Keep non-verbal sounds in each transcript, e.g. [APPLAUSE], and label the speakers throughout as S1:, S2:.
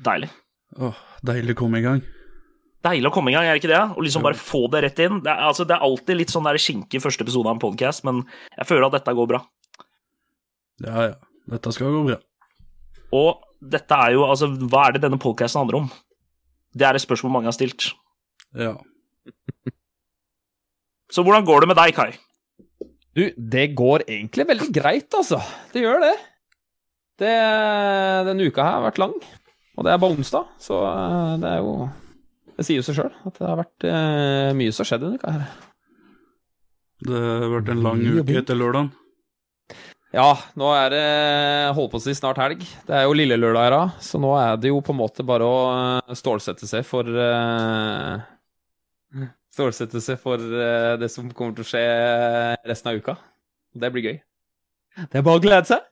S1: Deilig.
S2: Åh, deilig å komme i gang.
S1: Deilig å komme i gang, er det ikke det? Og liksom bare få det rett inn. Det er, altså, det er alltid litt sånn der skinke i første episode av en podkast, men jeg føler at dette går bra.
S2: Ja, ja. Dette skal gå bra.
S1: Og dette er jo Altså, hva er det denne podkasten handler om? Det er et spørsmål mange har stilt.
S2: Ja.
S1: Så hvordan går det med deg, Kai?
S3: Du, det går egentlig veldig greit, altså. Det gjør det. det denne uka her har vært lang, og det er bare onsdag, så eh, det er jo Det sier jo seg sjøl at det har vært eh, mye som har skjedd denne uka her.
S2: Det har vært en lang
S3: Mye
S2: uke etter lørdagen.
S3: Ja, nå er det holdt på å si snart helg. Det er jo lille lørdag her, da, så nå er det jo på en måte bare å eh, stålsette seg for eh, Stålsette seg for eh, det som kommer til å skje resten av uka. Det blir gøy. Det er bare å glede seg.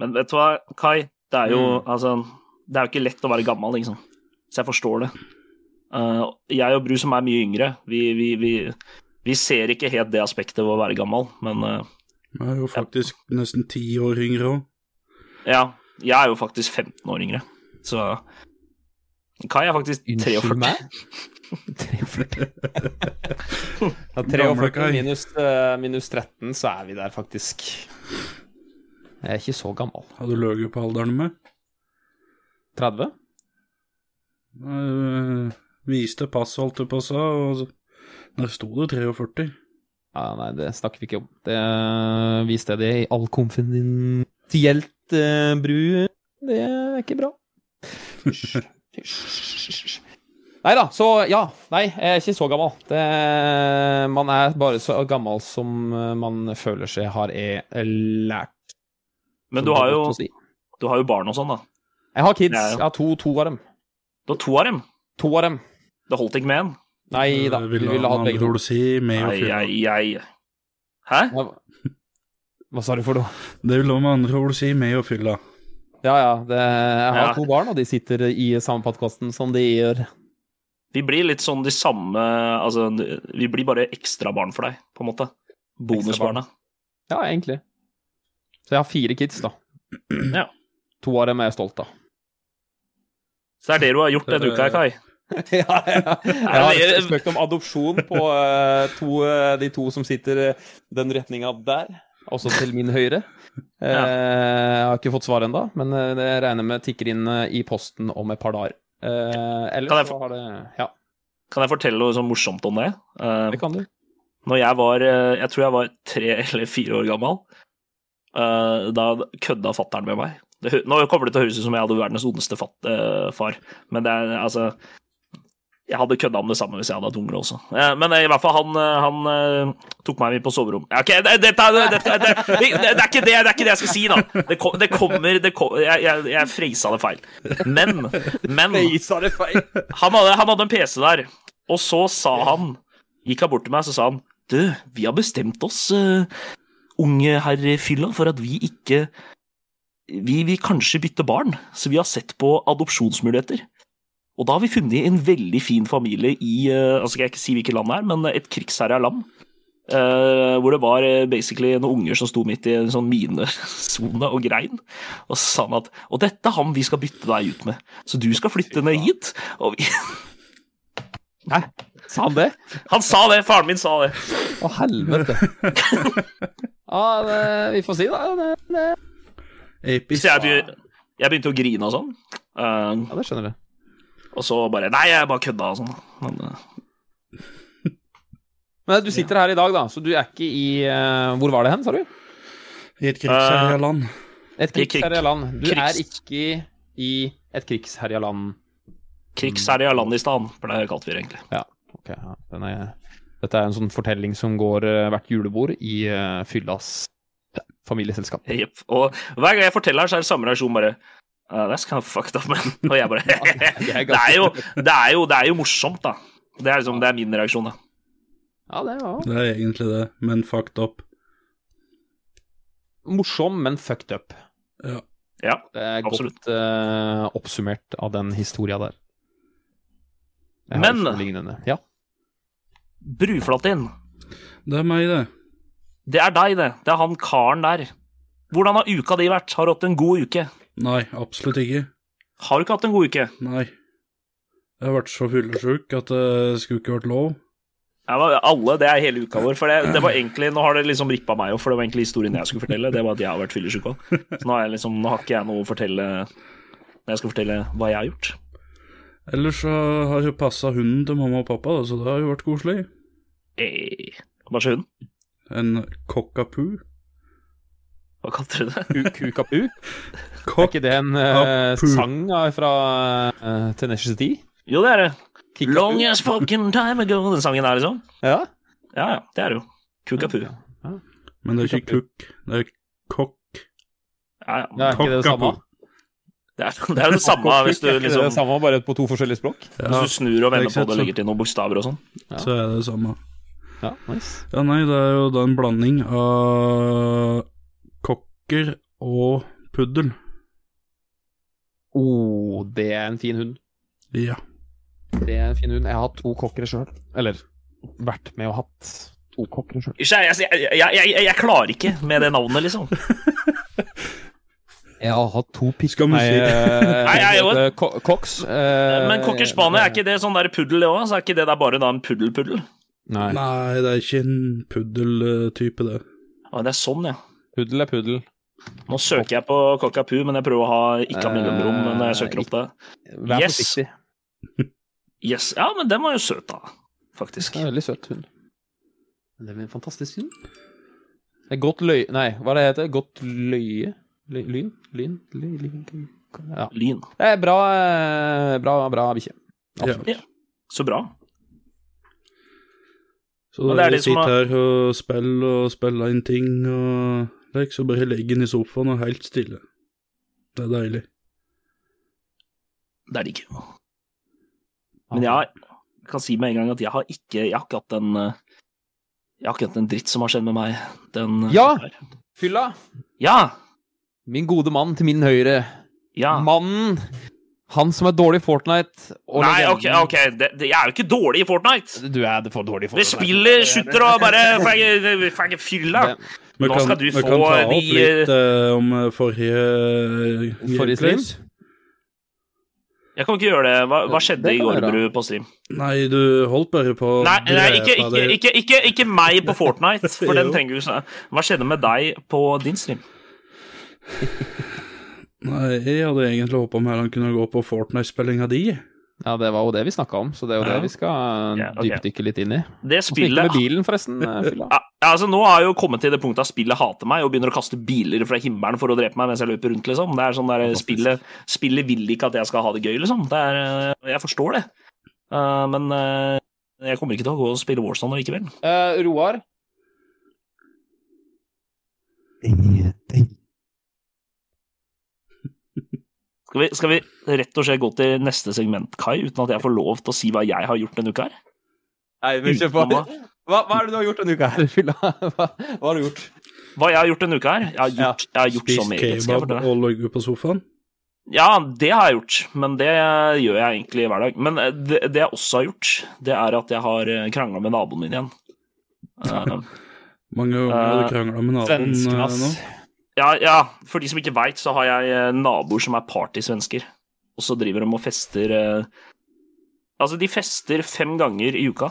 S1: Men vet du hva, Kai? Det er jo altså Det er jo ikke lett å være gammel, liksom. Så jeg forstår det. Eh, jeg og Bru, som er mye yngre, vi, vi, vi, vi ser ikke helt det aspektet ved å være gammel, men eh,
S2: Jeg er jo faktisk nesten ti år yngre òg.
S1: ja. Jeg er jo faktisk 15 år yngre, så Kai er faktisk 43.
S3: meg? [LAUGHS]
S2: [LAUGHS]
S3: 43. ja,
S2: Gamle Kai.
S3: 43 minus, eh, minus 13, så er vi der faktisk. Jeg er ikke så gammel.
S2: Har du løyet på alderen med?
S3: 30?
S2: Jeg Eh, viste pass, holdt jeg på å si, og så- der sto det 43.
S3: Ja, nei, det snakker vi ikke om. Det viste jeg det i all konfidensielt eh, bru. Det er ikke bra.
S2: [LAUGHS]
S3: Hysj. Hysj. Nei da, så ja. Nei, jeg er ikke så gammel. Det, man er bare så gammel som eh, man føler seg har eh, lært.
S1: Men du
S3: som
S1: har
S3: det er
S1: jo,
S3: godt å si.
S1: du har jo barn og sånn, da.
S3: Jeg har kids.
S1: Ja, ja.
S3: Jeg har to, to av dem.
S1: Du har to av dem.
S3: To av dem.
S1: Det holdt ikke med én.
S3: Nei da,
S2: Jeg
S3: vi ville hatt
S2: han
S3: begge
S2: andre
S3: to.
S2: ord Si, Eh, med og
S1: Ai,
S2: fylla.
S1: ai, ai. Hæ?
S3: Hva sa du for noe?
S2: Det vil han med andre ord si, med og fylla.
S3: Ja ja, det, jeg har
S1: Ja.
S3: to barn, og de sitter i samme podkasten som de gjør.
S1: Vi blir litt sånn de samme Altså, vi blir bare ekstra barn for deg, på en måte. Bonusbarna.
S3: Ja, egentlig. Så jeg har fire kids, da.
S1: Ja.
S3: To av dem er jeg stolt av.
S1: Så det er det du har gjort denne uka, Kai.
S3: [LAUGHS] ja, ja. Jeg
S1: det-
S3: har søkt om adopsjon på eh, to, eh, de to som sitter eh, den retninga der, også til min høyre.
S1: [LAUGHS]
S3: Eh,
S1: Ja.
S3: Jeg har ikke fått svar ennå, men eh, det regner jeg med tikker inn eh, i posten om et par dager. Eh,
S1: Kan jeg
S3: ellers
S1: få-
S3: så har det Ja,
S1: Kan jeg fortelle noe sånn morsomt om det? Eh,
S3: det kan du.
S1: når jeg var eh, Jeg tror jeg var tre [LAUGHS] eller fire år gammel. eh, da kødda fattern med meg. Det, hø- nå kommer det til å høres ut som jeg hadde verdens ondeste fatt, eh, far, men det er altså Jeg hadde kødda om det samme hvis jeg hadde hatt unger også. Eh, men eh, i hvert fall, han, eh, han eh, tok meg med på soverom. Ja, Ok, det, dette er- dette er- det, det, det, er ikke det, det er ikke det jeg skal si, da. Det, kom, det kommer det kom, jeg, jeg, jeg frisa det feil. Men, men
S3: sa det feil.
S1: han hadde, han hadde en PC der, og så sa han Gikk han bort til meg så sa han Du, vi har bestemt oss, eh, unge herr Fylla, for at vi ikke Vi vil kanskje bytte barn, så vi har sett på adopsjonsmuligheter. Og da har vi funnet en veldig fin familie i eh, altså skal jeg ikke si hvilket land det er, men et krigsherja land. eh, hvor det var eh, basically noen unger som sto midt i en sånn minesone og grein. Og så sa han at Og dette er han vi skal bytte deg ut med. Så du skal flytte ned hit. Og vi, [LAUGHS]
S3: Hæ? Sa han det?
S1: han sa det! Faren min sa det.
S3: Å, helvete.
S1: [LAUGHS]
S3: ja, det, vi får si, da. Det, det.
S2: Episk.
S1: Så jeg, begy- jeg begynte å grine og sånn. Eh,
S3: Ja, det skjønner du.
S1: og så bare Nei, jeg bare kødda og sånn. Men, eh,
S3: Men du sitter her i dag, da, så du er ikke i eh, Hvor var det hen, sa du?
S2: I et
S1: Eh.
S2: krigsherja land.
S3: Et
S1: I krig-
S3: krigsherja land. Du
S1: krigs-
S3: er ikke i et krigsherja land.
S1: krigsherre i Alandistan, ble det kalt vi det egentlig.
S3: Ja, ok. Ja. Den er, dette er en sånn fortelling som går eh, hvert julebord i eh, fyllas familieselskap.
S1: Jepp. Og hver gang jeg forteller her, så er det samme reaksjon, bare uh, That's kind of fucked up, man. Og
S3: [LAUGHS]
S1: jeg bare
S3: jeg er
S1: [LAUGHS]
S3: ganske-
S1: det, er jo, det, er jo, det er jo morsomt, da. Det er liksom, det er min reaksjon, da.
S3: Ja, det var
S2: Det er egentlig det, men fucked up.
S3: morsom, men fucked up.
S2: Ja.
S1: Ja.
S3: Det er
S1: Absolutt.
S3: godt eh, oppsummert av den historia der. Jeg har
S1: Men-
S3: ikke noe lignende. Ja.
S1: Bruflatin,
S2: Det er meg, det.
S1: det er deg, det. Det er han karen der. Hvordan har uka di vært? Har du hatt en god uke?
S2: Nei, absolutt ikke.
S1: Har du ikke hatt en god uke?
S2: Nei. Jeg har vært så fyllesyk at det skulle ikke vært lov.
S1: Ja, men alle, det er hele uka vår. For det, det var egentlig, Nå har det liksom rippa meg òg, for det var egentlig historien jeg skulle fortelle. Det var at jeg har vært fyllesyk òg. Så nå, er jeg liksom, nå har ikke jeg noe å fortelle når jeg skal fortelle hva jeg har gjort.
S2: Ellers så har jeg passa hunden til mamma og pappa, da, så det har jo vært koselig.
S1: Eh, hva skjer hun?
S2: En cockapoo.
S1: Hva kalte du det?
S3: Kukapu? [LAUGHS] Er
S2: Cock
S3: ikke det en eh,
S2: Kapu.
S3: sang av- fra uh, Tenacious D?
S1: Jo, det er det.
S3: Kickapoo?
S1: Long as fucking time ago, den sangen der, liksom.
S3: Ja.
S1: Ja, ja, det er det jo. Kukapu. Ja,
S2: Men det er ikke kukk, det er kokk.
S1: ja.
S3: Ja, er ikke det det samme?
S2: Cockapoo.
S1: Det er det, er jo det samme hvis du
S3: Er ikke det
S1: liksom
S3: det samme, bare på to forskjellige språk?
S2: Ja,
S1: Hvis du snur og vender
S2: det er ikke
S1: på det
S2: sant,
S1: og
S2: så-
S1: legger til noen bokstaver og sånn.
S3: Ja.
S2: så er det det samme.
S3: Ja, nice.
S2: Ja, nei, det er jo da en blanding av kokker og puddel.
S3: Oh, det er en fin hund.
S2: Ja.
S3: Det er en fin hund. Jeg har hatt to kokkere sjøl. Eller vært med og hatt to kokkere sjøl.
S1: Ikke, Jeg, jeg, jeg, jeg, jeg, jeg klarer ikke med det navnet, liksom.
S3: Jeg har hatt to
S2: Skal
S3: pikker eh,
S2: vi si-
S1: Nei, jeg er jo en- Eh,
S3: Koks. Eh,
S1: Men cocker spaniel, er ikke det sånn der puddel, det òg? Er ikke det der bare da en puddelpuddel?
S3: Nei.
S2: Nei, det er ikke en puddel-type, det.
S1: Å, det er sånn, ja.
S3: Puddel er puddel.
S1: Nå søker jeg på Cockapoo, men jeg prøver å ha ikke ha mellomrom
S3: Eh,
S1: når jeg søker opp det.
S3: Vær
S1: Yes.
S3: forsiktig.
S1: Yes, Ja, men den var jo søt, da. Faktisk.
S3: Det er en veldig søt hund. Men det blir en fantastisk hund. Det er godt løy... Nei, hva er det det heter? Godt løye? Løy- Lyn? Lyn? Løy- Lyn? Ja.
S1: Lyn.
S3: Det er bra, eh, bra, bra bikkje.
S2: Ja.
S3: Absolutt.
S1: Så bra.
S2: Så
S1: Og
S2: det er
S1: de
S2: å
S1: som
S2: sitte
S1: har-
S2: her og spille og spille inn ting og lek, så bare legge den i sofaen og helt stille. Det er deilig.
S1: Det er det ikke. Men jeg har- jeg kan si med en gang at jeg har ikke Jeg har ikke hatt en eh, Jeg har ikke hatt en dritt som har skjedd med meg. Den eh,
S3: Ja!
S1: der.
S3: Fylla!
S1: Ja!
S3: Min gode mann til min høyre.
S1: Ja!
S3: Mannen. Han som er dårlig i Fortnite. og
S1: Nei, ok,
S3: legenden.
S1: ok. Det, det, jeg er jo ikke dårlig i Fortnite.
S3: Du er det for dårlig for
S1: Det spillet slutter og bare
S3: [LAUGHS]
S1: Får jeg- får jeg ikke fylla?
S3: Det-
S2: Vi
S1: Nå
S2: kan,
S1: skal du
S2: vi
S1: få
S2: kan ta opp
S1: de,
S2: litt eh, om eh, forrige eh,
S3: Forrige stream?
S2: gameplays.
S1: Jeg kan ikke gjøre det. Hva, hva skjedde
S3: Det
S1: i
S3: kan
S1: går,
S3: være.
S1: Bru, på stream?
S2: Nei, du holdt bare på å
S1: Nei, nei ikke,
S2: drepe
S1: ikke,
S2: deg.
S1: ikke, ikke, ikke meg på Fortnite, for den
S2: Jo.
S1: trenger vi ikke snakke Hva skjedde med deg på din stream?
S2: Nei, jeg hadde egentlig håpa mer han kunne gå på Fortnite-spillinga di.
S3: Ja, det var jo det vi snakka om, så det er jo
S1: Ja.
S3: det vi skal
S1: Ja,
S3: eh,
S1: ok.
S3: dypdykke litt inn i.
S1: Det
S3: Åssen gikk det
S1: spillet
S3: med bilen, forresten? eh,
S1: [LAUGHS]
S3: Fylla?
S1: ja, altså Nå har jeg jo kommet til det punktet at spillet hater meg og begynner å kaste biler fra himmelen for å drepe meg mens jeg løper rundt, liksom. Det er sånn der, spillet, spillet vil ikke at jeg skal ha det gøy, liksom. Det er, eh, jeg forstår det. Eh, men eh, jeg kommer ikke til å gå og spille Warzone likevel.
S3: Eh, Roar?
S1: Skal vi, skal vi rett og slett gå til neste segment, Kai, uten at jeg får lov til å si hva jeg har gjort denne uka her?
S3: Nei,
S1: men kjør på.
S3: Hva, er det du har gjort denne uka her, Fylla? [LAUGHS] Hva, har du gjort?
S1: Hva jeg har gjort denne uka her? Jeg har gjort, jeg har gjort så
S2: Spist
S1: meget. Skal jeg
S2: kebab
S1: fortelle.
S2: og ligget på sofaen.
S1: Ja, det har jeg gjort, men det gjør jeg egentlig hver dag. Men eh, det, det jeg også har gjort, det er at jeg har krangla med naboen min igjen. Eh,
S2: Mange ganger
S1: Eh,
S2: du krangla med naboen
S3: Svensken,
S2: eh, nå.
S3: ass.
S1: ja, ja, for de som ikke veit, så har jeg eh, naboer som er partysvensker. Og så driver de og fester eh, Altså, de fester fem ganger i uka.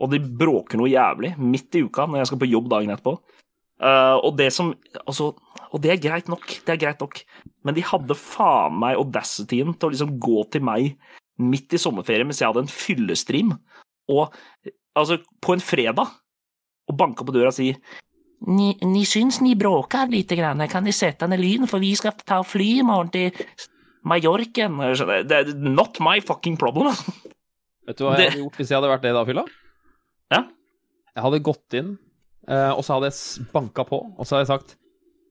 S1: Og de bråker noe jævlig midt i uka når jeg skal på jobb dagen etterpå. Eh, og det som Altså, og det er greit nok, det er greit nok. Men de hadde faen meg audacityen til å liksom gå til meg midt i sommerferien mens jeg hadde en fyllestream, og altså på en fredag, og banka på døra og si ni, ni syns ni bråker lite grann, kan de sette ned lyden, for vi skal ta og fly i morgen til Mallorken? Jeg skjønner, Det er not my fucking problem. altså.
S3: Vet du hva jeg
S1: Det-
S3: hadde gjort hvis jeg hadde vært det da, Fylla?
S1: Ja.
S3: Jeg hadde gått inn, eh, og så hadde jeg banka på, og så hadde jeg sagt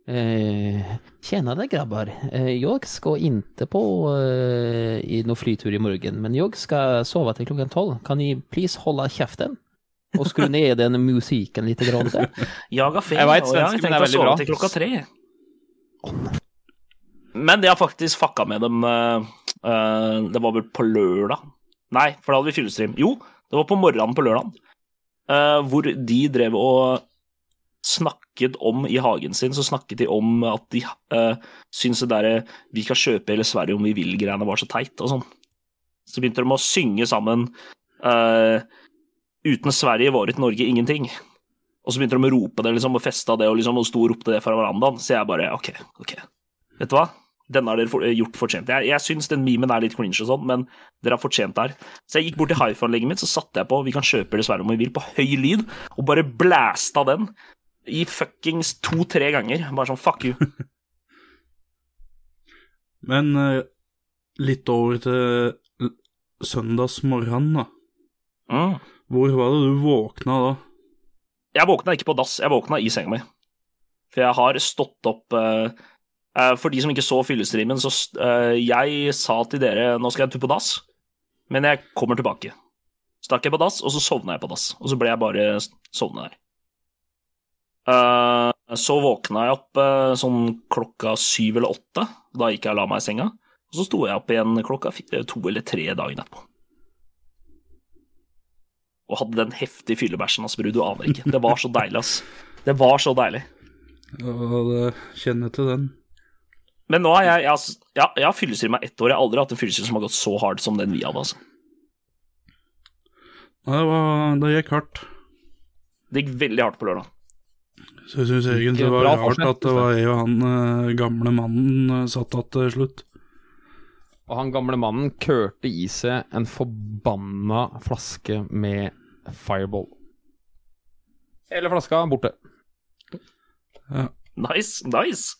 S3: eh, Tjena deg, grabbar. Eh, jeg skal ikke på eh, i noe flytur i morgen, men jeg skal sove til klokken tolv. Kan dere please holde kjeften? Og skru ned den musikken litt. Grann der?
S1: Jag har ferie,
S3: Jeg vet
S1: og jeg har
S3: svenske, men
S1: tenkt
S3: det er
S1: å
S3: veldig
S1: sove
S3: bra.
S1: til klokka tre. Men det har faktisk fucka med dem eh, eh, Det var vel på lørdag? Nei, for da hadde vi eh, fyllestream. Jo, det var på morgenen på lørdag. hvor de drev og snakket om i hagen sin, så snakket de om at de uh, syntes det derre 'vi kan kjøpe hele Sverige om vi vil'-greiene var så teit og sånn. Så begynte de å synge sammen eh, 'Uten Sverige var et Norge ingenting'. Og så begynte de å rope det liksom, og feste av det, og liksom, og sto og ropte det fra verandaen. Så jeg bare OK, OK. Vet du hva? Denne har dere for, gjort fortjent. Jeg, jeg syns den memen er litt cringe og sånn, men dere har fortjent det her. Så jeg gikk bort til hifi-anlegget mitt, så satte jeg på 'Vi kan kjøpe hele Sverige om vi vil', på høy lyd, og bare blæsta den i fuckings to-tre ganger. Bare sånn fuck you.
S2: Men eh, litt over til søndagsmorgenen, da.
S1: Mm.
S2: Hvor var det du våkna da?
S1: Jeg våkna ikke på dass, jeg våkna i senga mi. For jeg har stått opp eh, eh, For de som ikke så fyllestreamen, så eh, Jeg sa til dere nå skal jeg en tur på dass, men jeg kommer tilbake. Stakk jeg på dass, og så sovna jeg på dass. Og så ble jeg bare s- sovna der. Eh, så våkna jeg opp eh, sånn klokka syv eller åtte. Da gikk jeg og la meg i senga. Og så sto jeg opp igjen klokka fi- eh, to eller tre dagen etterpå. Og hadde den heftige fyllebæsjen, ass, bru. Du aner ikke. Det var så deilig, ass. Det var så deilig.
S2: Ja, det kjenner jeg til den.
S1: Men nå har jeg, jeg, har- jeg, har- jeg har fyllesyre meg ett år. Jeg har aldri hatt en fyllesyre som har gått så hardt som den vi hadde. altså.
S2: Nei, det, var, det gikk hardt.
S1: Det gikk veldig hardt på lørdag.
S2: Så jeg syns egentlig
S3: Gikk
S2: det var
S3: bra
S2: rart
S3: fortsatt,
S2: at det var jeg og han eh, gamle mannen eh, satt igjen til slutt.
S3: Og han gamle mannen kørte i seg en forbanna flaske med fireball. Hele flaska er borte.
S1: Nice, nice.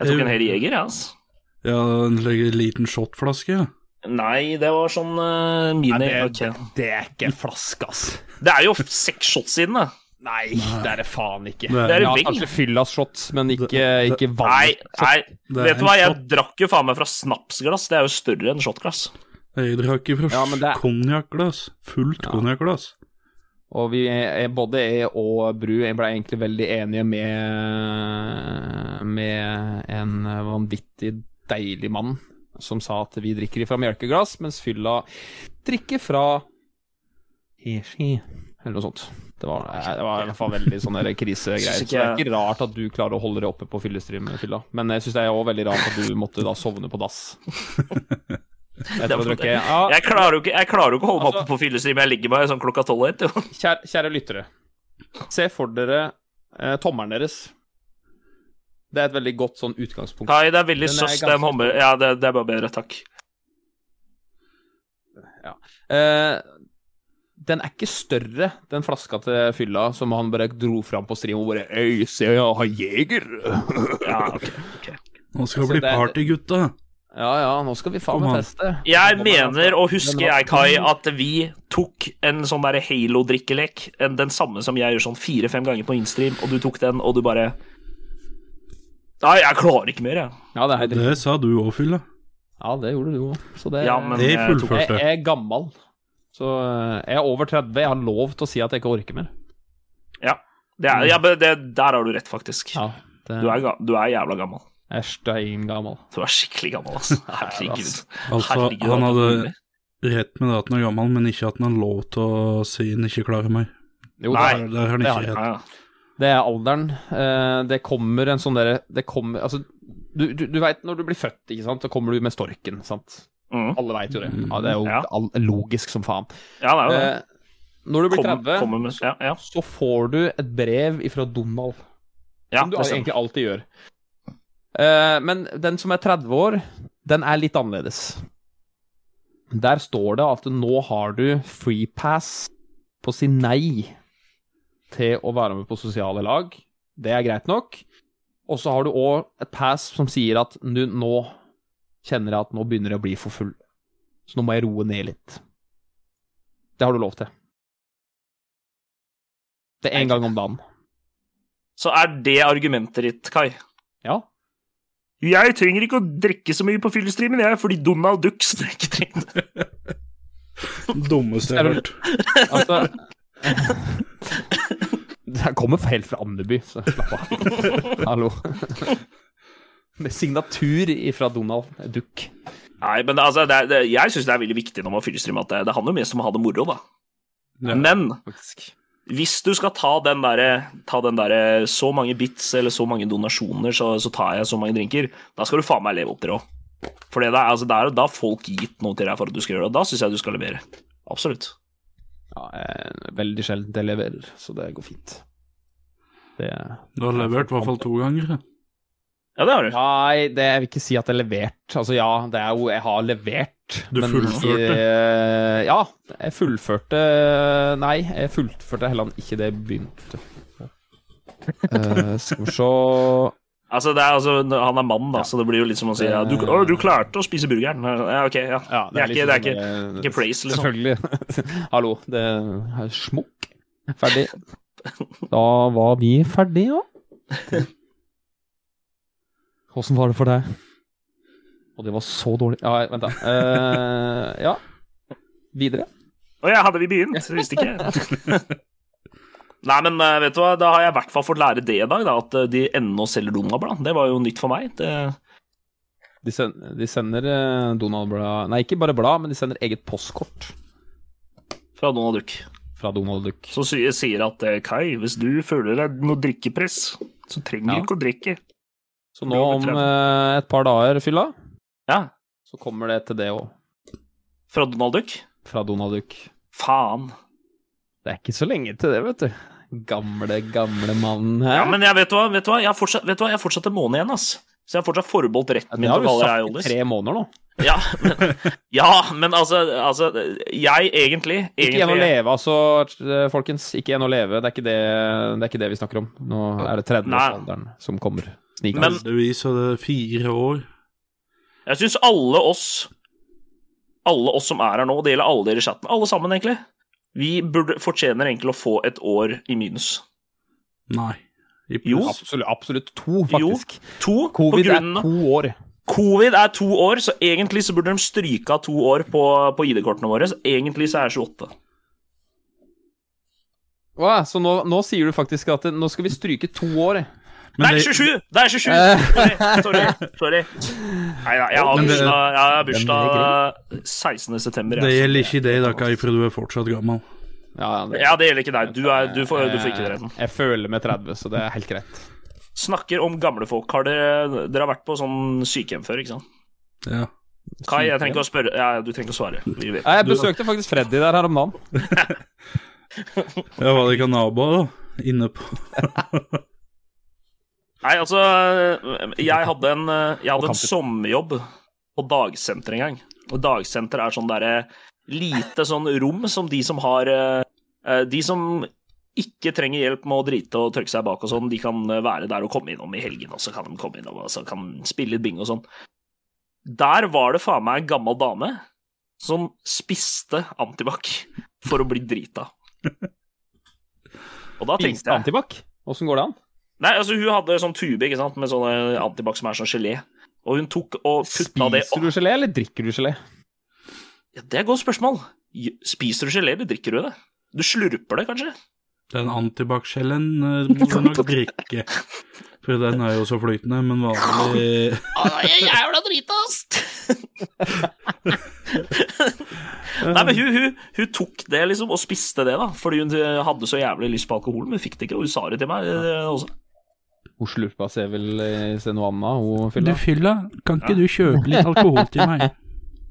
S1: Jeg tok en hel jeger, jeg, altså.
S2: Ja, en slik liten shotflaske. ja.
S1: Nei, det var sånn uh, mini
S3: Nei,
S1: ok.
S3: Det er ikke en flaske, ass.
S1: Det er jo seks shots i den, da.
S3: Nei, det er det faen ikke.
S2: Det er-
S1: Det er
S3: ja,
S1: en ving.
S3: kanskje fyllashots, men ikke,
S2: Det-
S3: ikke
S1: Nei,
S3: vann.
S1: nei.
S2: Det er
S1: Vet du
S2: en
S1: hva,
S2: shot.
S1: jeg drakk jo faen meg fra snapsglass. Det er jo større enn shotglass.
S2: Jeg drakk ifra
S3: Ja, men det er-
S2: konjakkglass. Fullt konjakkglass.
S3: Og vi, er- både jeg og Bru jeg ble egentlig veldig enige med, med en vanvittig deilig mann som sa at vi drikker fra melkeglass, mens fylla drikker fra Heshi. Eller noe sånt. Det var, det var i hvert fall veldig sånne der
S1: Synes
S3: krisegreier. Så
S1: ikke
S3: det er ikke rart at du klarer å holde deg oppe på fyllestream, fylla. Men jeg syns det er òg veldig rart at du måtte da sovne på dass. Etter å drikke. Ja,
S1: Jeg klarer jo ikke, jeg klarer jo ikke å holde meg
S3: Altså-
S1: oppe på fyllestream. Jeg ligger meg sånn klokka tolv og ett, jo.
S3: Kjære, kjære lyttere. Se for dere eh, tommelen deres. Det er et veldig godt sånn utgangspunkt.
S1: Nei, det er veldig
S3: Den er
S1: søs,
S3: ganske-
S1: den hommer. Ja, det, det er bare bedre. Takk.
S3: Eh, den er ikke større, den flaska til fylla som han bare dro fram på stream og bare Øy, se, jeg har jeger. [LAUGHS]
S1: Ja, ok.
S2: Nå skal det bli
S3: Så Altså, det er-
S2: party, gutta.
S3: ja, ja, nå skal vi faen
S2: Kom
S3: meg
S2: an.
S3: feste.
S1: Jeg
S3: Nå kommer altså?
S1: mener
S3: den.
S1: å huske,
S3: Den var-
S1: jeg, Kai, at vi tok en sånn derre Halo-drikkelek. en- Den samme som jeg gjør sånn fire-fem ganger på Instream, og du tok den, og du bare Nei, jeg klarer ikke mer, jeg.
S3: Ja, det er helt riktig.
S2: Det sa du òg, Fylla.
S3: Ja, det gjorde du jo. Så det
S1: Ja, men eh,
S2: Det
S1: jeg tok-
S2: fullførte.
S3: jeg, jeg er gammel. Så eh, jeg er over 30. Jeg har lov til å si at jeg ikke orker mer.
S1: det er, ja, men det, Der har du rett, faktisk.
S3: Ja, det,
S1: Du er, ga- du er jævla gammel.
S3: jeg er steingammel.
S1: Du er skikkelig gammel, altså. Herregud.
S3: ass.
S2: Altså,
S1: Herregud,
S2: han
S1: at du
S2: hadde
S1: gjorde det.
S2: rett med det at han er gammel, men ikke at han har lov til å si han ikke klarer mer.
S3: Jo,
S1: Nei.
S3: det er-
S2: Der, der har han
S3: det
S2: ikke
S1: ja,
S2: rett.
S1: ja.
S3: Det er alderen. Eh, Det kommer en sånn derre Det kommer Altså, du, du, du veit når du blir født, ikke sant, så kommer du med storken, sant.
S1: Mm.
S3: Alle veit jo det. Ja, det er jo
S1: Ja.
S3: all- logisk som faen.
S1: ja, det er jo det.
S3: Eh, Når du blir
S1: Kommer-
S3: 30,
S1: kommer med- ja, ja.
S3: så får du et brev ifra Donald,
S1: Ja,
S3: som du
S1: det stemmer.
S3: egentlig alltid gjør. Eh, Men den som er 30 år, den er litt annerledes. Der står det at nå har du free pass på å si nei til å være med på sosiale lag. Det er greit nok. Og så har du òg et pass som sier at nu, nå kjenner jeg at nå begynner jeg å bli for full. Så nå må jeg roe ned litt. Det har du lov til. Det er én gang om dagen.
S1: Så er det argumentet ditt, Kai?
S3: Ja.
S1: Jeg trenger ikke å drikke så mye på fyllestreamen, jeg, fordi Donald Duck ikke trenger det.
S2: Dummeste jeg har
S3: Er
S2: hørt.
S3: Altså Jeg kommer helt fra Andeby, så slapp av. Hallo. Med signatur ifra Donald Duck.
S1: Nei, men det, altså, det, er- det, jeg syns det er veldig viktig når man fyllestreamer, at det, det handler mest om å ha det moro, da.
S2: Ja.
S1: Men
S3: faktisk.
S1: Hvis du skal ta den derre ta den derre så mange bits eller så mange donasjoner, så, så tar jeg så mange drinker, da skal du faen meg leve opp til det òg. For det der, altså, det er jo da folk gitt noe til deg for at du skal gjøre det, og da syns jeg du skal levere. Absolutt.
S3: Ja, jeg, veldig sjelden jeg leverer, så det går fint. Det
S2: Du har levert i hvert fall to ganger.
S1: Ja, det har du.
S3: Nei, det, jeg vil ikke si at jeg har levert. Altså ja, det er jo Jeg har levert.
S2: Du fullførte.
S3: eh, ja, jeg fullførte Nei, jeg fullførte heller ikke det jeg
S2: [LAUGHS]
S3: begynte. Eh, skal vi se
S1: Altså, det er, altså, han er mann, da, så det blir jo litt som å si ja, du, å, du klarte å spise burgeren. Ja, ok, ja.
S3: ja,
S1: Det er ikke, det er ikke
S3: sånn, eh,
S1: ikke praise, liksom.
S3: Selvfølgelig. [LAUGHS] Hallo, det er smokk. Ferdig.
S1: [LAUGHS]
S3: Da var vi ferdige, ja. Åssen var det for deg? Og det var så dårlig Ja, vent, da. Eh, ja. Videre.
S1: Å ja, hadde vi begynt? Jeg visste ikke. [LAUGHS] Nei, men eh, vet du hva, da har jeg i hvert fall fått lære det i dag, da, at eh, de ennå selger Donald-blad. Det var jo nytt for meg. Det,
S3: De, send, de sender eh, Donald-blad Nei, ikke bare blad, men de sender eget postkort
S1: fra Donald Duck.
S3: fra Donald Duck.
S1: Så sy- sier at eh, Kai, hvis du føler deg noe drikkepress, så trenger
S3: Ja.
S1: du ikke å drikke.
S3: Så nå om eh, et par dager, fylla,
S1: Ja,
S3: så kommer det til det òg.
S1: fra Donald Duck.
S3: Fra Donald Duck.
S1: Faen.
S3: Det er ikke så lenge til det, vet du. Gamle, gamle mannen her.
S1: Ja, men jeg vet du hva, vet du hva, jeg har fortsatt, vet du hva, jeg har fortsatt en måned igjen, ass. Så jeg har fortsatt forbeholdt
S3: Ja,
S1: retten
S3: det
S1: min
S3: har
S1: til å kalle
S3: du
S1: deg
S3: sagt i
S1: Ollis.
S3: tre måneder nå.
S1: Ja, men, [LAUGHS] ja, men altså, altså, jeg egentlig,
S3: Ikke igjen å
S1: egentlig
S3: leve, altså, eh, folkens. Ikke igjen å leve. Det er ikke det, det, er ikke det vi snakker om. Nå er det 30-årsalderen som kommer. Snikende.
S1: Men-
S2: Heldigvis er det fire år.
S1: Jeg syns alle oss Alle oss som er her nå, det gjelder alle dere i chatten, alle sammen, egentlig, vi burde, fortjener egentlig å få et år i minus.
S2: Nei. I
S1: Jo.
S2: pluss.
S3: Absolutt, absolutt to, faktisk.
S1: To
S3: Covid
S1: på
S3: er
S1: grunn av
S3: to år.
S1: Covid er to år, så egentlig så burde de stryke av to år på, på ID-kortene våre. Så egentlig så er jeg 28.
S3: Åh, så nå, nå sier du faktisk at eh, nå skal vi stryke to år. eh.
S2: Men
S1: Nei,
S2: det-
S1: 27! Det er 27! Sorry. sorry, sorry. Nei da, jeg har
S2: Men det-
S1: bursdag, jeg har
S3: Den
S1: bursdag 16. september.
S2: Det
S1: jeg, så-
S2: gjelder ikke deg da, Kai, for du er fortsatt gammel.
S3: Ja, det-
S1: altså. Ja, det gjelder ikke deg. Du, er, du, får, du får ikke
S3: Eh,
S1: retten.
S3: Jeg føler med 30, så det er helt greit.
S1: Snakker om gamle folk. Har dere, dere har vært på sånn sykehjem før, ikke sant?
S2: Ja.
S1: Kai, jeg trenger ikke å spørre. Ja, du trenger ikke å svare. Vi vet.
S3: Eh, Jeg besøkte faktisk Freddy der her om dagen.
S2: ja var det ikke naboer, da? Inne på
S1: Nei, altså Jeg hadde en, jeg hadde en sommerjobb på dagsenter en gang. Og dagsenter er sånn derre lite sånn rom som de som har eh, De som ikke trenger hjelp med å drite og tørke seg bak og sånn, de kan være der og komme innom i helgen, og så kan de komme innom og så kan de spille litt bingo og sånn. Der var det faen meg en gammel dame som spiste antibac for å bli drita. Og da tenkte jeg
S3: Antibac. Åssen går det an?
S1: Nei, altså hun hadde sånn tube ikke sant, med sånne antibac som er sånn gelé. Og hun tok og putta det
S3: Spiser du gelé, eller drikker du gelé?
S1: Ja, Det er et godt spørsmål. J- Spiser du gelé, eller drikker du det? Du slurper det, kanskje?
S2: den
S1: [LAUGHS]
S2: antibac-skjellen eh, må du nok drikke. For den er jo så flytende, men vanlig
S1: Jeg er jævla drita,
S2: [LAUGHS]
S1: ass! Nei, men hun, hun, hun tok det, liksom, og spiste det, da. Fordi hun hadde så jævlig lyst på alkohol, men hun fikk det ikke, og hun sa det til meg eh, også.
S3: Hun slurpa seg vel i seg noe annet,
S2: Du
S3: hun fylla.
S2: fylla, kan ikke du kjøpe litt alkohol til meg?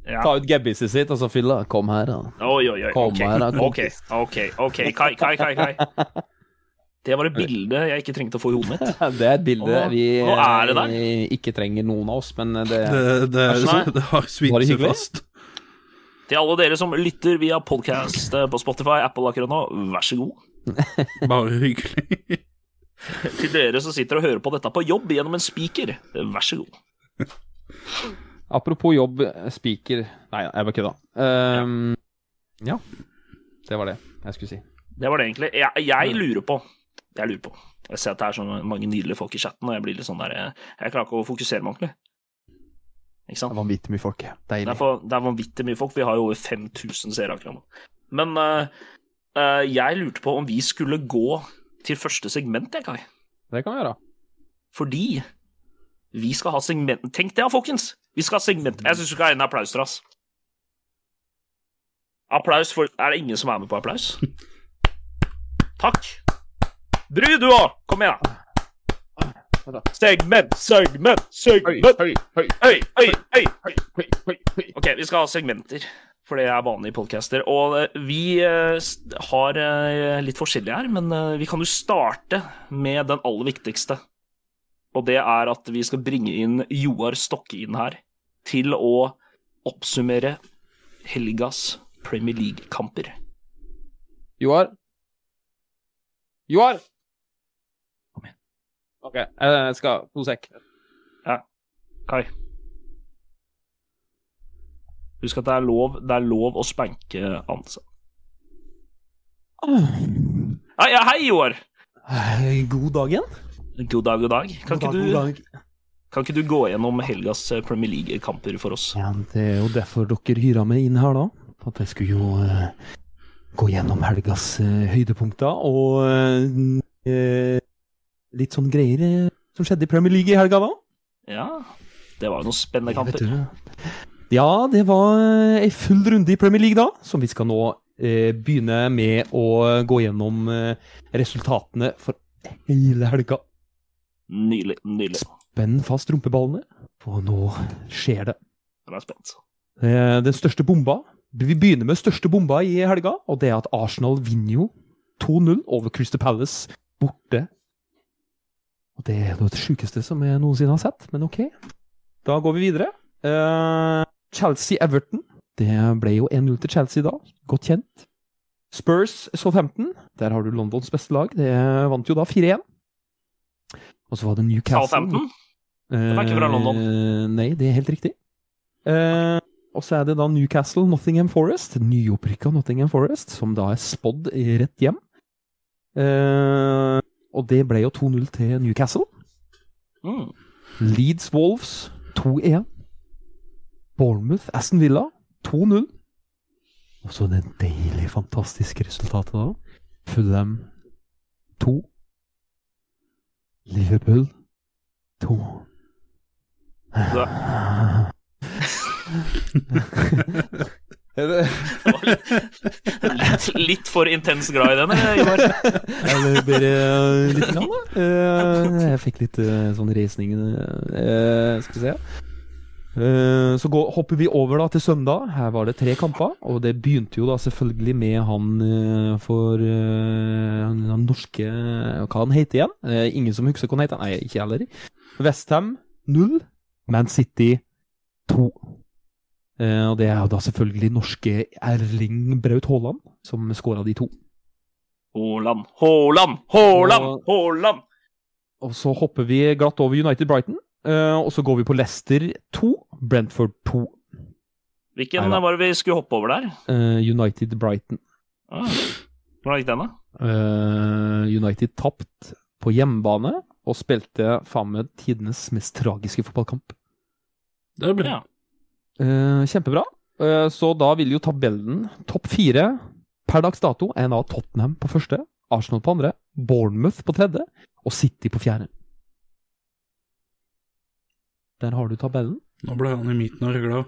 S1: Ja.
S3: Ta ut gebbiset sitt, og så fylla. Kom her, da.
S1: Oi, oi, oi.
S3: Kom
S1: Ok,
S3: her da,
S1: ok,
S3: kompis.
S1: ok, ok. Kai, Kai, Kai. Kai. Det var et bilde jeg ikke trengte å få i hodet mitt.
S3: [LAUGHS] Det er et bilde
S1: Å,
S3: vi
S1: nå er det der.
S3: eh, ikke trenger noen av oss, men eh, det,
S2: Det, det,
S1: Vær så snill.
S2: det har
S3: Var
S2: svidd
S3: det
S2: seg
S3: hyggelig?
S2: fast.
S1: Til alle dere som lytter via podkast på Spotify, Apple akkurat nå, vær så god.
S2: Bare hyggelig.
S1: Til dere som sitter og hører på dette på jobb gjennom en spiker, vær så god.
S3: Apropos jobb, spiker Nei, jeg bare kødda. Um, ja. Det var det jeg skulle si.
S1: Det var det egentlig. Jeg, jeg lurer på Jeg lurer på. Jeg ser at det er så mange nydelige folk i chatten, og jeg blir litt sånn der Jeg, jeg klarer ikke å fokusere meg ordentlig. Ikke
S3: Det
S1: sant?
S3: er vanvittig mye folk.
S1: Det er,
S3: Deilig.
S1: for, det er vanvittig mye folk. Vi har jo over 5000 seere akkurat nå. Men eh, eh, jeg lurte på om vi skulle gå til første segment, jeg, Kai.
S3: Det kan vi gjøre.
S1: Fordi vi skal ha segment... Tenk det, ja, folkens! Vi skal ha segment... Jeg syns vi skal ha en applaus til oss. Applaus for Er det ingen som er med på applaus? Takk. Bru, du òg! Kom igjen, da. Segment, segment, segment.
S4: høy, høy,
S1: Øy, øy, øy.
S4: høy, høy, høy, høy.
S1: Ok, vi skal ha segmenter, for det er vanlig i podcaster. Og eh, vi eh, s- har eh, litt forskjellig her, men eh, vi kan jo starte med den aller viktigste. Og det er at vi skal bringe inn Joar Stokke inn her til å oppsummere helgas Premier League-kamper.
S3: Joar?
S4: Joar!
S3: OK, jeg skal To sek.
S1: Kai. Husk at det er lov, det er lov å spanke ansatte.
S3: Ah.
S1: Hei, hei, Joar!
S3: Eh, God dag igjen.
S1: God dag, god dag. Kan
S3: God
S1: ikke
S3: dag,
S1: du
S3: god dag.
S1: Kan ikke du gå gjennom helgas eh, Premier League-kamper for oss?
S3: Ja, det er jo derfor dere hyra meg inn her, da. For at jeg skulle jo eh, gå gjennom helgas eh, høydepunkter og eh, eh, litt sånn greier eh, som skjedde i Premier League i helga, da.
S1: Ja, det var jo noen spennende
S3: Vet
S1: kamper.
S3: du. Ja, det var eh, ei full runde i Premier League da, som vi skal nå eh, begynne med å gå gjennom eh, resultatene for hele helga.
S1: Nylig. nylig.
S3: Spenn fast rumpeballene, for nå skjer det.
S1: Jeg er spent.
S3: Eh, Den største bomba Vi begynner med største bomba i helga, og det er at Arsenal vinner jo 2-0 over Crystal Palace borte. Og det er noe av det sjukeste som jeg noensinne har sett, men OK. Da går vi videre. Eh, Chelsea-Everton. Det ble jo 1-0 til Chelsea da, godt kjent. Spurs Southampton. Der har du Londons beste lag. Det vant jo da 4-1. Og så var det Newcastle
S1: Southampton. Det var ikke fra London.
S3: Eh, nei, det er helt riktig. Eh, og så er det da Newcastle Nottingham Forest. Nyopprykka Nottingham Forest, som da er spådd rett hjem. Eh, og det ble jo 2-0 til Newcastle.
S1: Mm.
S3: Leeds Wolves 2-1. Bournemouth Aston Villa 2-0. Og så det deilige, fantastiske resultatet da. Fulham 2. Liverpool 2. [LAUGHS] Eller,
S1: Det var litt, litt, litt for intens glad i den, eh, Ivar.
S3: eller bare eh, litt grann, da. Eh, Jeg fikk litt eh, sånn reisning eh, Skal vi se. Eh, Så går, hopper vi over da til søndag. Her var det tre kamper. Og det begynte jo da selvfølgelig med han eh, for eh, han- han norske Hva han heter igjen? Eh, Ingen som husker hva han heter? Nei, ikke jeg heller. Westham 0, Man City 2. Eh, Og det er jo da selvfølgelig norske Erling Braut Haaland som skåra de to.
S1: Haaland, Haaland, Haaland, Haaland!
S3: Og så hopper vi glatt over United Brighton. eh, og så går vi på Leicester 2, Brentford 2,
S1: Hvilken
S3: Neida.
S1: var det vi skulle hoppe over der?
S3: eh, United Brighton.
S1: Ah. Hvordan gikk den, da?
S3: Eh, United tapt på hjemmebane og spilte faen meg tidenes mest tragiske fotballkamp.
S2: Det er bra.
S1: Ja.
S3: Eh, kjempebra. Eh, så da vil jo tabellen topp fire per dags dato er da Tottenham på første, Arsenal på andre, Bournemouth på tredje og City på fjerde. Der har du tabellen.
S2: Nå ble han i midten av regla.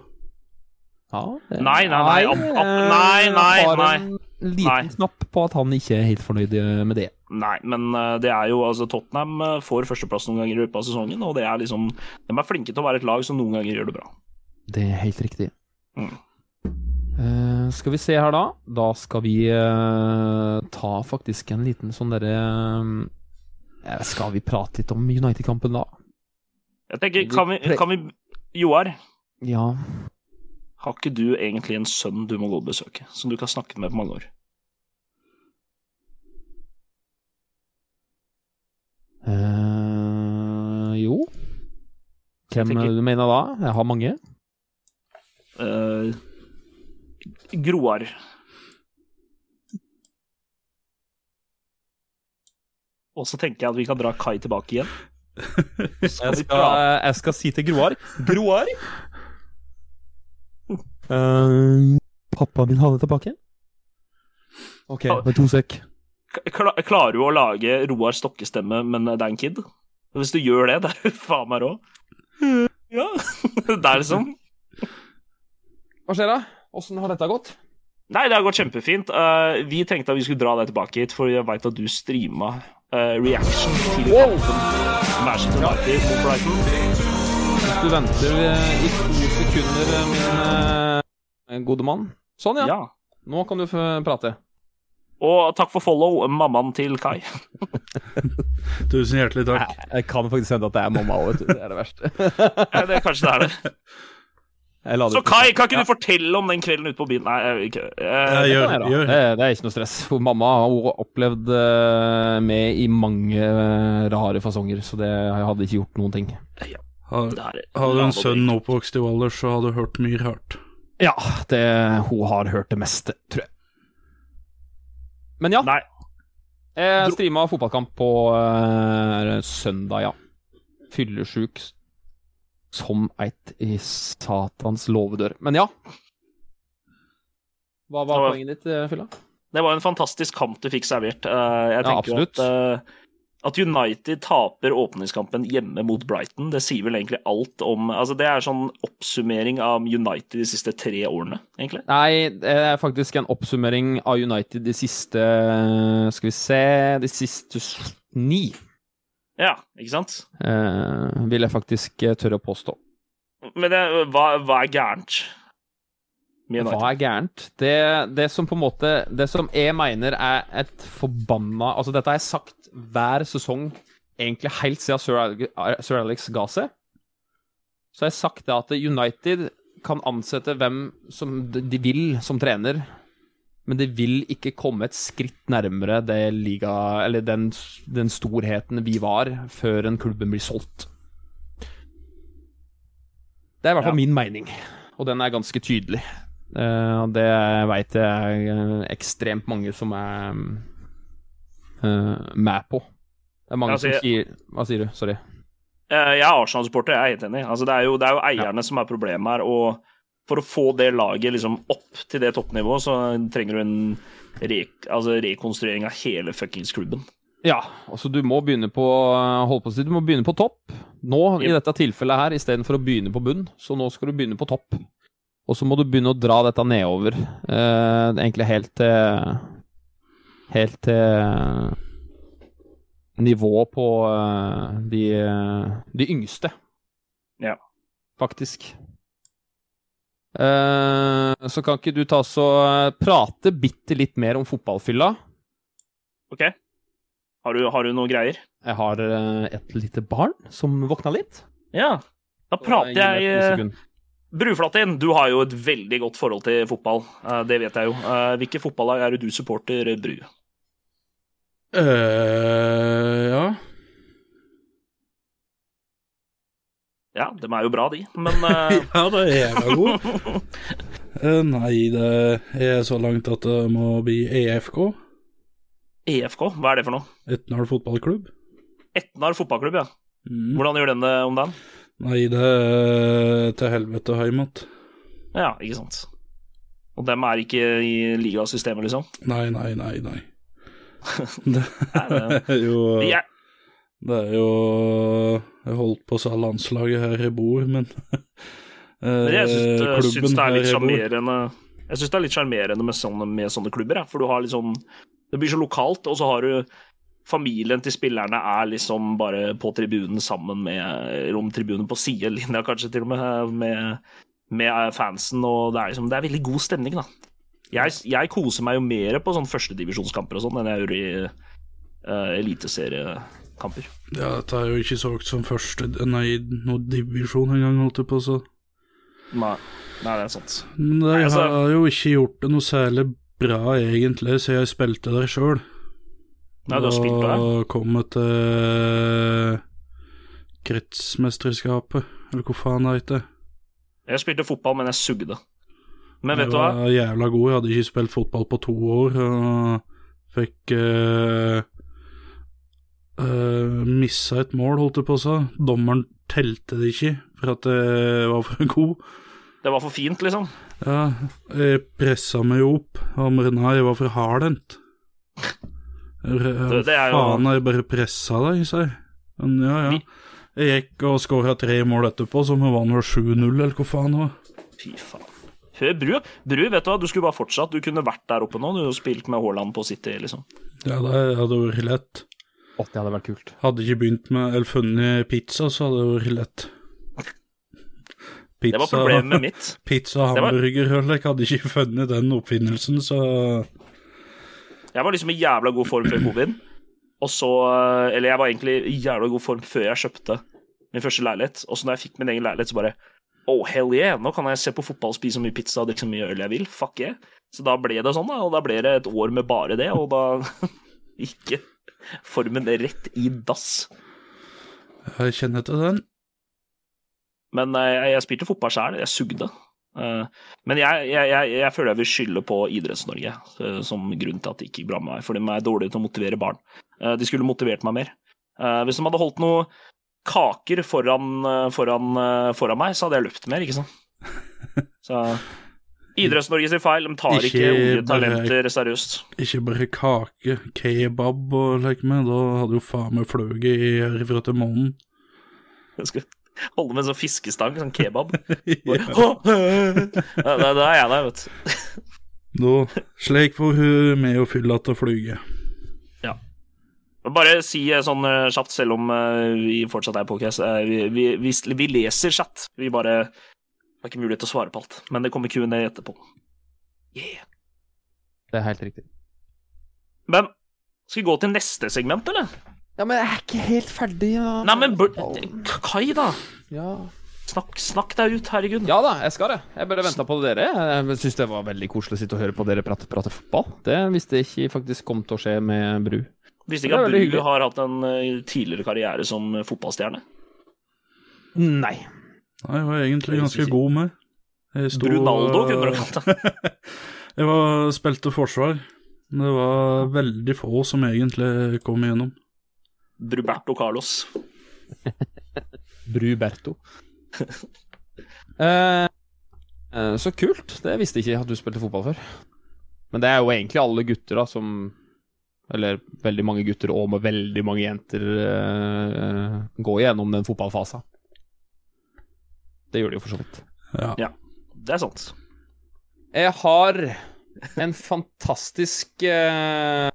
S3: Ja, det-
S1: Nei, nei, nei, opp, opp, nei, nei,
S3: Han har
S1: nei.
S3: en liten
S1: Nei.
S3: knapp på at han ikke er helt fornøyd eh, med det.
S1: Nei, men eh, det er jo altså Tottenham eh, får førsteplass noen ganger i løpet av sesongen, og det er liksom De er flinke til å være et lag som noen ganger gjør det bra.
S3: Det er helt riktig.
S1: Mm.
S3: Eh, skal vi se her, da. Da skal vi eh, ta faktisk en liten sånn derre eh, Skal vi prate litt om United-kampen, da?
S1: Jeg tenker, kan vi, kan vi Joar,
S3: Ja.
S1: Har ikke du egentlig en sønn du må gå og besøke, som du ikke har snakket med på mange år?
S3: eh, jo. Hvem
S1: tenker-
S3: du mener da? Jeg har mange.
S1: Eh, Groar. Og så tenker jeg at vi kan dra Kai tilbake igjen. Så Skal vi prate
S3: jeg skal si til Groar [LAUGHS] Groar! Uh, pappa vil ha det tilbake. OK,
S1: Ja.
S3: med to sek.
S1: Kla Klarer du å lage Roar Stokke-stemme, men det er en kid? Hvis du gjør det, [LAUGHS] det er du faen meg rå. Ja, [LAUGHS] det er liksom
S3: Hva skjer da? Åssen har dette gått?
S1: Nei, det har gått kjempefint. Eh, vi tenkte at vi skulle dra deg tilbake hit, for jeg veit at du streama eh, reaction til Manchester United mot Brighton.
S3: Du venter eh, i to sekunder, eh, min eh, gode mann. Sånn, ja.
S1: Ja.
S3: Nå kan du få prate.
S1: Og takk for follow, mammaen til Kai.
S2: Tusen hjertelig takk.
S3: Jeg kan faktisk hende at det er mamma òg, Det er det verste. [LAUGHS]
S1: Ja, det, kanskje det er det.
S3: Jeg la det
S1: Så
S3: ut.
S1: Kai, kan ikke du fortelle om den kvelden ute på byen? Nei, jeg, ikke. eh,
S2: Jeg
S3: Det
S2: gjør,
S3: kan jeg gjøre.
S2: gjør.
S3: Sånn, Det, det er ikke noe stress. For mamma har jo opplevd eh, meg i mange eh, rare fasonger, så det jeg hadde ikke gjort noen ting.
S2: Har,
S1: det er-
S2: har du en sønn oppvokst i Valdres, så har du hørt mye rart.
S3: Ja, det, hun har hørt det meste, tror jeg. Men ja,
S1: Nei.
S3: jeg streama fotballkamp på eh, søndag, ja. Fyllesjuk s- som eit i satans låvedør. Men ja. Hva var
S1: Ja.
S3: poenget ditt, eh, Fylla?
S1: Det var en fantastisk kamp du fikk servert. Eh, Jeg
S3: Ja,
S1: tenker jo at, eh, at United taper åpningskampen hjemme mot Brighton, det sier vel egentlig alt om Altså, det er sånn oppsummering av United de siste tre årene, egentlig.
S3: Nei, det er faktisk en oppsummering av United de siste eh, Skal vi se De siste s- ni,
S1: Ja, ikke sant?
S3: eh, vil jeg faktisk eh, tørre å påstå.
S1: Men det, hva, hva er gærent med United?
S3: Hva er gærent? Det, det som på en måte Det som jeg mener er et forbanna Altså, dette har jeg sagt hver sesong, egentlig helt siden Sir Alex, Sir Alex ga seg. Så har jeg sagt det at United kan ansette hvem som de vil som trener, men det vil ikke komme et skritt nærmere det liga, eller den, den storheten vi var, før en klubben blir solgt. Det er i hvert fall min mening, og den er ganske tydelig. Eh, og det veit jeg er ekstremt mange som er eh, med på. Det er mange
S1: Altså,
S3: som sier Hva sier du? Sorry.
S1: Eh, Jeg er Arsenal-supporter, jeg er helt enig. Altså, det, er jo, det er jo eierne som er problemet her. Og for å få det laget liksom opp til det toppnivået, så trenger du en re altså, rekonstruering av hele fuckings klubben.
S3: Ja, altså du må begynne på eh, Hold på å si, du må begynne på topp. Nå, i
S1: Yep.
S3: dette tilfellet her, istedenfor å begynne på bunn, så nå skal du begynne på topp. Og så må du begynne å dra dette nedover. Eh, egentlig helt til Helt til eh, nivået på eh, de, de yngste.
S1: Ja.
S3: Faktisk. Eh, så kan ikke du ta så eh, prate bitte litt mer om fotballfylla?
S1: OK? Har du, har du noen greier?
S3: Jeg har eh, et lite barn som våkna litt.
S1: Ja. Da prater jeg eh, Bruflatin, du har jo et veldig godt forhold til fotball. Eh, Det vet jeg jo. Eh, Hvilke fotballag er det du supporter, Bru?
S2: eh ja.
S1: Ja, de er jo bra, de, men eh,
S2: [LAUGHS] ja, det er jævla god. Eh, nei, det er så langt at det må bli E EFK.
S1: EFK, E hva er det for noe?
S2: Etnal fotballklubb.
S1: Etnar fotballklubb, ja.
S2: Mm.
S1: Hvordan gjør den det om dagen?
S2: Nei, det er til helvete heim att.
S1: Ja, ikke sant. Og dem er ikke i ligasystemet, liksom?
S2: Nei, nei, nei, nei. Det
S1: Nei,
S2: er jo
S1: De er,
S2: Det er jo Jeg holdt på å si landslaget her jeg bor, men [LAUGHS]
S1: men jeg syns
S2: eh,
S1: jeg syns det er litt
S2: her jeg bor.
S1: sjarmerende Jeg syns det er litt sjarmerende med, sånne- med sånne klubber, jeg, for du har litt sånn Det blir så lokalt, og så har du Familien til spillerne er liksom bare på tribunen sammen med Eller om tribunen på sidelinja, kanskje, til og med, med, med eh, fansen, og det er liksom Det er veldig god stemning, da. Jeg, jeg koser meg jo mer på sånn førstedivisjonskamper og sånn enn jeg gjør i eh, eliteseriekamper.
S2: Ja, dette er jo ikke solgt som første Nei, noen divisjon engang, holdt jeg på å si.
S1: Nei, nei, det er sant.
S2: Men det
S1: Nei, altså-
S2: har jo ikke gjort det noe særlig bra, egentlig, siden jeg spilte der sjøl.
S1: Nei, du har spilt på det?
S2: Og kommet til eh, kretsmesterskapet, eller hva faen det heter.
S1: Jeg spilte fotball, men jeg sugde. Men vet
S2: jeg
S1: du hva?
S2: var jævla god. Jeg hadde ikke spilt fotball på to år. Og fikk uh, missa eh, et mål, holdt jeg på å si. Dommeren telte det ikke for at jeg var for [LAUGHS] god.
S1: Det var for fint, liksom.
S2: Ja, jeg pressa meg jo opp. Og men nei, jeg var for hardhendt.
S1: Det- det er jo-
S2: Faen, jeg bare pressa deg, sa jeg. Men ja, ja.
S1: Vi-
S2: Jeg gikk og skåra tre mål etterpå, så vi vant vel 7-0, eller hva faen det var.
S1: Fy faen. Før Bru. Bru, vet du hva, du skulle bare fortsatt. Du kunne vært der oppe nå. Du og spilt med Haaland på City, liksom.
S2: Ja, det hadde vært lett.
S3: Å, det hadde vært kult.
S2: Hadde ikke begynt med eller funnet pizza, så hadde det vært lett.
S1: Det var problemet mitt.
S2: Pizza og
S1: Det var-
S2: hamburger, Hørlek, hadde ikke funnet den oppfinnelsen, så
S1: Jeg var liksom i jævla god form før covid. Og så eh, Eller jeg var egentlig i jævla god form før jeg kjøpte min første leilighet. Og så når jeg fikk min egen leilighet, så bare Oh, hell yeah! Nå kan jeg se på fotball, spise så mye pizza og drikke så mye øl jeg vil. Fuck yeah! Så da ble det sånn, da. Og da ble det et år med bare det, og da [LAUGHS] gikk formen rett i dass.
S2: jeg kjenner til den.
S1: Men eh, jeg, jeg spilte fotball sjøl, jeg sugde. Eh, Men jeg, jeg, jeg, jeg føler jeg vil skylde på Idretts-Norge eh, som grunn til at det ikke gikk bra med meg. For de er dårlige til å motivere barn. Eh, De skulle motivert meg mer. Eh, Hvis de hadde holdt noe kaker foran, eh, foran, eh, foran meg, så hadde jeg løpt mer, ikke sant. Så Idretts-Norge sin feil. De tar ikke
S2: Ikke
S1: unge
S2: bare-
S1: talenter seriøst. [LAUGHS]
S2: Ikke bare kake, kebab og lek med, da hadde jo faen meg fløyet i- herifra til månen.
S1: Jeg skulle holde med en sånn fiskestang, sånn kebab.
S2: [LAUGHS]
S1: Bare, [LAUGHS]
S2: ja.
S1: «Hå!» Ja, Da da er jeg der, vet du.
S2: Da slik får hun med å fylle til flyet.
S1: Bare si eh, sånn eh, kjapt, selv om eh, vi fortsatt er podcast. eh, Vi, vi, vi, vi leser chat. Vi bare har ikke mulighet til å svare på alt. Men det kommer Q&A etterpå. Yeah.
S3: Det er helt riktig.
S1: Men skal vi gå til neste segment, eller?
S3: Ja, men jeg er ikke helt ferdig. Ja.
S1: Nei, men bør, Kai, da.
S3: ja.
S1: Snakk, snakk deg ut, herregud.
S3: ja da, jeg skal det. Jeg bare venta på dere. Jeg syns det var veldig koselig å sitte og høre på dere prate, prate fotball. Det visste jeg ikke faktisk kom til å skje med Bru.
S1: Visste
S3: det er
S1: ikke at
S3: veldig
S1: du
S3: hyggelig.
S1: har hatt en eh, tidligere karriere som eh, fotballstjerne.
S3: Nei.
S2: Nei, jeg var egentlig ganske god med. Jeg sto-
S1: Brunaldo
S3: eh,
S1: kunne du
S3: [LAUGHS]
S1: kalt det.
S2: Jeg var, spilte forsvar. Det var veldig få som egentlig kom igjennom.
S1: Bruberto Carlos.
S3: Bruberto. [LAUGHS] Eh, eh, så kult. Det visste jeg ikke at du spilte fotball før. Men det er jo egentlig alle gutter, da, som Eller veldig mange gutter og med veldig mange jenter eh, går gjennom den fotballfasen. Det gjør de jo for så vidt.
S2: Ja.
S1: Ja. Det er sant.
S3: Jeg har en fantastisk eh,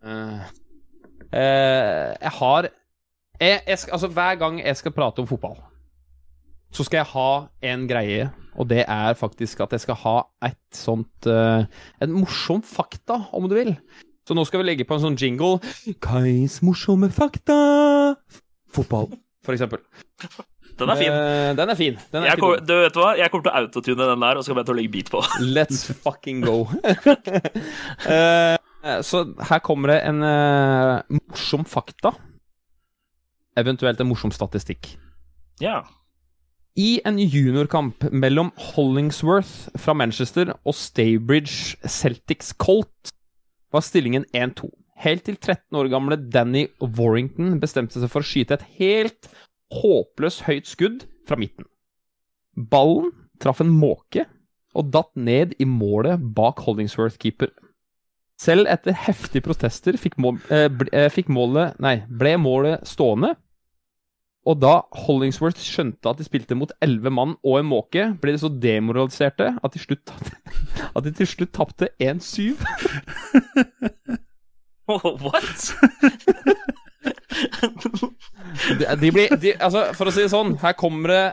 S3: eh, eh, Jeg har jeg, jeg skal, Altså, hver gang jeg skal prate om fotball, så skal jeg ha en greie, og det er faktisk at jeg skal ha et sånt eh, En morsom fakta, om du vil. Så nå skal vi legge på en sånn jingle. Kais morsomme fakta. Fotball, for eksempel.
S1: Den er fin.
S3: Eh, den er fin. Den er
S1: Jeg
S3: fin.
S1: kom, du vet hva? Jeg kommer til å autotune den der, og så kommer jeg til å legge beat på. [LAUGHS]
S3: Let's fucking go. Eh, så her kommer det en eh, morsom fakta. Eventuelt en morsom statistikk.
S1: Ja. [LAUGHS]
S3: I en juniorkamp mellom Hollingsworth fra Manchester og Staybridge Celtics Colt var stillingen 1-2. Helt til 13 år gamle Danny Warrington bestemte seg for å skyte et helt håpløst høyt skudd fra midten. Ballen traff en måke og datt ned i målet bak Hollingsworth-keeper. Selv etter heftige protester fikk, mål, eh, ble, eh, fikk målet Nei, ble målet stående, og da Hollingsworth skjønte at de spilte mot elleve mann og en måke, ble de så demoraliserte at de, slutt, [LAUGHS] at de til slutt tapte 1-7.
S1: What?
S3: De, de blir, de, altså, for å si det sånn, her kommer det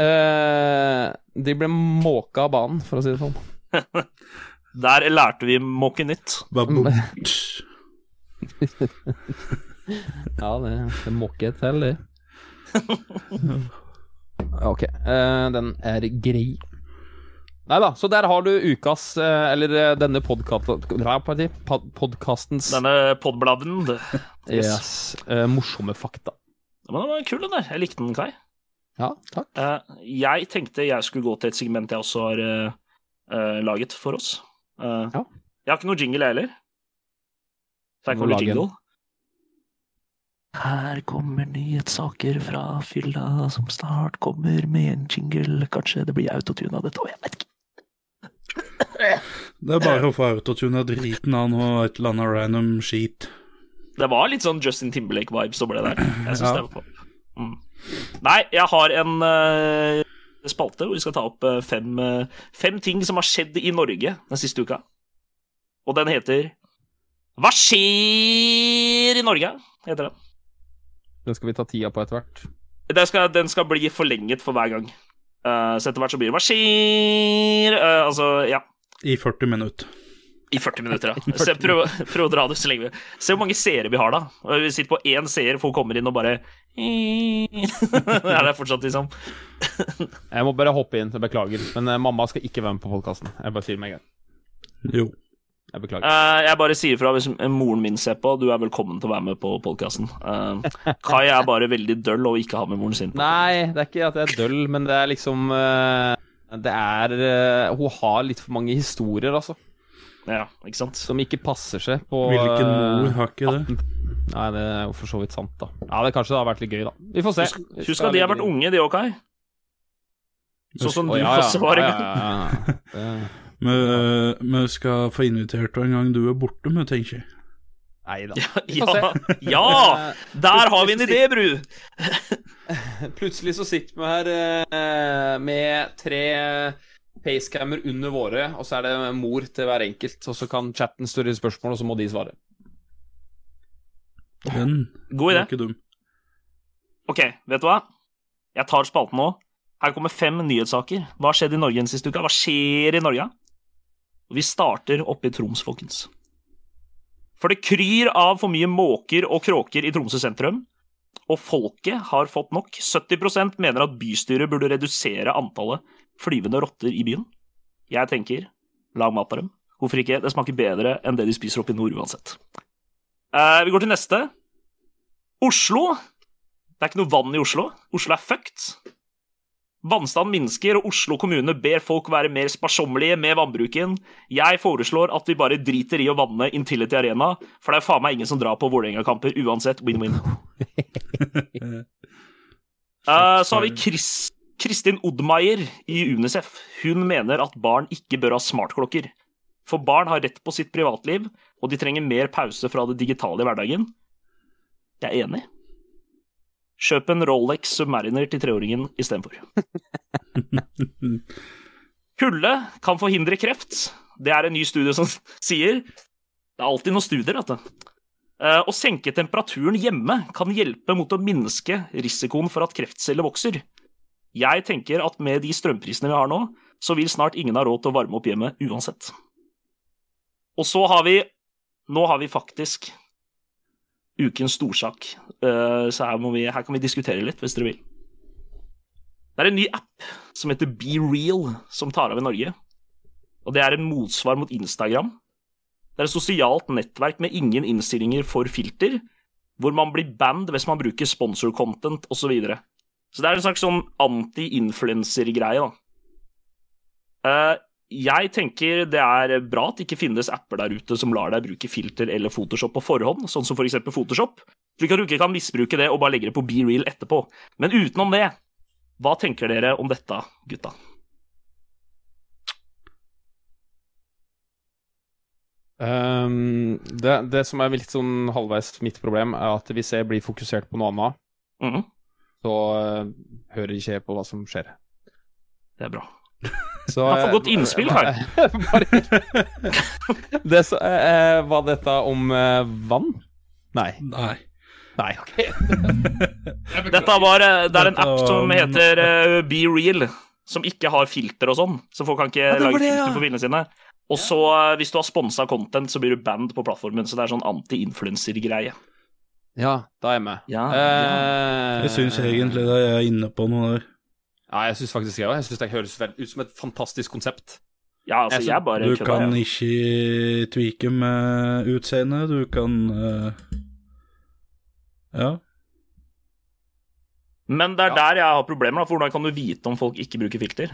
S3: eh, De ble måka av banen, for å si det sånn.
S1: Der lærte vi måke nytt.
S2: Babum.
S3: Ja, det, det må ikke til, det. [LAUGHS] Ok, eh, den er grei. Nei da, så der har du ukas, eh, eller eh, denne podkastens
S1: Denne podbladen. det- Yes.
S3: yes, eh, morsomme fakta.
S1: Men den var kul, den der. Jeg likte den, Kai.
S3: Ja, takk.
S1: Eh, Jeg tenkte jeg skulle gå til et segment jeg også har eh, eh, laget for oss. Eh,
S3: Ja.
S1: Jeg har ikke noe jingle, jeg heller. Så her
S3: Du må
S1: kommer
S3: lage en.
S1: jingle. Her kommer nyhetssaker fra fylla som snart kommer med en jingle. Kanskje det blir autotune av dette òg, jeg vet ikke.
S2: [LAUGHS] Det er bare å få autotuna driten av noe et eller annet random skit.
S1: Det var litt sånn Justin Timberlake-vibes over det der. Jeg synes
S2: Ja.
S1: det var pop. Mm. Nei, jeg har en eh, spalte hvor vi skal ta opp eh, fem, eh, fem ting som har skjedd i Norge den siste uka. Og den heter Hva skjer i Norge? heter den.
S3: Den skal vi ta tida på etter hvert.
S1: Den skal, den skal bli forlenget for hver gang. Eh, så etter hvert så blir det Hva skjer? Eh, altså, ja.
S2: I 40 minutter.
S1: I 40 minutter, ja. Så jeg prøver, prøver å [LAUGHS] dra det så lenge vi Se hvor mange seere vi har, da. Og Vi sitter på én seer, folk kommer inn og bare [LAUGHS] Er det fortsatt, liksom?
S3: Jeg må bare hoppe inn, jeg beklager. Men eh, mamma skal ikke være med på podkasten. Jeg bare sier det med en gang.
S2: Jo.
S3: Jeg beklager.
S1: Eh, jeg bare sier fra hvis moren min ser på. Du er velkommen til å være med på podkasten. Kai er bare veldig døll og ikke har med moren sin. på.
S3: Eh, Nei, det er ikke at jeg er døll, men det er liksom eh, Det er eh, Hun har litt for mange historier, altså,
S1: Ja, ikke sant?
S3: som ikke passer seg på
S2: Hvilken
S3: eh,
S2: mor har ikke det?
S3: Nei, det er jo for så vidt sant, da. Ja, det Kanskje det har vært litt gøy, da. Vi får se.
S1: Husk, husk at de har vært unge, de òg, Kai. Sånn som
S3: Å,
S1: du
S3: ja, ja.
S1: også var en
S3: Ja,
S1: gang.
S3: ja, ja,
S1: [LAUGHS]
S3: ja. Det-
S2: Vi, øh, vi skal få invitert deg en gang du er borte, vi tenker jeg.
S3: Nei da. Vi får
S1: Ja, [LAUGHS] ja! Der har vi en idé, Bru!
S3: Eh, Plutselig så sitter vi her eh, med tre pacecammer under våre, og så er det mor til hver enkelt, og så kan chatten større spørsmål, og så må de svare.
S2: Den
S1: God idé.
S2: var ikke dum.
S1: Ok, vet du hva? Jeg tar spalten nå. Her kommer fem nyhetssaker. Hva har skjedd i Norge den siste uka? Hva skjer i Norge? Og Vi starter oppe i Troms, folkens. For det kryr av for mye måker og kråker i Tromsø sentrum, og folket har fått nok. 70 mener at bystyret burde redusere antallet flyvende rotter i byen. Jeg tenker, lag mat av dem. Hvorfor ikke? Det smaker bedre enn det de spiser oppe i nord uansett. Eh, vi går til neste. Oslo det er ikke noe vann i Oslo. Oslo er fucked. Vannstanden minsker, og Oslo kommune ber folk være mer sparsommelige med vannbruken. Jeg foreslår at vi bare driter i å vanne Intility Arena, for det er faen meg ingen som drar på Vålerenga-kamper uansett. Win-win. Eh, så har vi Chris, Kristin Oddmeier i Unicef. Hun mener at barn ikke bør ha smartklokker. For barn har rett på sitt privatliv, og de trenger mer pause fra det digitale i hverdagen. Jeg er enig. Kjøp en Rolex Submariner til treåringen istedenfor. Kulde kan forhindre kreft. Det er en ny studie som [LAUGHS] sier Det er alltid noen studier, dette. Eh, Å senke temperaturen hjemme kan hjelpe mot å minske risikoen for at kreftceller vokser. Jeg tenker at med de strømprisene vi har nå, så vil snart ingen ha råd til å varme opp hjemmet uansett. Og så har vi Nå har vi faktisk ukens storsak, Eh, så her, må vi, her kan vi diskutere litt, hvis dere vil. Det er en ny app som heter Be Real, som tar av i Norge. Og det er en motsvar mot Instagram. Det er et sosialt nettverk med ingen innstillinger for filter, hvor man blir banned hvis man bruker sponsor-content osv. Så, videre. så det er en slags sånn anti-influencer-greie, da. Eh, jeg tenker det er bra at det ikke finnes apper der ute som lar deg bruke filter eller Photoshop på forhånd, sånn som f.eks. Photoshop, slik at du ikke kan misbruke det og bare legge det på Be Real etterpå. Men utenom det, hva tenker dere om dette, gutta?
S3: Um, det, det som er litt sånn halvveis mitt problem, er at hvis jeg blir fokusert på noe annet,
S1: Mhm,
S3: så eh, hører ikke jeg på hva som skjer.
S1: det er bra.
S3: Så,
S1: Takk for
S3: eh,
S1: godt innspill, Kai.
S3: Bare- [LAUGHS] det så, eh, eh, var dette om eh, vann? Nei.
S2: Nei.
S3: Nei, ok.
S1: Dette var, eh, det er en
S2: Dette
S1: app som
S2: var-
S1: heter eh, Be Real, som ikke har filter og sånn, så folk kan ikke
S3: det var
S1: lage
S3: det,
S1: filter
S3: ja.
S1: på bildene sine. Og så, eh, hvis du har sponsa content, så blir du banned på plattformen, så det er sånn anti-influencer-greie.
S3: Ja, da er jeg med.
S1: Ja,
S3: Eh,
S2: Jeg syns egentlig det jeg er inne på noe der.
S3: Ja, jeg syns faktisk jeg òg. Jeg syns det høres vel ut som et fantastisk konsept.
S1: Ja, altså,
S3: Jeg
S1: jeg bare
S2: Du
S1: kødda,
S2: kan
S1: jeg.
S2: ikke tvike med utseendet, du kan eh, Ja.
S1: Men det er
S3: Ja.
S1: der jeg har problemer, da, for hvordan kan du vite om folk ikke bruker filter?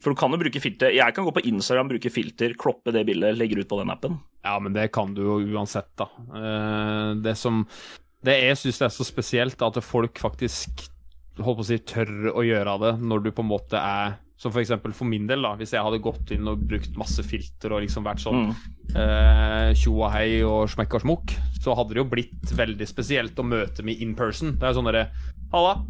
S1: For du kan jo bruke filter Jeg kan gå på Instagram, bruke filter, kloppe det bildet, legge det ut på den appen.
S3: Ja, men det kan du jo uansett, da. Eh, Det som Det jeg syns er så spesielt, er at folk faktisk holdt på å si, tør å gjøre det når du på en måte er Som for eksempel for min del, da. Hvis jeg hadde gått inn og brukt masse filter og liksom vært sånn
S1: Mm.
S3: eh, tjo og hei og smekk og smokk, så hadde det jo blitt veldig spesielt å møte meg in person. Det er jo sånn derre Halla.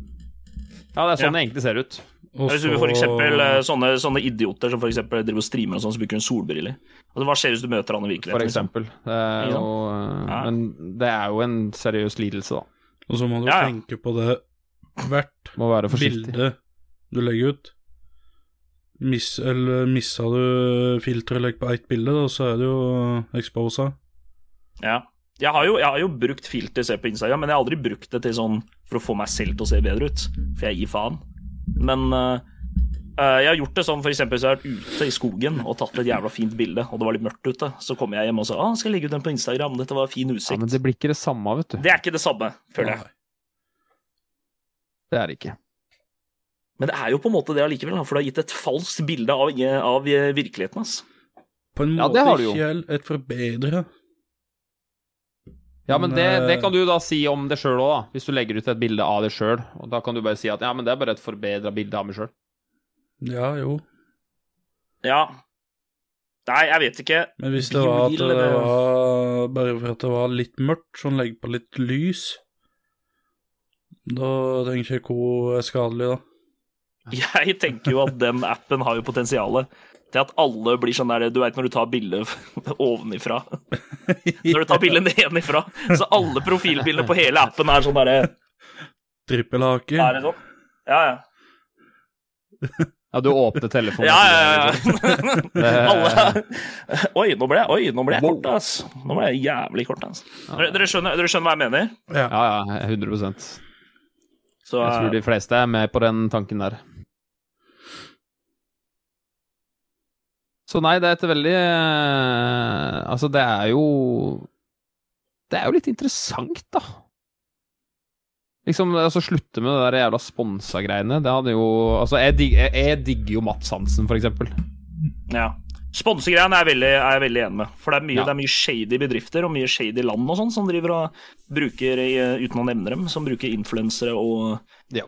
S3: Ja, det er sånn
S1: Ja.
S3: det egentlig ser ut.
S2: Og
S1: Hvis du for eksempel, eh, sånne, sånne idioter som for eksempel driver og streamer og sånn, så bruker hun solbriller. Altså, hva skjer hvis du møter han i virkeligheten? liksom?
S3: For eksempel. Det er
S1: Ikke sant?
S3: jo, eh,
S1: Ja.
S3: Men det er jo en seriøs lidelse, da.
S2: Og så må du
S1: Ja, ja.
S2: tenke på det hvert
S3: Må være forsiktig.
S2: bilde du legger ut. Miss, eller missa du filteret legger på ett bilde, da, så er det jo eh, exposa.
S1: Liksom? Ja. Jeg har, jo, jeg har jo brukt filter se på Instagram, men jeg har aldri brukt det til sånn for å få meg selv til å se bedre ut. For jeg gir faen. Men eh, eh, jeg har gjort det sånn, for eksempel hvis jeg har vært ute i skogen og tatt et jævla fint bilde, og det var litt mørkt ute, så kommer jeg hjem og sa «Å, skal jeg legge ut den på Instagram, dette var fin
S3: Ja, men
S1: utsikt.
S3: det blir ikke det samme, vet du.
S1: Det er ikke det samme, føler jeg.
S3: Det er det ikke.
S1: Men det er jo på en måte det allikevel, da, for det har gitt et falskt bilde av, av eh, virkeligheten, ass.
S2: På en
S3: Ja, det
S2: måte
S3: har du jo.
S2: ikke helt et forbedre.
S3: Ja, men det,
S2: Men, eh,
S3: det kan du da si om deg sjøl òg, da. Hvis du legger ut et bilde av deg sjøl. Og da kan du bare si at ja, men det er bare et forbedra bilde av meg sjøl.
S2: Ja, jo.
S1: Ja. Nei, jeg vet ikke.
S2: Men hvis det var at
S1: Biol,
S2: det
S1: eller-
S2: var Bare for at det var litt mørkt, sånn legge på litt lys Da tenker jeg ikke hvor er skadelig, da.
S1: Jeg tenker jo at den appen har jo potensialet til at alle blir sånn der Du veit når du tar bilde [LAUGHS] ovenifra. Når du tar bildet nedenifra. Så alle profilbildene på hele appen er sånn derre
S2: Trippelhake.
S1: Er det sånn? Ja, ja.
S3: [LAUGHS] Ja, du åpner telefonen.
S1: Ja, ja, ja. [LAUGHS] Alle Oi, nå ble jeg, oi, nå ble jeg
S3: Wow.
S1: kort, ass. Nå ble jeg jævlig kort, ass. Dere, dere, skjønner, dere skjønner hva jeg mener?
S2: Ja.
S3: Ja, ja, 100 Jeg
S1: Så,
S3: tror de fleste er med på den tanken der. Så nei, det er et veldig eh, Altså, det er jo Det er jo litt interessant, da. Liksom, altså Slutte med det der jævla sponsa-greiene. Det hadde jo Altså, jeg, dig, jeg, jeg digger jo Mats Hansen, for eksempel.
S1: ja. Sponsegreiene er, jeg veldig- er jeg veldig enig med. For det er mye,
S3: Ja.
S1: det er mye shady bedrifter og mye shady land og sånn som driver og bruker, eh, uten å nevne dem, som bruker influensere og
S3: Ja.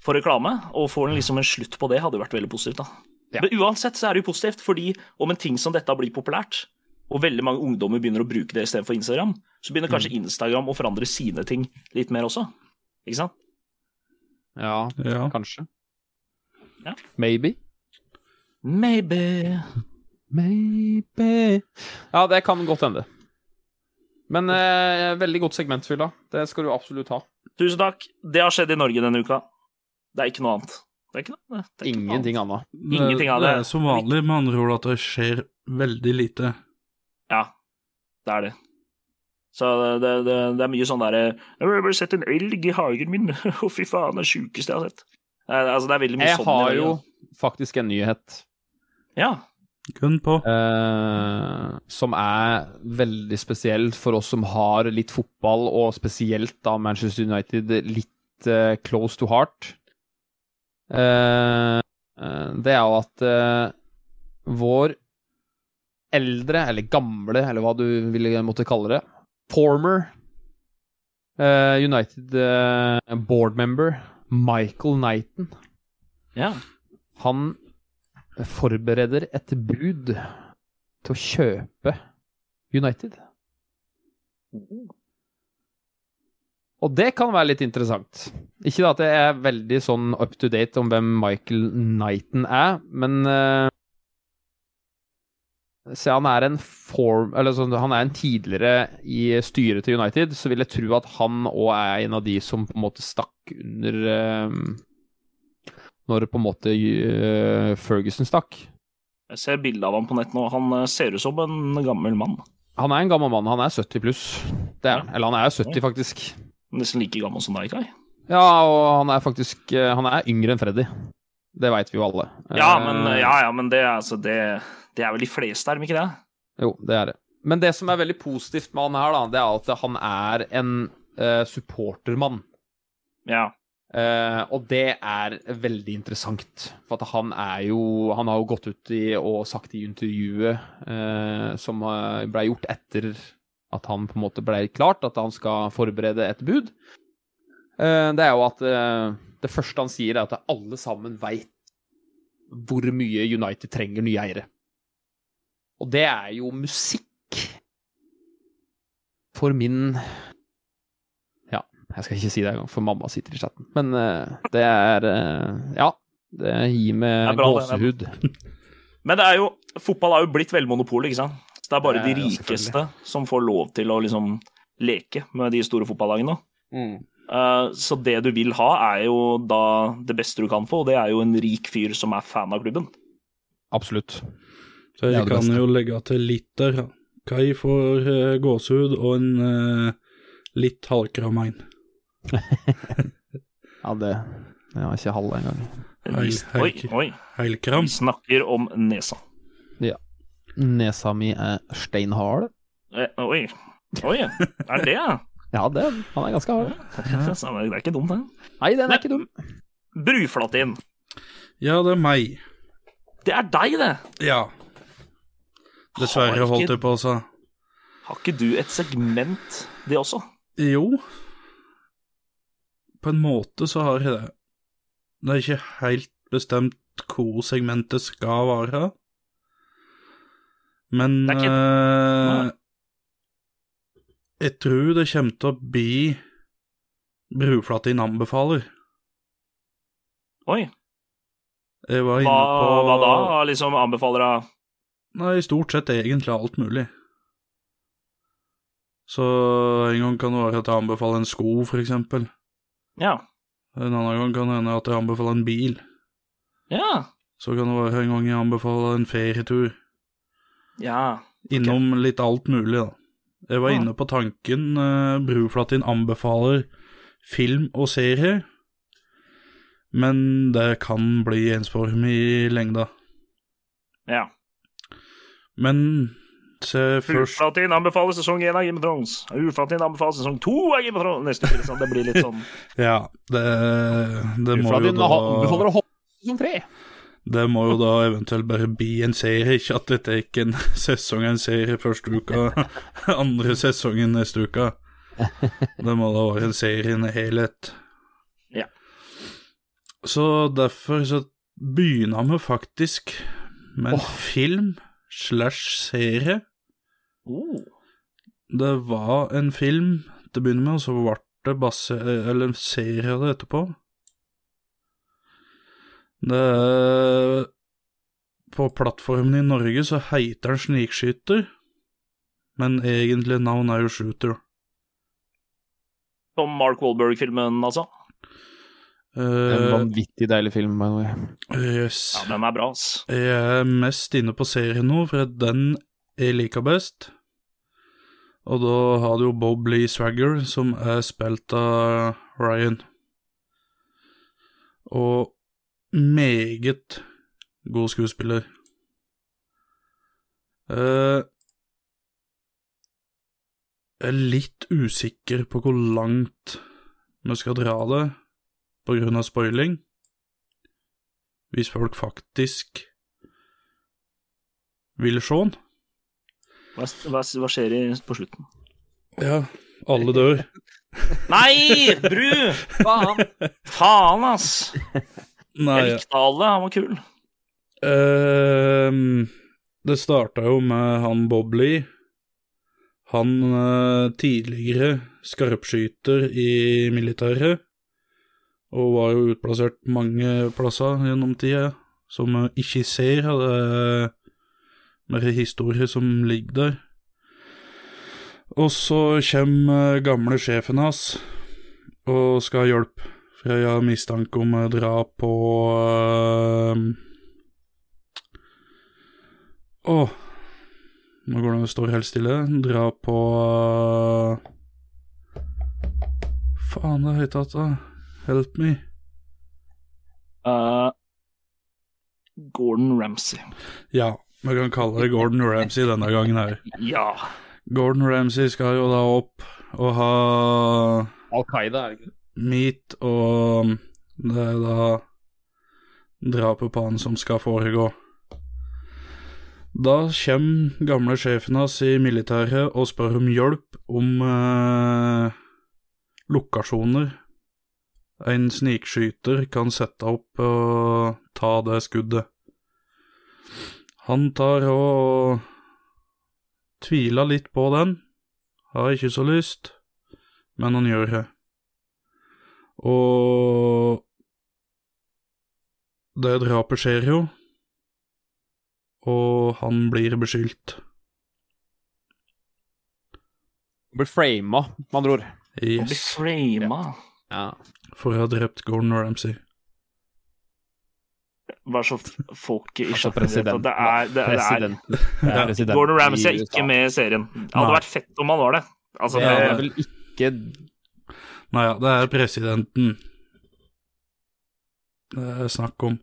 S1: for reklame. Og får en liksom en slutt på det, hadde jo vært veldig positivt, da.
S3: Ja.
S1: Men uansett så er det jo positivt, fordi om en ting som dette blir populært, og veldig mange ungdommer begynner å bruke det istedenfor Instagram, så begynner kanskje
S3: Mm.
S1: Instagram å forandre sine ting litt mer også. Ikke sant?
S3: Ja,
S2: Ja.
S3: kanskje.
S1: Ja.
S3: Maybe.
S1: Maybe.
S3: Maybe Ja, det kan godt hende. Men eh, veldig godt segment, Fylla. Det skal du absolutt ha.
S1: Tusen takk. Det har skjedd i Norge denne uka. Det er ikke noe annet. Det er ikke noe, det er ikke noe annet.
S3: Ingenting annet.
S1: Ingenting av det.
S2: Det er som vanlig, med andre ord, at det skjer veldig lite.
S1: Ja, det er det. Så det, det, det er mye sånn derre 'Jeg har bare sett en elg i hagen min.' [LAUGHS] Å, fy faen, det er det sjukeste jeg har sett. Eh, Altså, det er veldig mye
S3: Jeg
S1: sånn. i
S3: har
S1: Norge,
S3: jo
S1: da.
S3: faktisk en nyhet
S1: Ja.
S2: Kun på.
S3: eh, som er veldig spesiell for oss som har litt fotball, og spesielt da Manchester United, litt eh, close to heart. Eh, eh, det er jo at eh, vår eldre, eller gamle, eller hva du ville måtte kalle det, former eh, United eh, board member Michael Knighton
S1: ja.
S3: han forbereder et bud til å kjøpe United. Og det kan være litt interessant. Ikke da at jeg er veldig sånn up to date om hvem Michael Knighton er, men eh, Se, han er en form... Eller sånn, han er en tidligere i styret til United, så vil jeg tro at han òg er en av de som på en måte stakk under eh, når på en måte øh, Ferguson stakk.
S1: Jeg ser bilde av ham på nett nå. Han eh, ser ut som en gammel mann.
S3: Han er en gammel mann, han er 70 pluss. Det er han. Eller han er jo 70, faktisk.
S1: Nesten like gammel som deg, Kai.
S3: Ja, og han er faktisk øh, Han er yngre enn Freddy. Det veit vi jo alle.
S1: Ja,
S3: Eh,
S1: men, ja, ja, men det, er altså, det, det er vel de fleste, er de ikke det?
S3: Jo, det er det. Men det som er veldig positivt med han her, da, det er at han er en øh, supportermann.
S1: Ja.
S3: Eh, og det er veldig interessant, for at han er jo Han har jo gått ut i, og sagt i intervjuet eh, som eh, ble gjort etter at han på en måte ble klart at han skal forberede et bud, eh, det er jo at eh, det første han sier, er at alle sammen veit hvor mye United trenger nye eiere. Og det er jo musikk for min jeg skal ikke si det engang, for mamma sitter i chatten. Men eh, det er eh, Ja. Det gir
S1: Det
S3: meg
S1: er bra, det,
S3: gåsehud.
S1: Men det er jo, fotball er jo blitt velmonopol, ikke sant? Så det er bare
S3: Det er
S1: de
S3: jo
S1: rikeste som får lov til å liksom leke med de store fotballagene. Eh, Så det du vil ha, er jo da det beste du kan få, og det er jo en rik fyr som er fan av klubben.
S3: Absolutt.
S2: Så
S3: Det er
S2: jeg
S3: det
S2: kan
S3: beste.
S2: jo legge til litt der. da. Kai får eh, gåsehud og en eh, litt halvkram en.
S3: Ja, det Jeg har ikke halv engang.
S2: Hei, hei,
S1: Oi,
S2: Ki-
S1: oi.
S2: Helkram.
S1: Vi snakker om nesa.
S3: Nesa mi er steinhard.
S1: Eh, Oi. Oi, er det det?
S2: [LAUGHS]
S1: ja? [LAUGHS]
S3: Ja, det, han er ganske hard.
S1: Så Det er ikke dumt, det.
S3: Nei, den
S1: Nei.
S3: er ikke dum.
S1: Bruflatin.
S2: Ja, det er meg.
S1: Det er deg, det.
S2: Ja. Dessverre,
S1: Har
S2: holdt
S1: ikke-
S2: jeg på å si.
S1: Har ikke du et segment, det også?
S2: Jo. På en måte så har jeg det. Det er ikke helt bestemt hvor segmentet skal være. Men
S1: Det er ikke-
S2: eh,
S1: Nei.
S2: Jeg tror det kommer til å bli Bruflatin anbefaler.
S1: Oi.
S2: Jeg var
S1: Hva,
S2: inne på
S1: hva da? Liksom anbefaler av
S2: Nei, stort sett egentlig alt mulig. Så en gang kan det være at jeg anbefaler en sko, for eksempel.
S1: Ja.
S2: En annen gang kan det hende at jeg anbefaler en bil.
S1: Ja.
S2: Så kan det være en gang jeg anbefaler en ferietur.
S1: ja.
S2: Innom litt alt mulig, da. Jeg var
S1: Ja.
S2: inne på tanken uh, Bruflatin anbefaler film og serier. Men det kan bli ensform i lengda.
S1: ja.
S2: Men se først
S1: Uflatin anbefaler sesong én av Game of Thrones. Uflatin anbefaler sesong to av Game of Thrones. Neste uke, sånn. Det blir litt sånn
S2: Ja, det, det må jo
S3: Flatin
S2: da
S3: anbefaler å hoppe som tre.
S2: Det må jo da eventuelt bare bli en serie, ikke at dette er ikke en [LAUGHS] sesong en serie første uka, [LAUGHS] andre sesongen neste uka. Det må da være en serie i en helhet.
S1: Ja.
S2: Så derfor så begynner vi faktisk med en
S3: Åh.
S2: film slash serie.
S1: oh.
S2: Det var en film til å begynne med, og så ble det basse... Eller en serie av det etterpå. Det er På plattformen i Norge så heter den Snikskyter, men egentlig navnet er jo Shooter.
S1: Som Mark Wahlberg-filmen, altså.
S3: En
S2: Eh,
S3: vanvittig deilig film, by the way.
S2: yes.
S1: Ja, den er bra, ass.
S2: Jeg er mest inne på serien nå, for at den jeg liker best. Og da har du jo Bob Lee Swagger, som er spilt av Ryan. Og meget god skuespiller. Eh, jeg er litt usikker på hvor langt vi skal dra det, på grunn av spoiling. Hvis folk faktisk vil se den.
S1: Hva, hva, hva skjer i, på slutten?
S2: Ja, alle dør.
S1: Nei! Bru!
S3: [LAUGHS]
S1: Faen! Faen, ass! Jeg
S2: Nei,
S1: likte alle, han var kul.
S2: ehm, det starta jo med han Bob Lee. Han eh, tidligere skarpskyter i militæret, og var jo utplassert mange plasser gjennom tida, som jeg ikke ser. og Det er mer historie som ligger der. Og så kommer eh, gamle sjefen hans og skal ha hjelp. For jeg har mistanke om eh, drap på eh, Å Nå går det og står helt stille. Dra på eh, Faen, det heter at da. Help me.
S1: Eh, Gordon Ramsay.
S2: Ja, vi kan kalle det Gordon Ramsay denne gangen her.
S1: Ja.
S2: Gordon Ramsay skal jo da opp og ha
S3: Al Qaida, er det ikke det?
S2: meat, og det er da drapet på han som skal foregå. Da kommer gamle sjefen hans i militæret og spør om hjelp om eh, lokasjoner en snikskyter kan sette opp og ta det skuddet. Han tar og tviler litt på den, har ikke så lyst, men han gjør det. Og Det drapet skjer jo, og han blir beskyldt.
S3: Blir frama, med andre ord.
S1: Han blir
S2: Yes,
S1: frama.
S3: Ja.
S2: for å ha drept Gordon Ramsay.
S1: Bare så f- folk i
S3: Altså,
S1: sjakk vet at
S3: president.
S1: det er, det, det er
S3: President. Det er president
S1: Gordon Ramsay
S3: i
S1: er
S3: USA.
S1: ikke med i serien. Det hadde
S2: Nei.
S1: vært fett om han var det. Altså,
S3: Ja, han er
S1: det
S3: vel ikke
S2: Nei, ja, det er presidenten det er snakk om.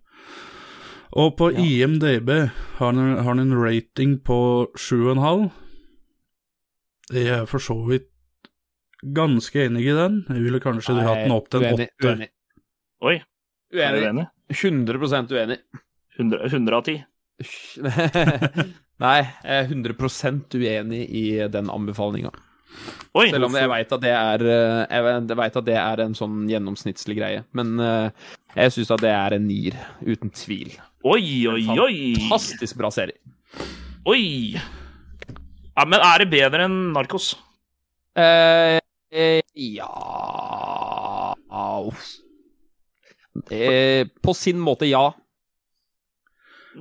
S2: Og på
S3: Ja.
S2: IMDb har han, har han en rating på 7,5. Jeg er for så vidt ganske enig i den. Jeg ville kanskje
S3: Nei,
S2: dratt den opp til en
S3: uenig,
S2: åtter.
S3: Uenig.
S1: Oi, er du enig?
S3: uenig. 100 uenig. [LAUGHS]
S1: 100, 100 av 10.
S3: Nei, jeg er 100 uenig i den anbefalinga.
S1: Oi!
S3: Selv om jeg veit at, det er, eh, jeg vet- jeg vet at det er en sånn gjennomsnittlig greie. Men eh, jeg syns at det er en nier, uten tvil.
S1: Oi, oi, oi!
S3: Fantastisk bra serie.
S1: Oi! Ja, men er det bedre enn Narkos?
S3: Eh, eh, ja Au. eh, På sin måte, ja.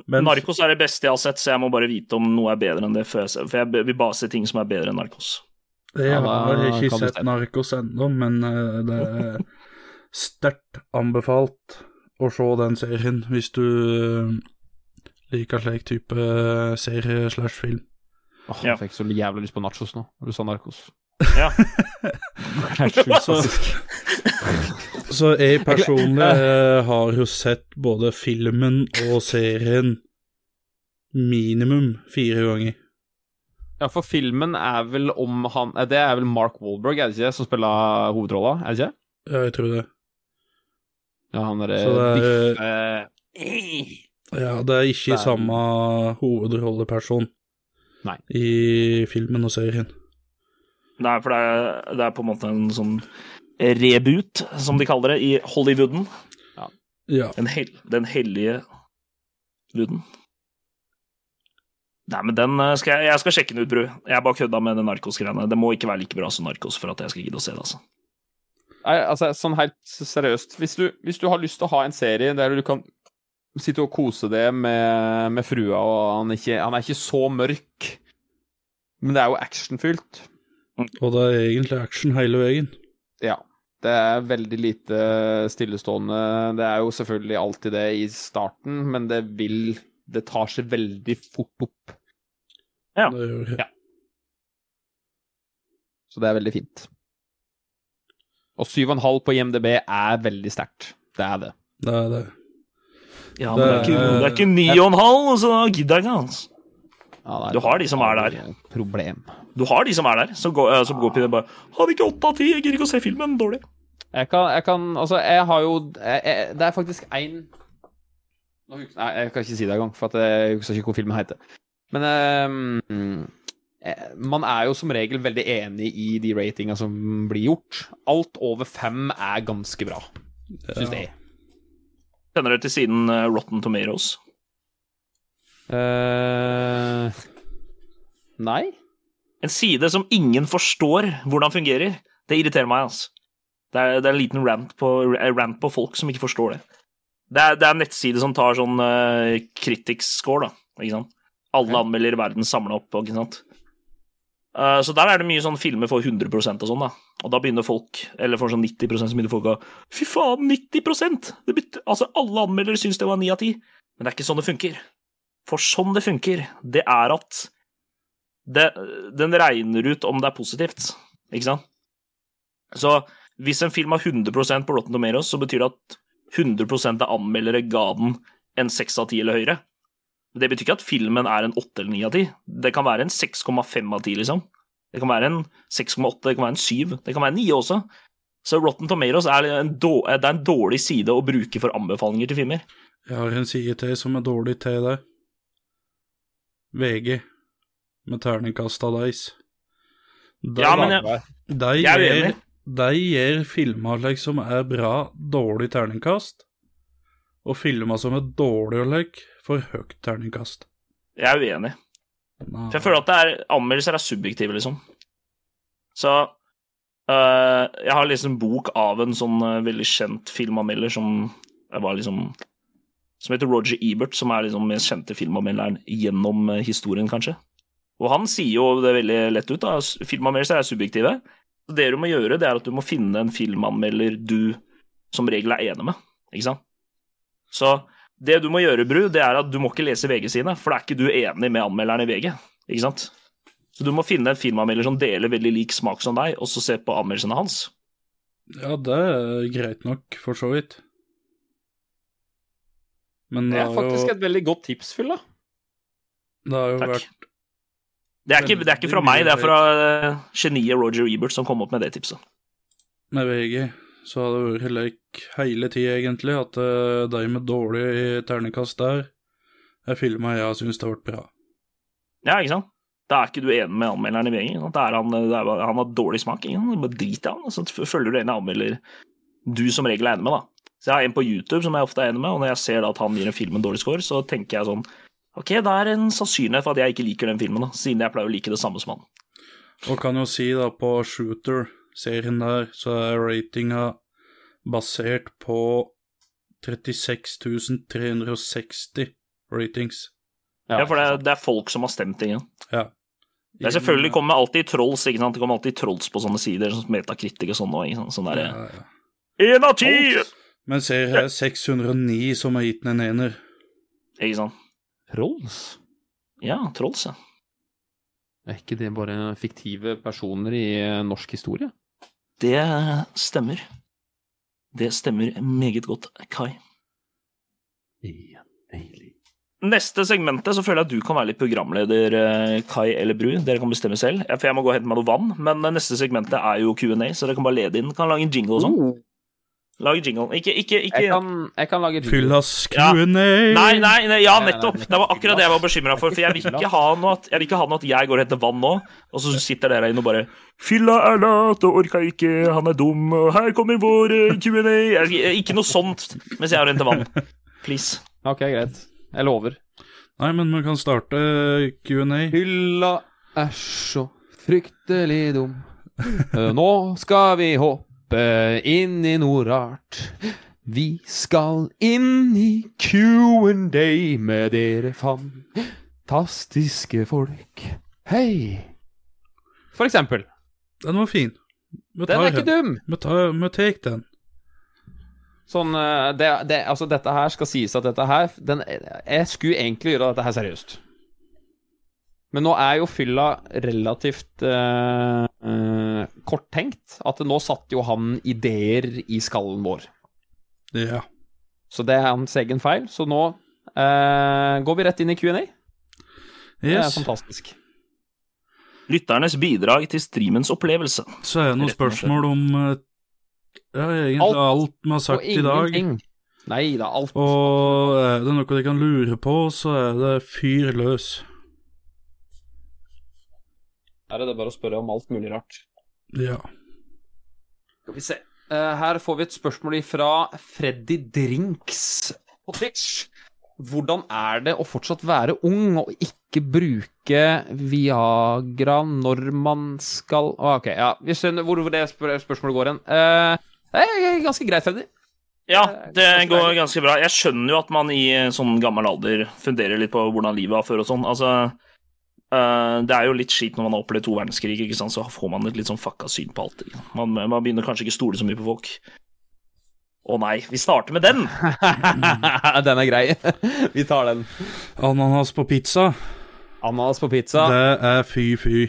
S2: Men
S1: Narkos er det beste jeg har sett, så jeg må bare vite om noe er bedre enn det. Før jeg ser. For jeg vil bare se ting som er bedre enn Narkos.
S2: jeg
S3: Ja, da
S2: har
S3: kan
S2: ikke
S3: du
S2: sett
S3: se.
S2: Narkos ennå, men eh, det er sterkt anbefalt å se den serien hvis du eh, liker slik type eh, serie slash film.
S3: Åh,
S1: Ja.
S3: Jeg fikk så jævlig lyst på nachos nå, når du sa narkos.
S1: Ja.
S2: Så, så jeg personlig eh, har jo sett både filmen og serien minimum fire ganger.
S3: Ja, for filmen er vel om han eh, Det er vel Mark Wahlberg, er det ikke det, som spiller hovedrolla? Er det ikke det?
S2: Ja, jeg tror det.
S3: Ja, han eh, derre
S2: Så det er-
S3: biffe
S2: Ja, det er ikke
S3: Det
S2: i
S3: er-
S2: samme hovedrolleperson
S3: Nei.
S2: i filmen og serien.
S1: [LAUGHS] Nei, for det er, det er på en måte en sånn reboot, som de kaller det, i Hollywooden.
S2: Ja.
S1: Den, hel, den hellige luden. Nei, men den eh, skal jeg, jeg skal sjekke den ut, bru. Jeg bare kødda med den narkos-greiene. Det må ikke være like bra som narkos for at jeg skal gidde å se det, altså.
S3: Nei, altså, sånn helt seriøst. Hvis du, hvis du har lyst til å ha en serie der du kan sitte og kose deg med, med frua, og han, ikke, han er ikke så mørk, men det er jo actionfylt
S2: Og det er egentlig action hele veien.
S3: Ja. Det er veldig lite stillestående. Det er jo selvfølgelig alltid det i starten, men det vil Det tar seg veldig fort opp.
S1: Ja.
S2: Det gjør jeg.
S3: Ja. Så det er veldig fint. Og 7,5 på IMDb er veldig sterkt. Det er det.
S2: Det er det.
S1: Ja, men det er eh, ikke, det er ikke ni og en halv, så da gidder jeg ikke, altså.
S3: Ja, det er
S1: Du har de som er der.
S3: et Problem.
S1: Du har de som er der, som går, eh, som går på det bare Har vi ikke åtte av ti? Jeg gidder ikke å se filmen. Dårlig.
S3: Jeg kan, jeg kan Altså, jeg har jo jeg, jeg, Det er faktisk én Nei, jeg kan ikke si det engang, for at jeg husker ikke hvor filmen heter. Men ehm, eh, man er jo som regel veldig enig i de ratinga som blir gjort. Alt over fem er ganske bra, syns jeg.
S1: Kjenner dere til siden eh, Rotten Tomatoes?
S3: Eh, nei?
S1: En side som ingen forstår hvordan fungerer. Det irriterer meg, altså. Det er, det er en liten rant på, eh, rant på folk som ikke forstår det. Det er, det er en nettside som tar sånn uh, critics-score, da. Ikke sant? Alle
S3: Ok.
S1: anmelder i verden samla opp, ikke sant. Eh, så der er det mye sånn filmer for 100 og sånn, da. Og da begynner folk, eller for sånn 90 så begynner folk å Fy faen, 90 det betyr, Altså, alle anmeldere syns det var 9 av 10. Men det er ikke sånn det funker. For sånn det funker, det er at det, den regner ut om det er positivt, ikke sant? Så hvis en film har 100 på Rotten Tomatoes, så betyr det at 100 av anmeldere ga den en 6 av 10 eller høyere. Det betyr ikke at filmen er en 8 eller 9 av 10. Det kan være en 6,5 av 10, liksom. Det kan være en 6,8, det kan være en 7, det kan være en 9 også. Så Rotten Tomatoes er en, då- det er en dårlig side å bruke for anbefalinger til filmer.
S2: Jeg har en side til som er dårlig til deg. VG. Med terningkast av deis. De,
S1: Ja, men jeg-
S2: de,
S1: jeg er
S2: gir,
S1: uenig.
S2: de gir filmer liksom er bra, dårlig terningkast. Og filmer som er dårlig og lek, for høyt terningkast.
S1: Jeg er uenig.
S2: Nei.
S1: For jeg føler at det er, anmeldelser er subjektive, liksom. Så øh, Jeg eh, har lest en bok av en sånn øh, veldig kjent filmanmelder som jeg var eh, liksom som heter Roger Ebert, som er liksom mest kjente filmanmelderen gjennom eh, historien, kanskje. Og han sier jo det veldig lett ut, da. s- Filmanmeldelser er subjektive. Så det du må gjøre, det er at du må finne en filmanmelder du som regel er enig med, ikke sant? Så det du må gjøre, Bru, det er at du må ikke lese VG sine, for da er ikke du enig med anmelderen i VG, ikke sant? Så du må finne en filmanmelder som deler veldig lik smak som deg, og så se på anmeldelsene hans.
S2: Ja, det er greit nok, for så vidt. Men
S4: Det
S2: det
S4: er
S2: har
S4: faktisk
S2: jo,
S4: et veldig godt tips, Fyll, da.
S2: det har jo
S1: Takk.
S2: vært
S1: Det er, ikke, det er ikke fra meg, det er fra eh, geniet Roger Ebert som kom opp med det tipset.
S2: med VG, så har det vært lek hele tida, egentlig, at eh, de med dårlig ternekast der er filma jeg syns det har vært bra.
S1: Ja, ikke sant? Da er ikke du enig med anmelderen i VG. ikke sant? Da er han, eh, det er, bare- han har dårlig smak. Ikke sant? Bare drit i han, og så f- følger du en anmelder du som regel er enig med. da. Så Jeg har en på YouTube som jeg ofte er enig med, og når jeg ser da at han gir en film en dårlig score, så tenker jeg sånn Ok, da er det en sannsynlighet for at jeg ikke liker den filmen, da, siden jeg pleier å like det samme som han.
S2: Og kan jo si, da, på Shooter, serien der, så er ratinga basert på 36.360 ratings.
S1: Ja, For det, er- det er folk som har stemt igjen. Det er selvfølgelig kommer alltid trolls, ikke sant? Det kommer alltid trolls på sånne sider, sånn som metakritikk og sånn. og ikke sant? Sånn
S2: ja,
S1: der,
S2: ja.
S1: En av ti!
S2: Men ser her 609 som har gitt den en ener.
S1: Ikke sant?
S3: Trolls?
S1: Ja, trolls, ja.
S3: Er ikke det bare fiktive personer i eh, norsk historie?
S1: Det stemmer. Det stemmer meget godt, Kai.
S3: Igjen, deilig.
S1: Neste segmentet så føler jeg at du kan være litt programleder, eh, Kai eller Bru. Dere kan bestemme selv. Ja, For jeg må gå og hente meg noe vann. Men eh, neste segmentet er jo Q&A, så dere kan bare lede inn. Kan lage en jingle og sånn. Lage jingle. Ikke, ikke, ikke
S3: Oh. Jeg kan, jeg kan lage
S2: Fyllas
S1: Ja.
S2: Q&A!
S1: Nei, nei, nei, ja,
S3: Nei, nei,
S1: nettopp.
S3: nei.
S1: Det var akkurat det jeg var bekymra for. For jeg vil ikke ha noe at, jeg vil ikke ha noe at jeg går og henter vann nå, og så sitter dere inne og bare 'Fylla er lat og orka ikke, han er dum, og her kommer vår eh, Q&A'. Jeg- Ikke noe sånt mens jeg har hentet vann. Please.
S3: Ok, greit. Jeg lover.
S2: Nei, men man kan starte Q&A.
S3: Hylla er så fryktelig dum. Eh, Nå skal vi hoppe inn i noe rart. Vi skal inn i Q&A med dere fantastiske folk. Hei! For eksempel.
S2: Den var fin. Vi
S3: Den
S2: tar
S3: er ikke dum!
S2: Vi tar- vi tar den.
S3: Sånn, eh, det, det, altså dette her skal sies at dette her den, Jeg skulle egentlig gjøre dette her seriøst. Men nå er jo fylla relativt eh, eh, korttenkt. At nå satte jo han ideer i skallen vår.
S2: Ja.
S3: Så det er hans egen feil. Så nå eh, går vi rett inn i Q&A. Det er
S2: Yes.
S3: fantastisk.
S1: Lytternes bidrag til streamens opplevelse.
S2: Så er det noen
S1: Rett og slett.
S2: spørsmål om eh, ja, egentlig
S3: Alt.
S2: alt vi har
S3: Og
S2: sagt i dag.
S3: ingenting. Nei da, alt.
S2: Og er det noe de kan lure på, så er det fyr løs.
S3: Her er det bare å spørre om alt mulig rart.
S2: Ja.
S3: Skal vi se. Eh, her får vi et spørsmål fra Freddy Drinks på Twitch. Hvordan er det å fortsatt være ung og ikke bruke Viagra når man skal Å, Ok, ja, vi skjønner hvor hvor det spør spørsmålet går hen. Eh, det er ganske greit, Freddy. [LAUGHS]
S1: Ja, det går ganske bra. Jeg skjønner jo at man i sånn gammel alder funderer litt på hvordan livet var før og sånn. Altså, eh, det er jo litt skitt når man har opplevd to verdenskrig, ikke sant? så får man et litt sånn fucka syn på alt. ikke sant? Man, man begynner kanskje ikke stole så mye på folk. Å nei, vi starter med den!
S3: den er grei. [LAUGHS] vi tar den.
S2: Ananas på pizza,
S3: Ananas på pizza.
S2: det er fy-fy.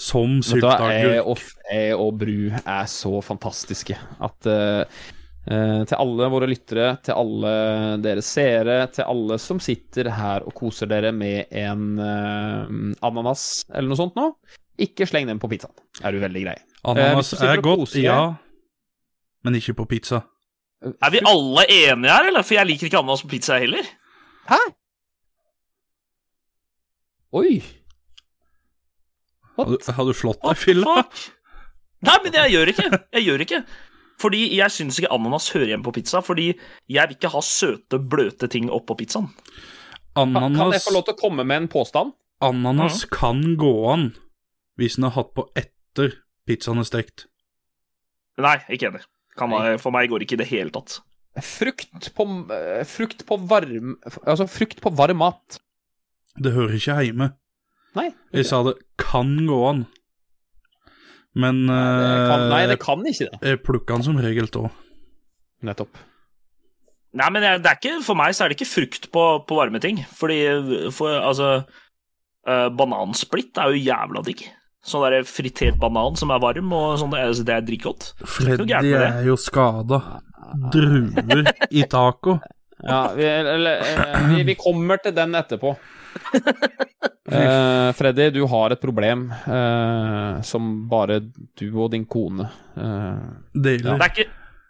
S2: Som
S3: Vet du hva, jeg
S2: sylteagurk.
S3: og, jeg og Bru er så fantastiske at eh, eh, Til alle våre lyttere, til alle dere seere, til alle som sitter her og koser dere med en eh, ananas eller noe sånt nå, ikke sleng den på pizzaen. Er du veldig grei.
S2: Ananas
S3: hvis du sitter
S2: er
S3: og
S2: godt,
S3: koser deg-
S2: ja. Men ikke på pizza.
S1: Er vi alle enige her, eller? For jeg liker ikke ananas på pizza heller.
S3: Oi!
S2: Har
S3: What?
S2: du, har du slått
S1: What
S2: deg,
S1: the
S2: Fylla?
S1: fuck? Nei, men jeg gjør ikke. Jeg gjør ikke. Fordi jeg syns ikke ananas hører hjemme på pizza. Fordi jeg vil ikke ha søte, bløte ting oppå pizzaen.
S3: Kan kan jeg
S2: Ananas
S3: få lov til å komme med en påstand?
S2: Ananas kan gå an hvis den er hatt på etter pizzaen er stekt.
S1: Nei, ikke enig. Kan, for meg går det ikke i det hele tatt.
S3: Frukt på, eh, frukt på varm Altså frukt på varm mat.
S2: Det hører ikke hjemme.
S3: Nei.
S2: Jeg sa det kan gå an, men
S3: Det kan, nei, det
S2: eh,
S3: kan ikke det.
S2: jeg plukker den som regel tå.
S3: Nettopp.
S1: Nei, men jeg, det er ikke, for meg så er det ikke frukt på, på varme ting. Fordi for, altså eh, Banansplitt er jo jævla digg. Sånn der fritert banan som er varm, og sånn, det er- det er drikkgodt. Ikke noe gærent
S2: Freddy
S1: med det.
S2: er jo skada.
S3: Ah,
S2: Druer i taco.
S3: Ja, vi, eller, eh, vi, vi kommer til den
S1: [LAUGHS]
S3: etterpå. Eh, Freddy, du har et problem eh, som bare du og din kone eh,
S1: Det
S2: Deler.
S1: er ikke,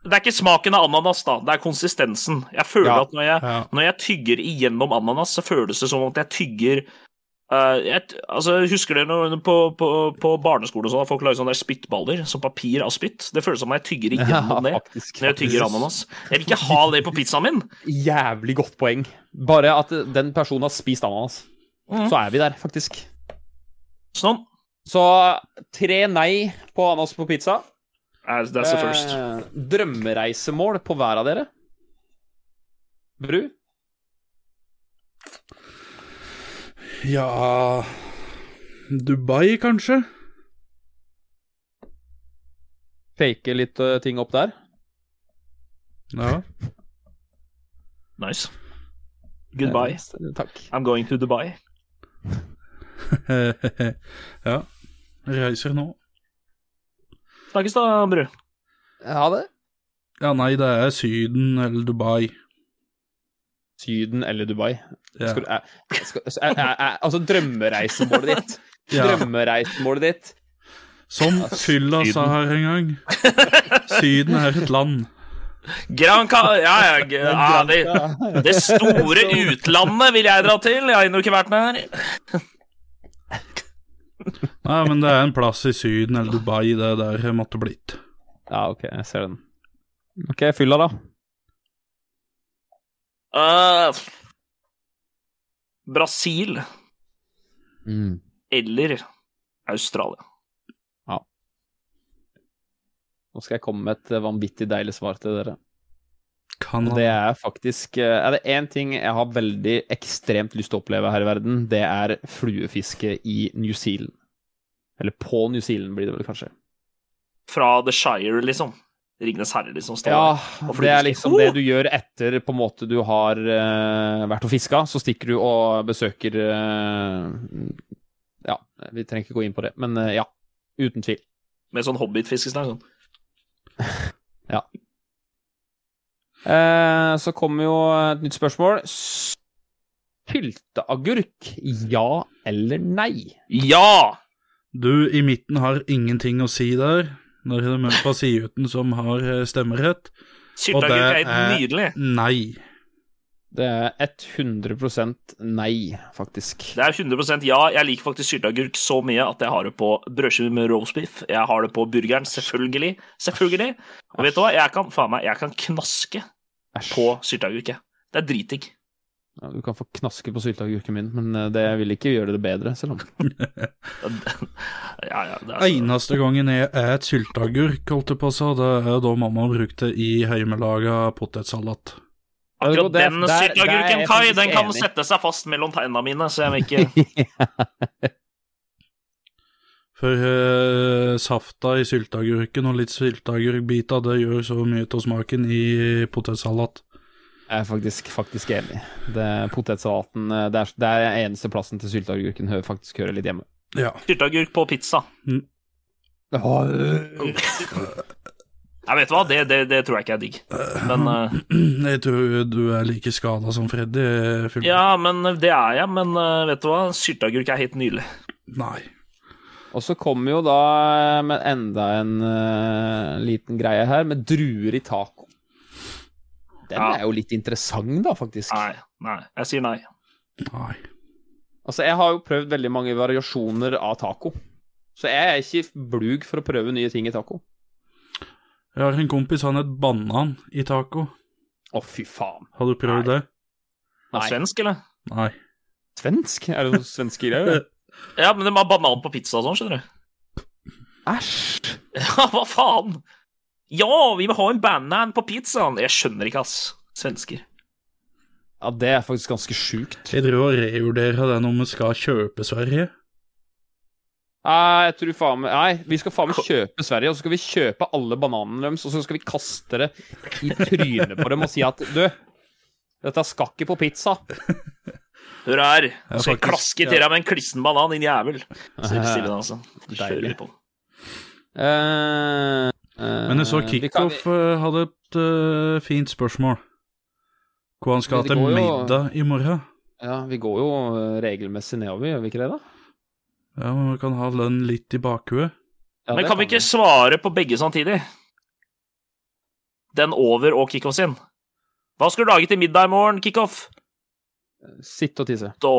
S1: det er ikke smaken av ananas, da. Det er konsistensen. Jeg føler
S3: Ja.
S1: at når jeg,
S2: Ja.
S1: når jeg tygger igjennom ananas, så føles det som at jeg tygger eh, jeg, t- altså, Husker dere når på, på, på barneskolen og sånn, at folk lager sånne der spyttballer? Som papir av spytt? Det føles som at jeg tygger igjennom det.
S3: faktisk.
S1: Når jeg tygger ananas. Jeg vil ikke ha det på pizzaen min.
S3: Jævlig godt poeng. Bare at eh, den personen har spist ananas. Så er vi der, faktisk.
S1: Sånn.
S3: Så tre nei på ananas på pizza.
S1: Eh, That's the first.
S3: Eh, drømmereisemål på hver av dere? Bru?
S2: ja Dubai, kanskje?
S3: Fake litt eh, ting opp der?
S2: Ja. [LAUGHS]
S1: Nice. Goodbye.
S3: Eh, takk.
S1: I'm going to Dubai.
S2: ja. Reiser nå.
S1: Snakkes da, Bru.
S3: Ha det.
S2: Ja, nei, det er Syden eller Dubai.
S3: Syden eller Dubai.
S2: Ja.
S3: Skal, du- er, skal, er, er, er, altså drømmereisemålet ditt.
S2: Ja.
S3: Drømmereisemålet ditt.
S2: Som fylla sa her en gang. Syden er et land.
S1: Gran Ca... Ja, ja.
S3: [LAUGHS]
S1: g- ja det, det store utlandet vil jeg dra til. Jeg har ennå ikke vært der.
S2: Nei, men det er en plass i Syden eller Dubai, det er der jeg måtte blitt.
S3: Ja, OK, jeg ser den. OK, fylla, da.
S1: Øh, Brasil eller Australia.
S3: Nå skal jeg komme med et eh, vanvittig deilig svar til dere.
S2: Kan
S3: Og det er faktisk eh, Er det én ting jeg har veldig ekstremt lyst til å oppleve her i verden, det er fluefiske i New Zealand. Eller på New Zealand, blir det vel kanskje.
S1: Fra The Shire, liksom. Ringenes herre, liksom. Står
S3: Ja,
S1: der. og Oh!
S3: det er
S1: fluefiske.
S3: liksom det du gjør etter på en måte du har eh, vært og fiska. Så stikker du og besøker eh, Ja, vi trenger ikke gå inn på det, men eh, ja. Uten tvil.
S1: Med sånn hobbitfiskestang. Sånn.
S3: Eh, så kommer jo et nytt spørsmål. S- Sylteagurk, ja eller nei?
S1: Ja!
S2: Du i midten har ingenting å si der. Der er det med fra Siuten som har eh, stemmerett.
S1: Sylteagurk er
S2: det
S1: helt
S2: er-
S1: nydelig.
S2: Nei.
S3: Det er 100 nei, faktisk.
S1: Det er 100 ja. Jeg liker faktisk sylteagurk så mye at jeg har det på brødskive med roastbeef. Jeg har det på burgeren, selvfølgelig. Selvfølgelig. Og vet du hva? Jeg kan, faen meg, jeg kan knaske
S3: Æsj.
S1: på sylteagurk, jeg. Det er dritdigg.
S3: Ja, du kan få knaske på sylteagurken min, men eh, det vil ikke gjøre det bedre. Selv om.
S1: Ja, ja, det er så...
S2: Eneste gangen jeg et sylteagurk, holdt jeg på å si, det er da mamma brukte det i hjemmelaga potetsalat.
S1: Akkurat
S3: Det er-
S1: den
S3: der- der er jeg
S1: sylteagurken, Kai,
S3: faktisk
S1: den kan
S3: enig.
S1: sette seg fast mellom tennene mine, så jeg må ikke
S3: [LAUGHS]
S2: For eh, safta i sylteagurken og litt sylteagurkbiter, det gjør så mye av smaken i potetsalat.
S3: Jeg er faktisk, faktisk enig. Det er Potetsalaten eh, det er, det er eneste plassen til sylteagurken hø- faktisk hører litt hjemme.
S2: Ja.
S1: Sylteagurk på pizza. Øh,
S2: [CLEARS THROAT]
S1: Jeg vet hva, det, det, det tror jeg ikke er digg. Men eh,
S2: Jeg tror du er like skada som Freddy. eh, Fylke.
S1: Ja, men det er jeg. Men eh, vet du hva, sylteagurk er helt nydelig.
S2: Nei.
S3: Og så kommer jo da eh, med enda en eh, liten greie her, med druer i taco. Den
S1: Ja.
S3: er jo litt interessant, da, faktisk.
S1: Nei, nei. Jeg sier nei.
S2: Nei.
S3: Altså, jeg har jo prøvd veldig mange variasjoner av taco. Så jeg er ikke blug for å prøve nye ting i taco.
S2: Jeg har en kompis, han het Banan i taco.
S3: Å, fy faen.
S2: Har du prøvd det?
S1: Nei.
S3: Nei.
S1: Svensk, eller?
S2: Nei.
S3: Svensk? Er det noen svenske greier?
S1: Ja, men de [LAUGHS] har banan på pizza og sånn, skjønner du.
S3: [LAUGHS] Æsj.
S1: Ja, hva faen? Ja, vi vil ha en banan på pizzaen! Jeg skjønner ikke, ass. Svensker.
S3: Ja, det er faktisk ganske sjukt.
S2: Jeg driver og revurderer den om vi skal kjøpe Sverige.
S3: Nei, Ah, jeg tror faen meg Nei, vi skal faen meg kjøpe Sverige, og så skal vi kjøpe alle bananene deres, og så skal vi kaste det i trynet på dem og si at du, dette skal ikke på pizza.
S1: Hør her,
S2: Ja,
S1: så jeg
S2: faktisk,
S1: klasker til deg med en klissen banan, din jævel. Så bestiller den, altså. Du kjører
S3: Deilig.
S1: på den.
S3: Eh, eh,
S2: Men jeg så
S3: vi kan-
S2: Kickoff eh, hadde et eh, fint spørsmål. Hvor han skal
S3: Men det
S2: til
S3: går jo-
S2: middag i morgen.
S3: Ja, vi går jo eh, regelmessig nedover, gjør vi ikke det, da?
S2: Ja, men vi kan ha den litt i bakhuet.
S3: Ja,
S1: Men
S3: det
S1: kan vi ikke svare på begge samtidig? Den over og kickoff sin. Hva skal du lage til middag i morgen, kickoff?
S3: Sitte og tisse.
S1: Da.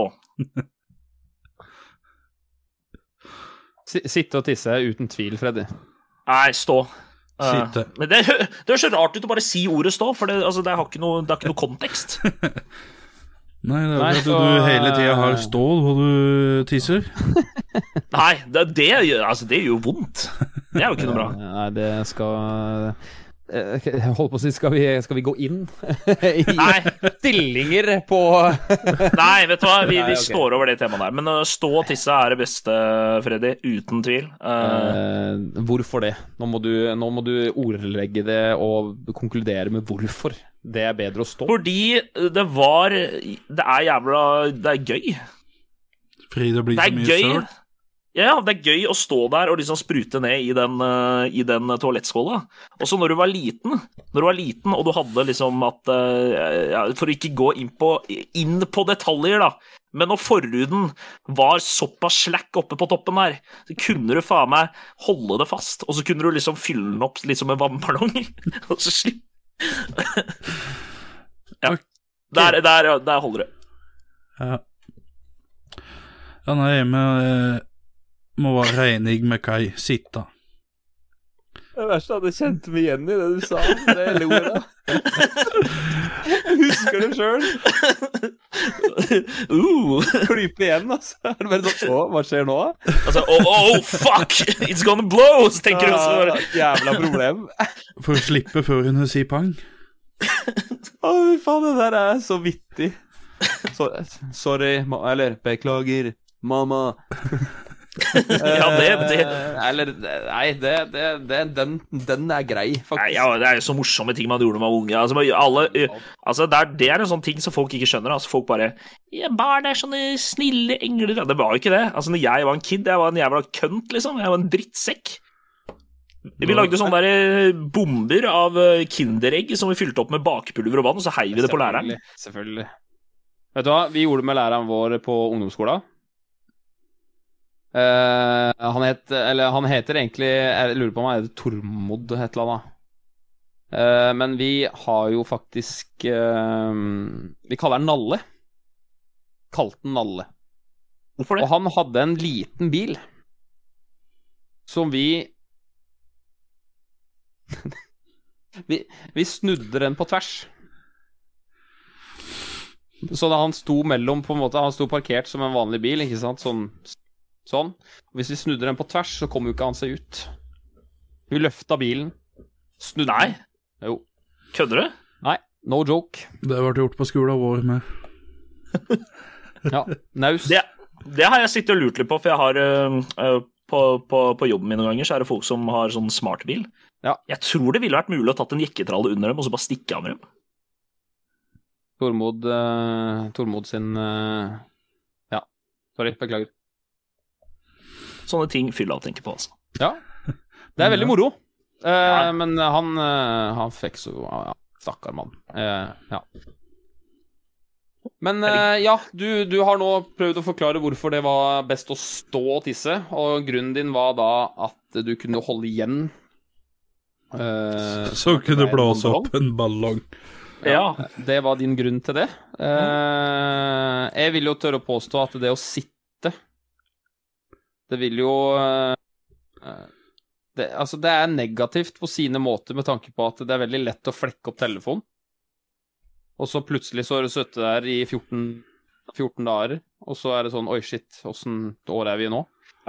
S3: Si- Sitte og tisse er uten tvil, Freddy.
S1: Nei, stå. Eh,
S2: Sitte.
S1: men det, [LAUGHS] det høres så rart ut å bare si ordet stå, for det, altså, det, har, ikke noe, det har ikke noe kontekst.
S2: Nei, det er jo
S3: Nei,
S2: at
S3: så-
S2: du hele tida har stål hvor du tisser.
S1: Nei, det, det, gjør- altså, det gjør jo vondt. Det er jo ikke noe bra.
S3: Nei, det skal eh, Jeg holdt på å si, skal vi, skal vi gå inn [LAUGHS] i
S1: Nei,
S3: stillinger på
S1: nei vet du hva, vi,
S3: Nei,
S1: vi
S3: ok.
S1: står over det temaet der. Men øh, stå og tisse er det beste, Freddy. Uten tvil. Eh,
S3: Eh, Hvorfor det? Nå må, du, nå må du ordlegge det og konkludere med hvorfor. Det er bedre å stå.
S1: fordi det var Det er jævla Det er gøy.
S2: Fordi det blir
S1: Det
S2: så
S1: er
S2: mye
S1: gøy.
S2: søl.
S1: Ja, det er gøy å stå der og liksom sprute ned i den, eh, i den toalettskåla. Og så når du var liten, når du var liten og du hadde liksom at eh, ja, For å ikke gå inn på, inn på detaljer, da. Men når forhuden var såpass slack oppe på toppen der, så kunne du faen meg holde det fast. Og så kunne du liksom fylle den opp litt som en vannballong. [LAUGHS] Og så slipp... ja. Der, der, der holder det.
S2: Ja. ja, nei, vi eh, må være enige med Kai. Sitte.
S3: Det verste at jeg kjente meg igjen i det du sa. Det lo jeg av. Jeg husker det sjøl.
S1: Uh.
S3: Klype igjen, altså. Er det bare sånn Å, hva skjer nå?
S1: Altså, oh, oh, fuck! It's gonna blow! Så tenker du også bare
S3: Jævla problem.
S2: For å slippe før hun sier pang.
S3: Å, fy faen, det der er så vittig. Så, sorry, ma eller beklager, mamma.
S1: Ja, det- det-
S3: Eh, Eller Nei, det, det, det den, den er grei,
S1: Nei,
S3: faktisk.
S1: ja, Det er jo så morsomme ting man gjorde da man var unge. Altså, man, alle, eh, altså, det, er, det er en sånn ting som folk ikke skjønner. Altså, folk bare ja, 'Barn er sånne snille engler.' Ja, Det var jo ikke det. Altså, når jeg var en kid, jeg var en jævla kønt, liksom. Jeg var en drittsekk. Vi lagde sånne der eh, bomber av eh, Kinderegg som vi fylte opp med bakpulver og vann, og så heiv vi det på læreren.
S3: Selvfølgelig, Selvfølgelig. Vet du hva, vi gjorde det med læreren vår på ungdomsskolen. Eh, han, het, eller, han heter egentlig Jeg lurer på om han heter Tormod et eller annet. Eh, men vi har jo faktisk eh, Vi kaller han Nalle. Kalte han Nalle.
S1: Hvorfor
S3: Og
S1: det?
S3: han hadde en liten bil som vi [LAUGHS] Vi, vi snudde den på tvers. Så da han sto mellom på en måte Han sto parkert som en vanlig bil, ikke sant? Sånn. sånn. Hvis vi snudde den på tvers, så kom jo ikke han seg ut. Vi løfta bilen. Snudde
S1: Nei,
S3: den. Jo.
S1: kødder du?
S3: Nei, no joke.
S2: Det ble gjort på skolen vår med.
S1: [LAUGHS]
S3: Ja. Naust.
S1: Det, det har jeg sittet og lurt litt på, for jeg har øh, øh, på, på, på jobben min noen ganger så er det folk som har sånn smartbil.
S3: Ja.
S1: Jeg tror det ville vært mulig å tatt en jekketralle under dem og så bare stikke av med dem.
S3: Tormod, eh, Tormod sin eh, Ja, sorry, beklager.
S1: Sånne ting fylla tenker på, altså.
S3: Ja. Det er veldig moro. Eh,
S1: Ja.
S3: Men han, eh, han fikk så ja, Stakkar mann. Eh, ja. Men eh, ja, du, du har nå prøvd å forklare hvorfor det var best å stå og tisse. Og grunnen din var da at du kunne holde igjen. Eh,
S2: Så kunne du
S3: det er en
S2: blåse
S3: ballong.
S2: opp en ballong.
S1: Ja.
S3: det var din grunn til det. Eh, jeg vil jo tørre å påstå at det å sitte Det vil jo eh, det, Altså, det er negativt på sine måter med tanke på at det er veldig lett å flekke opp telefonen. Og så plutselig så har du sittet der i 14, 14 dager, og så er det sånn Oi, shit, åssen år er vi nå?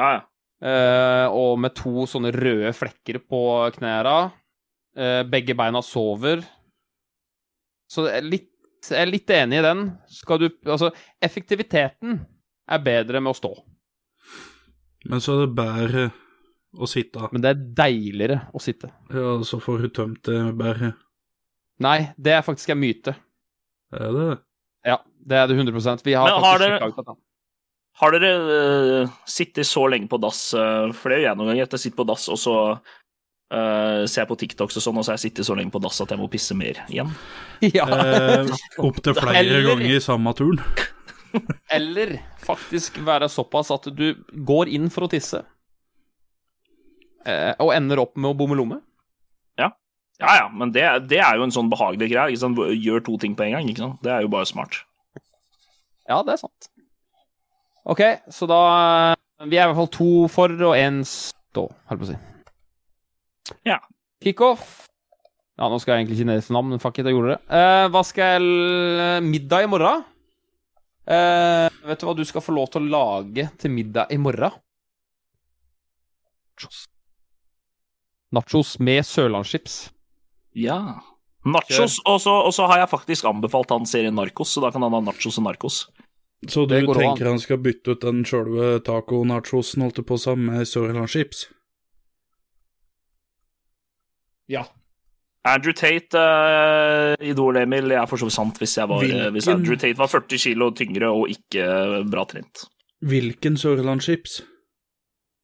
S1: ja, ja.
S3: Eh, og med to sånne røde flekker på knæra. Eh, begge beina sover. Så jeg er, litt, jeg er litt enig i den. Skal du Altså, effektiviteten er bedre med å stå,
S2: Men så er det bedre å sitte.
S3: men det er deiligere å sitte.
S2: Ja, så får hun tømt det bedre.
S3: Nei, det er faktisk en myte.
S2: Er det
S3: [LAUGHS]
S2: det?
S3: Ja, det er det 100 Vi har
S1: Men har
S3: faktisk
S1: dere-
S3: ikke avtalt det.
S1: Har dere eh, sittet så lenge på dass, eh, for det gjør jeg noen ganger, at jeg sitter på dass, og så eh, ser jeg på TikToks og sånn, og så har jeg sittet så lenge på dass at jeg må pisse mer igjen.
S3: Ja.
S2: Eh, Opptil flere
S3: Eller-
S2: ganger i samme turen.
S3: Eller faktisk være såpass at du går inn for å tisse, eh, og ender opp med å bomme lomme.
S1: Ja ja, men det, det er jo en sånn behagelig greie. Ikke sant? Gjør to ting på en gang. Ikke sant? Det er jo bare smart.
S3: Ja, det er sant. OK, så da eh, Vi er i hvert fall to for og én stå, holdt på å si.
S1: Ja.
S3: Kickoff. Ja, nå skal jeg egentlig ikke ned for navn, men fuck it, jeg gjorde det. Eh, hva skal jeg l- Middag i morgen? Eh, vet du hva du skal få lov til å lage til middag i morgen? Nachos. Nachos med sørlandschips.
S1: Ja. Nachos. Og så, og så har jeg faktisk anbefalt han serien Narkos, så da kan han ha nachos og narkos.
S2: Så du
S3: Det går
S2: tenker han skal bytte ut den sjølve taco-nachosen, holdt jeg på å si, med Sørlandschips?
S3: Ja.
S1: Andrew Tate, eh, Idol-Emil, jeg er for så vidt sant hvis, jeg var, eh,
S2: Hvilken-
S1: hvis Andrew Tate var 40 kilo tyngre og ikke eh, bra trent.
S2: Hvilken Sørlandschips?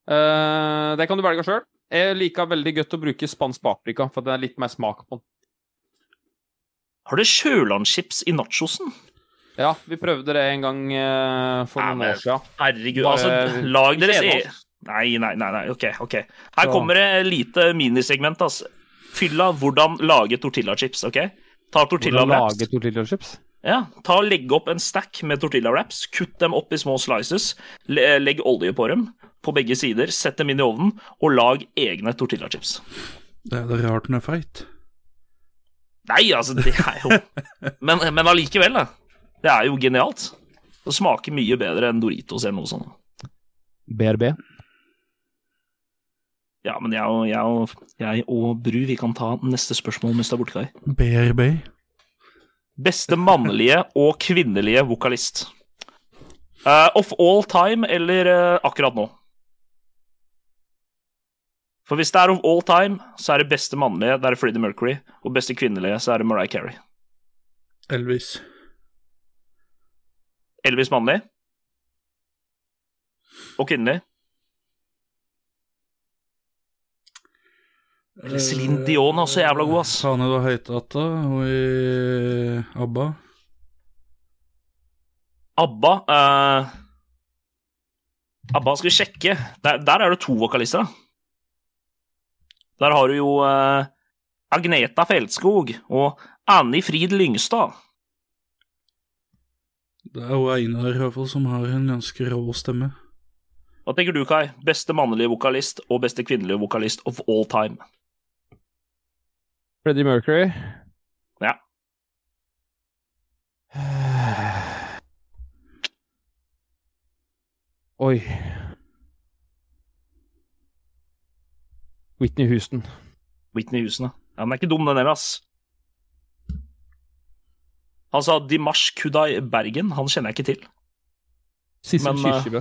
S3: Eh, det kan du velge sjøl. Jeg liker veldig godt å bruke spansk paprika, for det er litt mer smak på den.
S1: Har du sjølandschips i nachosen?
S3: Ja, vi prøvde det en gang eh, for
S1: Ja,
S3: noen
S1: men-
S3: år siden.
S1: Herregud,
S3: Bare-
S1: altså, lag deres
S3: Kjede
S1: e...
S3: oss.
S1: Nei, nei, nei, nei, ok, ok. Her
S2: Ja.
S1: kommer det et lite minisegment, ass. Fylla hvordan lage tortillachips, ok? Ta tortilla
S3: Hvordan
S1: wraps.
S3: lage tortilla chips?
S1: Ja, ta og Legg opp en stack med tortilla wraps, kutt dem opp i små slices, le- legg olje på dem på begge sider, sett dem inn i ovnen, og lag egne tortillachips.
S2: Det er det rart den er feit.
S1: Nei, altså, det er jo Men, men allikevel, da. Det er jo genialt. Det smaker mye bedre enn Doritos eller noe sånt.
S3: BRB.
S1: Ja, men jeg og, jeg og, jeg og Bru, vi kan ta neste spørsmål mens du er borte, Kai.
S2: BRB.
S1: Beste mannlige og kvinnelige vokalist. Eh, of all time eller eh, akkurat nå? For hvis det er of all time, så er det beste mannlige det er Freddie Mercury. Og beste kvinnelige så er det Mariah Carey.
S2: Elvis.
S1: Elvis mannlig. Og kvinnelig. Eller Celine Dion er også jævla god, ass.
S2: Sane du Høytata og i ABBA.
S1: ABBA eh, ABBA skal vi sjekke. Der, der er det to vokalister, da. Der har du jo eh, Agneta Feltskog og Annie Frid Lyngstad.
S2: Det er jo Einar i hvert fall som har en ganske rå stemme.
S1: Hva tenker du, Kai? Beste mannlige vokalist og beste kvinnelige vokalist of all time.
S3: Freddie Mercury.
S1: Ja.
S3: [SIGHS] Oi. Whitney Houston.
S1: Whitney Houston, da. Ja, den er ikke dum, den heller, ass. Han sa Dimash Kudai Bergen. Han kjenner jeg ikke til.
S3: Sissel
S1: Men, eh,
S3: Kyrkjebø.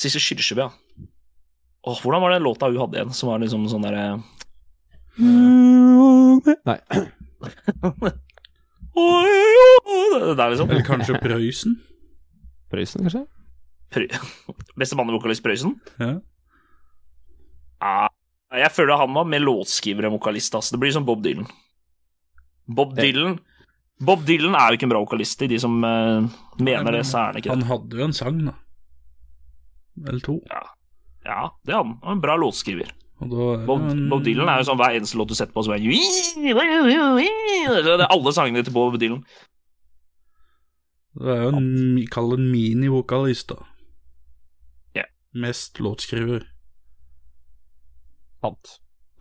S1: Sissel Kyrkjebø, ja. Åh, hvordan var den låta hun hadde igjen, som var liksom sånn derre
S3: Nei.
S1: Det der, liksom.
S2: Eller
S1: [LAUGHS]
S2: kanskje Prøysen?
S3: [CLEARS THROAT] Prøysen, kanskje?
S1: Beste mannevokalist Prøysen?
S2: Ja.
S1: Ja, Jeg føler han var mer låtskriver enn vokalist. Ass. Det blir som Bob Dylan. Bob
S3: Ja.
S1: Dylan Bob Dylan er jo ikke en bra vokalist. Til de som eh, mener det, så er han ikke det.
S2: Han hadde jo en sang, da. Eller to.
S1: Ja, det er han. Han er en bra låtskriver.
S2: Og da er
S1: Bob,
S2: det en-
S1: Bob Dylan er jo sånn hver eneste låt du setter på, så er det Det er alle sangene til Bob Dylan.
S2: Det er jo en mi- Kall det en mini-vokalist, da.
S1: Ja.
S2: Mest låtskriver.
S3: Sant.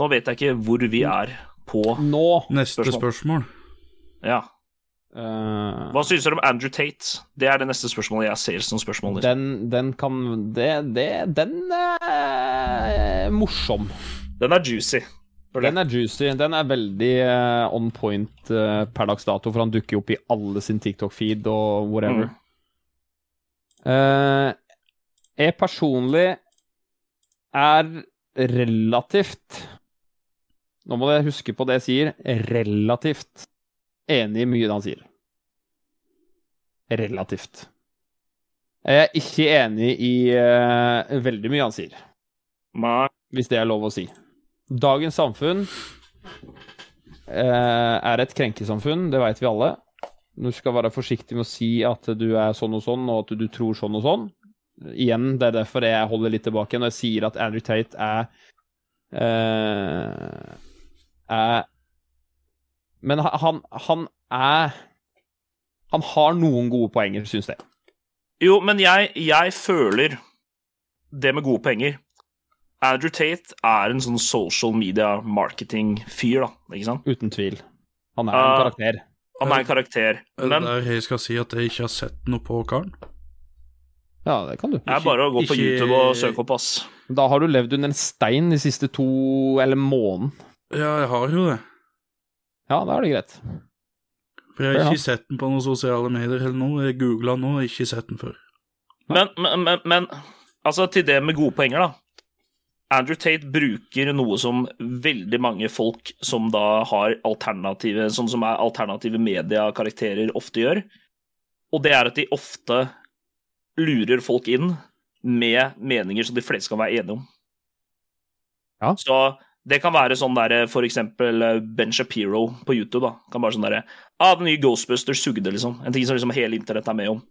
S1: Nå vet jeg ikke hvor vi er på
S3: Nå
S2: Neste spørsmål.
S1: Ja.
S3: eh,
S1: Hva syns dere om Andrew Tate? Det er det neste spørsmålet jeg ser som spørsmål. Liksom.
S3: Den, den kan det, det, Den er eh, morsom.
S1: Den er juicy.
S3: Den er juicy. Den er veldig eh, on point eh, per dags dato, for han dukker jo opp i alle sin TikTok-feed og whatever.
S1: Mm.
S3: Eh, jeg personlig er relativt Nå må jeg huske på det jeg sier. Relativt enig i mye av det han sier. Relativt. Jeg er ikke enig i eh, veldig mye han sier
S1: Nei.
S3: hvis det er lov å si. Dagens samfunn eh, er et krenkesamfunn, det veit vi alle. Du skal være forsiktig med å si at du er sånn og sånn, og at du tror sånn og sånn. Igjen, det er derfor jeg holder litt tilbake når jeg sier at Andrew Tate er eh, er Men ha- han, han er Han har noen gode poenger, syns jeg.
S1: Jo, men jeg, jeg føler det med gode penger. Andrew Tate er en sånn social media marketing-fyr, da. Ikke sant?
S3: Uten tvil. Han er en
S1: Ah.
S3: karakter.
S1: Han er en karakter.
S2: Er det
S1: Men
S2: der jeg skal si at jeg ikke har sett noe på karen?
S3: Ja, det kan du.
S1: det er bare å gå på
S2: Ikke-
S1: YouTube og søke opp, ass.
S3: Da har du levd under en stein de siste to eller måneden.
S2: Ja, jeg har jo det.
S3: Ja, da er det greit.
S2: For jeg har
S3: Ja.
S2: ikke sett den på noen sosiale medier eller noe. Jeg googla nå, og ikke sett den før.
S1: Men, men, men, men altså til det med gode poenger, da. Andrew Tate bruker noe som veldig mange folk som da har alternative Som, som er alternative mediekarakterer ofte gjør. Og det er at de ofte lurer folk inn med meninger som de fleste kan være enige om.
S3: Ja.
S1: Så det kan være sånn derre for eksempel eh, Ben Shapiro på YouTube, da. Kan bare sånn derre Ah, den nye Ghostbusters sugde, liksom. En ting som liksom hele internett er med om.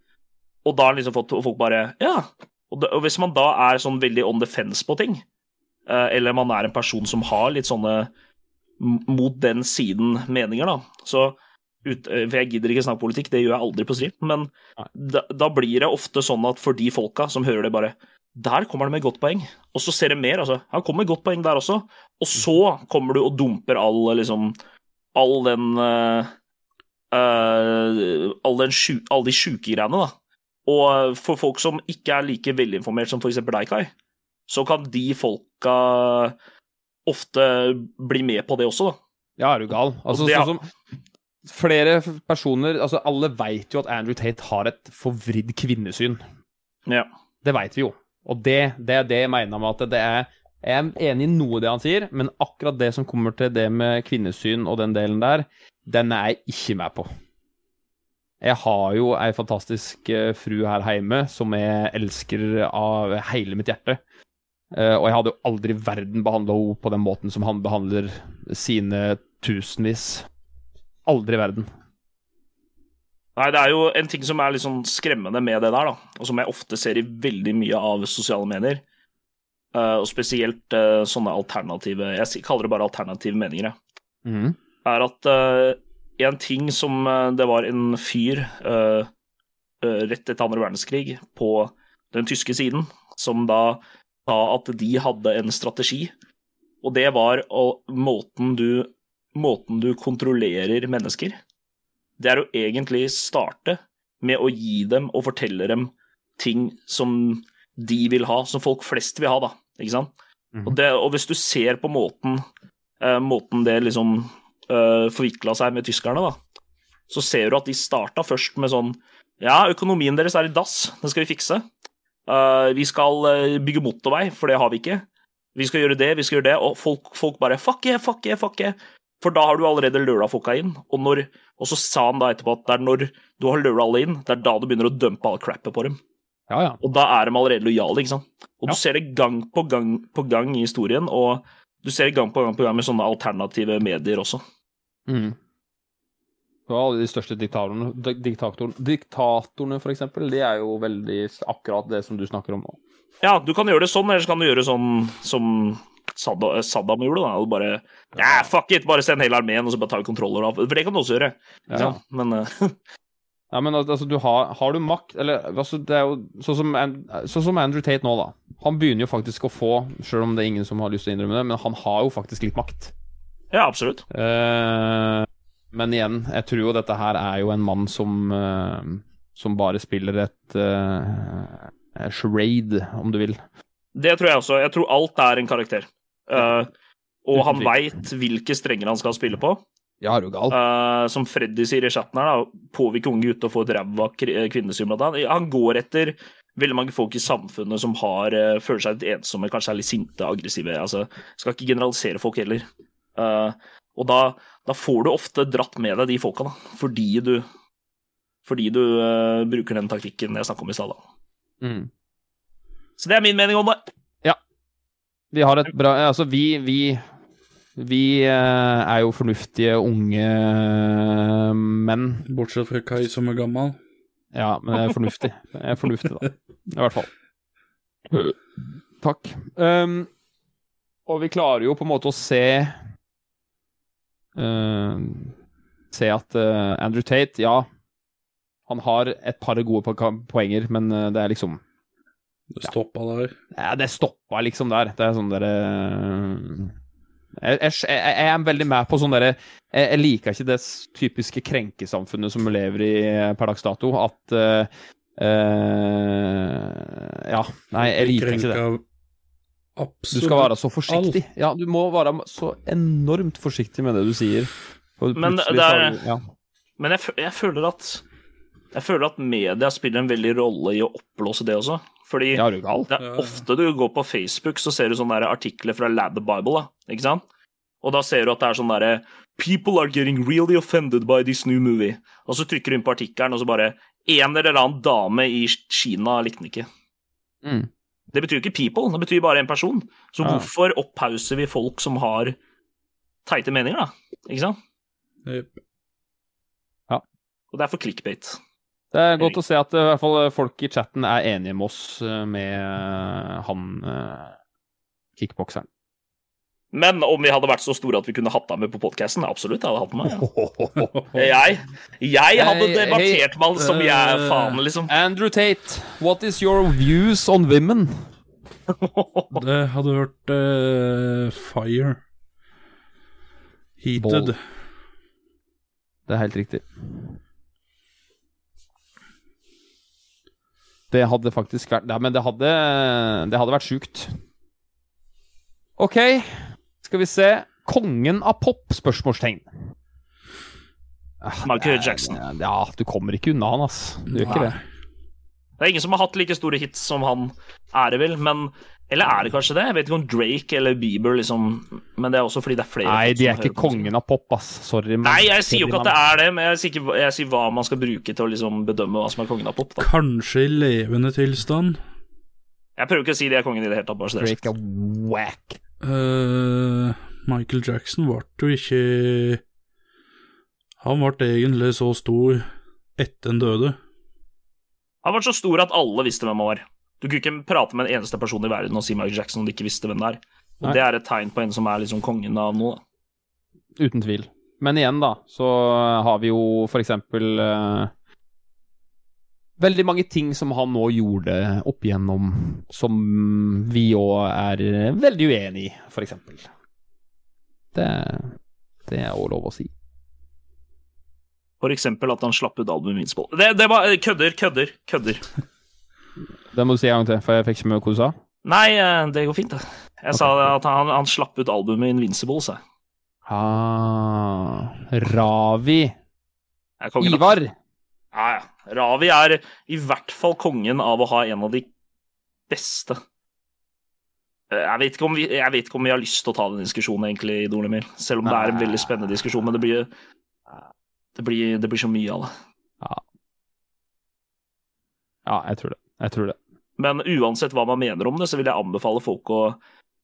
S1: Og da har han liksom fått og folk bare Ja. Og, da, og hvis man da er sånn veldig on the fence på ting, eh, eller man er en person som har litt sånne m- mot den siden meninger, da, så ut, eh, For jeg gidder ikke snakke politikk, det gjør jeg aldri på stream, men da, da blir det ofte sånn at for de folka som hører det, bare Der kommer det med godt poeng. Og så ser de mer, altså. Han kommer med godt poeng der også. Og så kommer du og dumper all liksom All den eh, eh, all, den sju, all de sjuke greiene, da. Og for folk som ikke er like velinformert som f.eks. deg, Kai, så kan de folka ofte bli med på det også, da.
S3: Ja, er du gal? Altså,
S1: Og det-
S3: sånn som flere personer Altså, alle veit jo at Andrew Tate har et forvridd kvinnesyn.
S1: Ja.
S3: Det veit vi jo. Og det, det er det jeg mener med at det er Jeg er enig i noe av det han sier, men akkurat det som kommer til det med kvinnesyn og den delen der, den er jeg ikke med på. Jeg har jo ei fantastisk eh, fru her hjemme som jeg elsker av hele mitt hjerte. Eh, Og jeg hadde jo aldri i verden behandla henne på den måten som han behandler sine tusenvis. Aldri i verden.
S1: Nei, det er jo en ting som er litt sånn skremmende med det der, da, og som jeg ofte ser i veldig mye av sosiale medier. eh, og spesielt eh, sånne alternative Jeg s- kaller det bare alternative meninger, jeg. er at eh, en ting som eh, det var en fyr eh, eh, rett etter andre verdenskrig på den tyske siden, som da sa at de hadde en strategi, og det var å, måten, du, måten du kontrollerer mennesker Det er å egentlig starte med å gi dem og fortelle dem ting som de vil ha, som folk flest vil ha, da. Ikke sant?
S3: Mhm.
S1: Og, det, og hvis du ser på måten, eh, måten det liksom uh, forvikla seg med tyskerne, da, så ser du at de starta først med sånn Ja, økonomien deres er i dass, det skal vi fikse. Eh, vi skal eh, bygge motorvei, for det har vi ikke. Vi skal gjøre det, vi skal gjøre det, og folk, folk bare Fuck yeah, fuck yeah, fuck yeah. For da har du allerede lura folka inn, og, når, og så sa han da etterpå at det er når du har lura alle inn, det er da du begynner å dumpe all crappet på dem.
S3: Ja, ja.
S1: Og da er de allerede lojale, ikke sant. Og
S3: Ja.
S1: du ser det gang på gang på gang i historien, og du ser det gang på gang på gang med sånne alternative medier også.
S3: Mm. Og alle de største diktatorene, di- diktatorene, diktatorene for eksempel, de er jo veldig s- akkurat det som du snakker om nå.
S1: Ja, du kan gjøre det sånn, eller så kan du gjøre sånn som Saddam, Saddam gjorde, da. Og bare Ja, fuck it, bare send hele armeen, og så bare tar vi kontroll over alt. For det kan du også gjøre.
S3: Ja.
S1: Ikke sant? Men eh, [LAUGHS]
S3: Ja, men al- altså, du har, har du makt Eller altså, det er jo sånn som, An- sånn som Andrew Tate nå, da. Han begynner jo faktisk å få, selv om det er ingen som har lyst til å innrømme det, men han har jo faktisk litt makt.
S1: ja, absolutt.
S3: Eh, men igjen, jeg tror jo dette her er jo en mann som eh, Som bare spiller et eh, charade, om du vil.
S1: Det tror jeg også. Jeg tror alt er en karakter. Eh, og han
S3: Uten
S1: veit hvilke strenger han skal spille på.
S3: Ja, er du gal?
S1: Eh, som Freddy sier i chatten her, da, påvirke unge gutter å få et ræva kri- eh, kvinnesyn blant annet. Han går etter veldig mange folk i samfunnet som har, eh, føler seg litt ensomme, kanskje er litt sinte, aggressive. Altså, skal ikke generalisere folk heller. Eh, og da, da får du ofte dratt med deg de folka, da, fordi du fordi du eh, bruker den taktikken jeg snakka om i stad. da.
S3: Mm.
S1: Så det er min mening om det.
S3: Vi har et bra Altså, vi Vi, vi eh, er jo fornuftige unge eh, menn.
S2: Bortsett fra Kai som er gammel.
S3: Ja, men jeg er fornuftig. Jeg er fornuftig, da. I hvert fall. Takk. Ehm, og vi klarer jo på en måte å se ehm, Se at eh, Andrew Tate, ja Han har et par gode pa- poenger, men eh, det er liksom
S2: Det stoppa der.
S3: Nei, det stoppa liksom der. Det er sånn derre jeg, jeg, jeg, jeg er veldig med på sånn derre jeg, jeg liker ikke det s- typiske krenkesamfunnet som vi lever i eh, per dags dato, at eh, eh, Ja, nei, jeg liker ikke det.
S2: Krenka
S3: Du
S2: Absolutt.
S3: skal være så forsiktig. Ja, du må være så enormt forsiktig med det du sier. For
S1: Men
S3: plutselig
S1: det er-
S3: så har du- ja.
S1: Men jeg, fø- jeg føler at jeg føler at media spiller en veldig rolle i å oppblåse det også. Fordi
S3: ja, er du gal?
S1: Det er
S2: Ja, ja.
S1: ofte du går på Facebook, så ser du sånne der artikler fra Lab Bible, da, ikke sant? Og da ser du at det er sånn derre People are getting really offended by this new movie. Og så trykker du inn på artikkelen, og så bare En eller annen dame i Kina likte den ikke.
S3: Mm.
S1: Det betyr jo ikke people, det betyr bare en person. Så
S3: Ja.
S1: hvorfor opphauser vi folk som har teite meninger, da? Ikke sant?
S2: Jep.
S1: Og det er for clickbait.
S3: Det er godt å se at eh, i hvert fall eh, folk i chatten er enige med oss eh, med eh, han eh, kickbokseren.
S1: Men om vi hadde vært så store at vi kunne hatt deg med på podkasten, absolutt, jeg hadde hatt den med. Ja.
S2: Nei,
S1: Eh, Jeg, jeg hadde
S3: Eh, Hei, eh,
S1: debattert med han som jeg er
S2: øh.
S1: faen, liksom.
S3: Andrew Tate, what is your views on women?
S2: Det hadde hørt eh, Fire. Heated.
S3: Ball. Det er helt riktig. Det hadde faktisk vært Nei, men det hadde, det hadde vært sjukt. OK, skal vi se. Kongen av pop? spørsmålstegn. Ah,
S1: Michael
S3: det er-
S1: Jackson.
S3: Ja, du kommer ikke unna han, ass. Du gjør ikke
S2: Nei.
S3: det.
S1: Det er ingen som har hatt like store hits som han er det vel, men Eller er det kanskje det? Jeg vet ikke om Drake eller Bieber, liksom Men det er også fordi det er flere
S3: Nei,
S1: folk
S3: de
S1: som
S3: er ikke
S1: hører på musikk.
S3: kongen av pop, ass. Sorry. men-
S1: Nei, jeg sier jo
S3: sorry,
S1: ikke at det er det, men jeg sier, ikke, jeg sier hva man skal bruke til å liksom bedømme hva som er kongen av pop. Da.
S2: Kanskje i levende tilstand.
S1: Jeg prøver ikke å si de er kongen i det hele tatt. bare så
S3: men
S1: det er sagt.
S3: Drake er whack.
S2: Eh, Michael Jackson ble jo ikke Han ble egentlig så stor etter han døde.
S1: Han var så stor at alle visste hvem han var. Du kunne ikke prate med en eneste person i verden og si Michael Jackson om du ikke visste hvem det er. Og
S3: Nei.
S1: Det er et tegn på en som er liksom kongen av noe. da.
S3: Uten tvil. Men igjen, da, så har vi jo for eksempel eh, Veldig mange ting som han nå gjorde opp igjennom, som vi òg er eh, veldig uenig i, for eksempel. Det, det er òg lov å si.
S1: For eksempel at han slapp ut albumet Minspål. Det, det var eh, kødder, kødder, kødder.
S3: Det må du si en gang til, for jeg fikk ikke med hva du sa.
S1: Nei, eh, det går fint, det. Jeg sa at han, han slapp ut albumet Invincible, sa jeg.
S3: Ah, Ravi.
S1: Jeg er kongen av-
S3: Ivar.
S1: Ja, ja. Ravi er i hvert fall kongen av å ha en av de beste. Eh, Jeg vet ikke om vi, jeg vet ikke om vi har lyst til å ta den diskusjonen, egentlig, Dornemil. Selv om det er en
S3: Nei.
S1: veldig spennende diskusjon, men det blir, det blir, det blir så mye av det.
S3: Ja, jeg tror det. Jeg tror det.
S1: Men uansett hva man mener om det, så vil jeg anbefale folk å,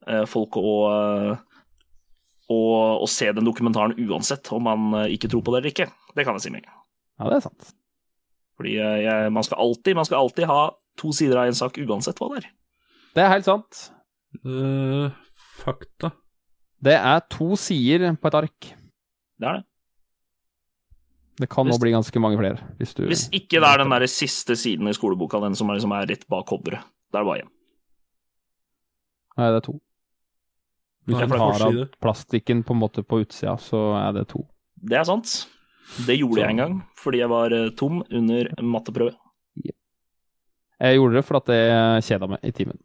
S1: eh, folk å, eh, å, å se den dokumentaren uansett om man eh, ikke tror på det eller ikke. Det kan jeg si med en gang.
S3: Ja, det er sant.
S1: Fordi eh, jeg, man, skal alltid, man skal alltid ha to sider av en sak, uansett hva det er.
S3: Det er helt sant.
S2: Eh, fakta.
S3: Det er to sider på et ark.
S1: Det er det.
S3: Det kan nå
S1: Hvis-
S3: bli ganske mange flere. Hvis du
S1: Hvis ikke det er den der siste siden i skoleboka, den som er, liksom er rett bak coveret. Da er det bare hjem.
S3: Nei, det er to. Hvis
S2: Nei,
S1: for
S3: du
S1: det er
S3: tar av
S2: forside.
S3: plastikken på en måte på utsida, så er det to.
S1: Det er sant. Det gjorde jeg en gang, fordi jeg var eh, tom under matteprøve.
S3: Jeg gjorde det fordi jeg kjeda meg i timen.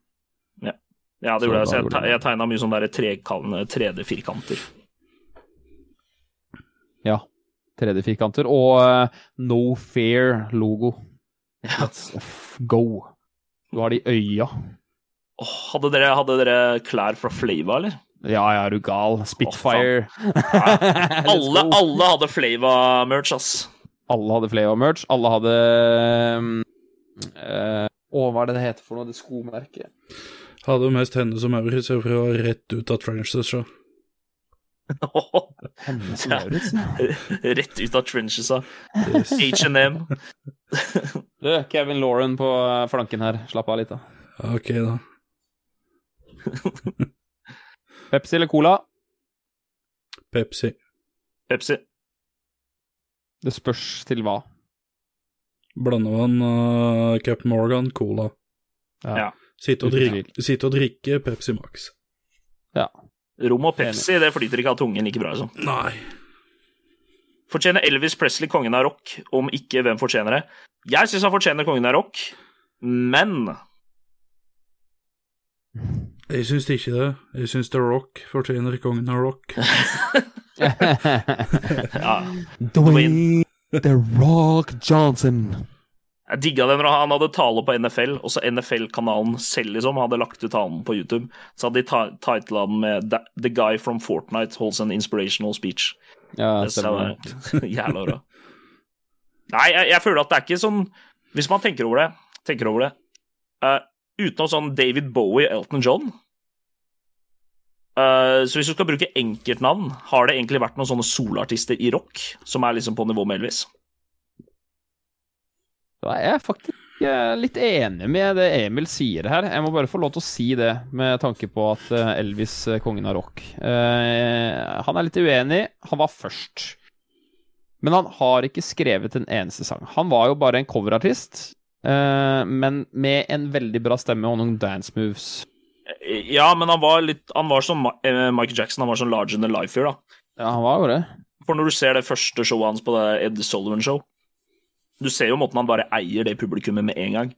S1: Ja, det
S3: Så
S1: gjorde jeg.
S3: da
S1: Så jeg,
S3: gjorde
S1: te-
S3: du-
S1: jeg tegna mye sånne der trekan- eh, 3D-firkanter.
S3: Ja. 3D-firkanter. Og eh, No Fair-logo. Let's f- go. Du har de øya.
S1: Åh, Hadde dere, hadde dere klær fra Flava, eller?
S3: Ja, ja, er du gal. Spitfire. Let's
S1: Alle,
S3: go.
S1: alle hadde Flava-merch, ass. [LAUGHS]
S3: Alle hadde flere merch. Alle hadde um, eh, Å, hva er det det heter for noe? Det skomerket?
S2: Hadde jo mest henne som Maurits, jeg prøver å være rett ut av trenches.
S3: [LAUGHS]
S2: Så.
S3: Hennes
S1: Ja.
S3: Maurits?
S1: [LAUGHS] Rett ut av trenches av
S2: Yes.
S1: H&M.
S3: Du, Kevin Lauren på eh, flanken her. Slapp av litt, da.
S2: Ok, da.
S3: Pepsi eller Cola?
S2: Pepsi.
S1: Pepsi.
S3: Det spørs til hva. [LAUGHS]
S2: Blandevann, uh, Cap Morgan, Cola.
S1: Ja.
S2: Sitte og,
S3: Uten
S2: drikke, sitte og drikke Pepsi Max.
S1: Rom og Pepsi, det flyter ikke av tungen like bra. Liksom.
S2: Nei.
S1: Fortjener Elvis Presley kongen av rock? Om ikke, hvem fortjener det? Jeg syns han fortjener kongen av rock, men
S2: Jeg syns ikke det. Jeg syns The Rock fortjener kongen av rock.
S1: [LAUGHS] ja,
S3: Dwayne The Rock Johnson.
S1: Jeg digga det når han hadde tale på NFL, og så NFL-kanalen selv liksom hadde lagt ut talen på YouTube. Så hadde de ta- titlet den med "The- 'The guy from Fortnite holds an inspirational speech'.
S3: Ja,
S1: Det
S3: stemmer.
S1: var [LAUGHS] jævla bra. Nei, jeg, jeg føler at det er ikke sånn Hvis man tenker over det, tenker over det eh, Utenom sånn David Bowie, Elton John eh, Så hvis du skal bruke enkeltnavn, har det egentlig vært noen sånne solartister i rock som er liksom på nivå med Elvis?
S3: Da er jeg faktisk eh, litt enig med det Emil sier her. Jeg må bare få lov til å si det, med tanke på at eh, Elvis, eh, kongen av rock eh, Han er litt uenig. Han var først. Men han har ikke skrevet en eneste sang. Han var jo bare en coverartist, eh, men med en veldig bra stemme og noen dance moves.
S1: Eh, Ja, men han var litt Han var som Ma- eh, Michael Jackson, han var sånn larger than life here, da.
S3: Ja, han var jo det.
S1: For når du ser det første showet hans på det Ed Sullivan-show Du ser jo måten han bare eier det publikummet med en gang.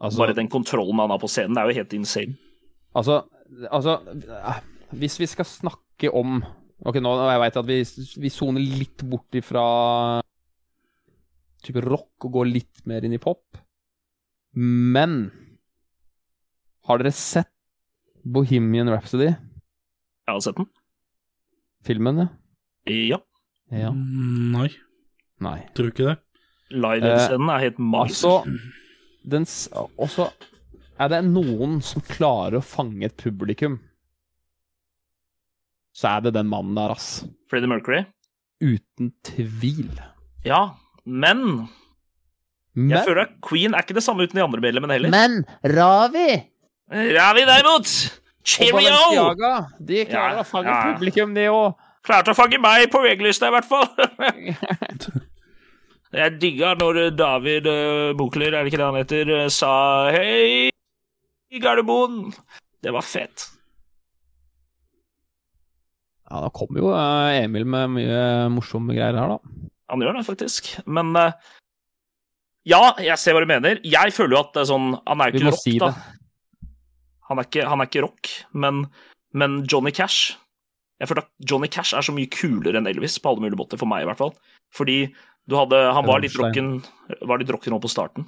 S3: Altså,
S1: Bare den kontrollen han har på scenen, det er jo helt insane.
S3: Altså, altså eh, Hvis vi skal snakke om Ok, nå jeg vet jeg at vi, vi soner litt bort ifra type rock og går litt mer inn i pop. Men har dere sett Bohemian Rhapsody-filmen?
S1: Jeg har sett den. Ja.
S3: Ja? ja.
S2: Mm, Nei,
S3: Nei.
S2: tror ikke det.
S1: Live-scenen er helt master.
S3: Altså, den s- Også er det noen som klarer å fange et publikum, så er det den mannen der, ass.
S1: Freddie Mercury.
S3: Uten tvil.
S1: Ja, men
S3: Men,
S1: jeg føler at Queen er ikke det samme uten de andre medlemmene heller.
S3: men Ravi
S1: Ravi derimot!
S3: og
S1: Cheerio!
S3: Balenciaga de klarer
S1: Ja,
S3: å fange
S1: ja, ja.
S3: publikum, de òg.
S1: Klarte å fange meg på VG-lista, i hvert fall.
S3: [LAUGHS]
S1: Jeg digga når eh, David eh, Bokler, er det ikke det han heter, eh, sa hei i Gardermoen. Det var fett.
S3: Ja, da kommer jo eh, Emil med mye morsomme greier her, da.
S1: Han gjør det, faktisk. Men eh, ja, jeg ser hva du mener. Jeg føler jo at det er sånn Han er jo
S3: Vi
S1: ikke
S3: må
S1: rock,
S3: si
S1: da.
S3: det.
S1: Han er ikke, han er ikke rock, men, men Johnny Cash Jeg føler at Johnny Cash er så mye kulere enn Elvis, på alle mulige måter, for meg i hvert fall. Fordi du hadde Han var litt rocken Var litt rocken på starten.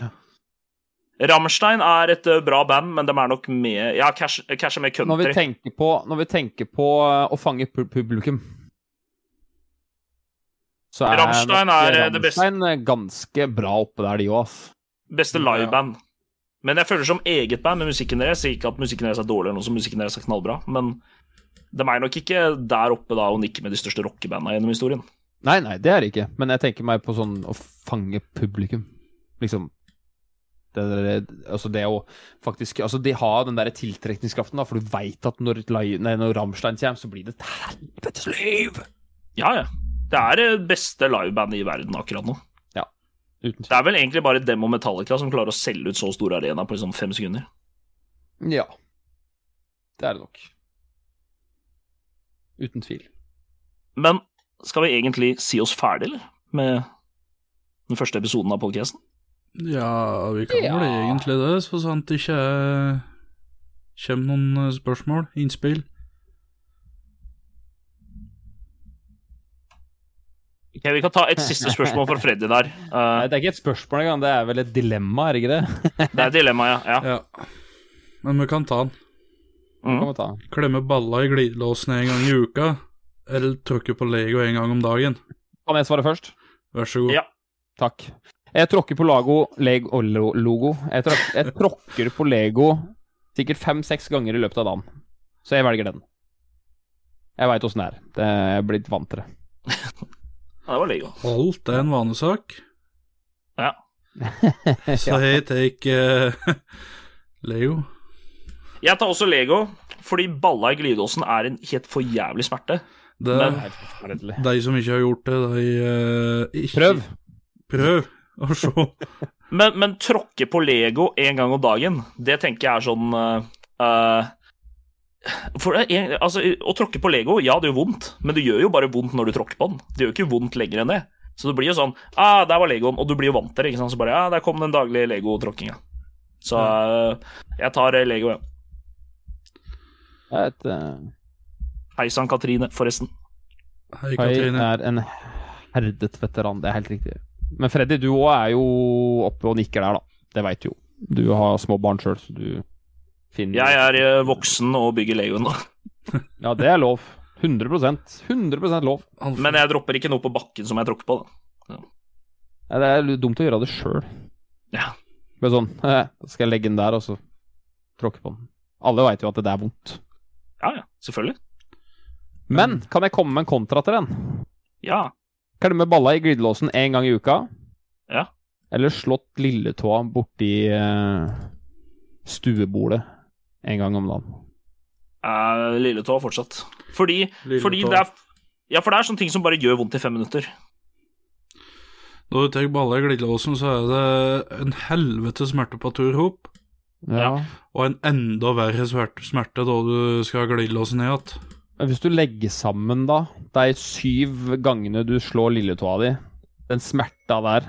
S3: Ja.
S1: Rammstein er et eh, bra band, men de er nok med Ja, Cash, Cash er med
S3: Når vi
S1: country.
S3: tenker på, når vi tenker på eh, å fange pu publikum så er
S1: Rammstein
S3: nok, eh,
S1: er, eh, det beste.
S3: Rammstein, eh, ganske bra oppe der, de òg, ass.
S1: Beste liveband. Men jeg føler som eget band med musikken deres. Jeg sier ikke at musikken deres er dårlig, eller noe som musikken deres er knallbra, men de er nok ikke der oppe da og nikker med de største rockebanda gjennom historien.
S3: Nei, nei, det er det ikke. Men jeg tenker meg på sånn å fange publikum. Liksom det, det, det, altså det å faktisk Altså De har den der tiltrekningskraften, da, for du veit at når, Lai- nei, når Rammstein kommer, så blir det et helvetes liv!
S1: Ja, ja. Det er det beste livebandet i verden akkurat nå.
S3: Uten
S1: Det er vel egentlig bare dem og Metallica som klarer å selge ut så stor arena på liksom fem sekunder.
S3: tvil. Ja. Det er det nok. Uten tvil.
S1: Men skal vi egentlig si oss ferdig, eller? Med den første episoden av podkasten?
S2: Ja, vi kan
S3: Ja.
S2: vel egentlig det, så sant det ikke er Kjem noen eh, spørsmål? Innspill?
S1: Ok, vi kan ta et siste spørsmål fra Freddy der.
S3: Nei,
S1: [LAUGHS] Eh,
S3: det er ikke et spørsmål engang, det er vel et dilemma, er det ikke det?
S1: det er et dilemma, ja. ja.
S2: Ja. Men vi kan ta den.
S1: Mm.
S3: Kan vi ta.
S2: Klemme balla i glidelåsen en gang i uka, eller tråkke på Lego en gang om dagen.
S3: Kan jeg svare først?
S2: Vær så god.
S1: Ja.
S3: Takk. Jeg tråkker på Lago Leg og lo- Logo. Jeg, tråk, jeg tråkker på Lego sikkert fem-seks ganger i løpet av dagen. Så jeg velger den. Jeg veit åssen det er. Det jeg er blitt vant til det.
S1: Ja, det var Lego.
S2: Alt er en vanesak, [LAUGHS] så
S3: Ja.
S2: jeg take eh, Lego.
S1: Jeg tar også Lego, fordi balla i glidelåsen er en helt for jævlig smerte.
S2: Det
S1: Men-
S2: er
S3: Helt forferdelig.
S2: de som ikke har gjort det, de eh, ikke,
S3: Prøv.
S2: Prøv å se.
S1: Men, men tråkke på Lego en gang om dagen, det tenker jeg er sånn eh, eh, for det er, en- altså, Å tråkke på Lego, ja, det gjør vondt, men det gjør jo bare vondt når du tråkker på den. Det gjør ikke vondt lenger enn det. Så det blir jo sånn ah, 'Der var Legoen', og du blir jo vant til det. ikke sant? Så bare 'Ja, der kom den daglige Lego-tråkkinga'. Så eh, jeg tar eh, Lego, ja.
S3: Det er et, eh,
S1: Hei sann, Katrine, forresten.
S2: Hei,
S3: Jeg
S2: Katrine.
S3: er en herdet veteran, det er helt riktig. Men Freddy, du òg er jo oppe og nikker der, da. Det veit du jo. Du har små barn sjøl, så du finner
S1: Jeg er eh, voksen og bygger Lego nå, [LAUGHS]
S3: Ja, det er lov. 100 100 lov.
S2: Han får-
S1: men eh, jeg dropper ikke noe på bakken som jeg tråkker på, da.
S3: Ja, det er litt dumt å gjøre det sjøl.
S1: Ja.
S3: Bare sånn [LAUGHS] eh, Skal jeg legge den der, og så tråkke på den? Alle veit jo at det er vondt.
S1: Ja, ja, selvfølgelig.
S3: Men
S1: Mm.
S3: kan jeg komme med en kontra til den?
S1: Ja.
S3: Klemme balla i glidelåsen én gang i uka.
S1: Ja.
S3: Eller slått lilletåa borti eh, stuebordet en gang om dagen.
S1: er eh, lilletå fortsatt. Fordi,
S2: Lilletå.
S1: fordi det er Ja, for det er sånne ting som bare gjør vondt i fem minutter.
S2: Når du tar balla i glidelåsen, så er det en helvete smerte på tur opp,
S1: Ja.
S2: og en enda verre svert- smerte da du skal ha glidelåsen ned igjen.
S3: Men Hvis du legger sammen da de syv gangene du slår lilletåa di, den smerta der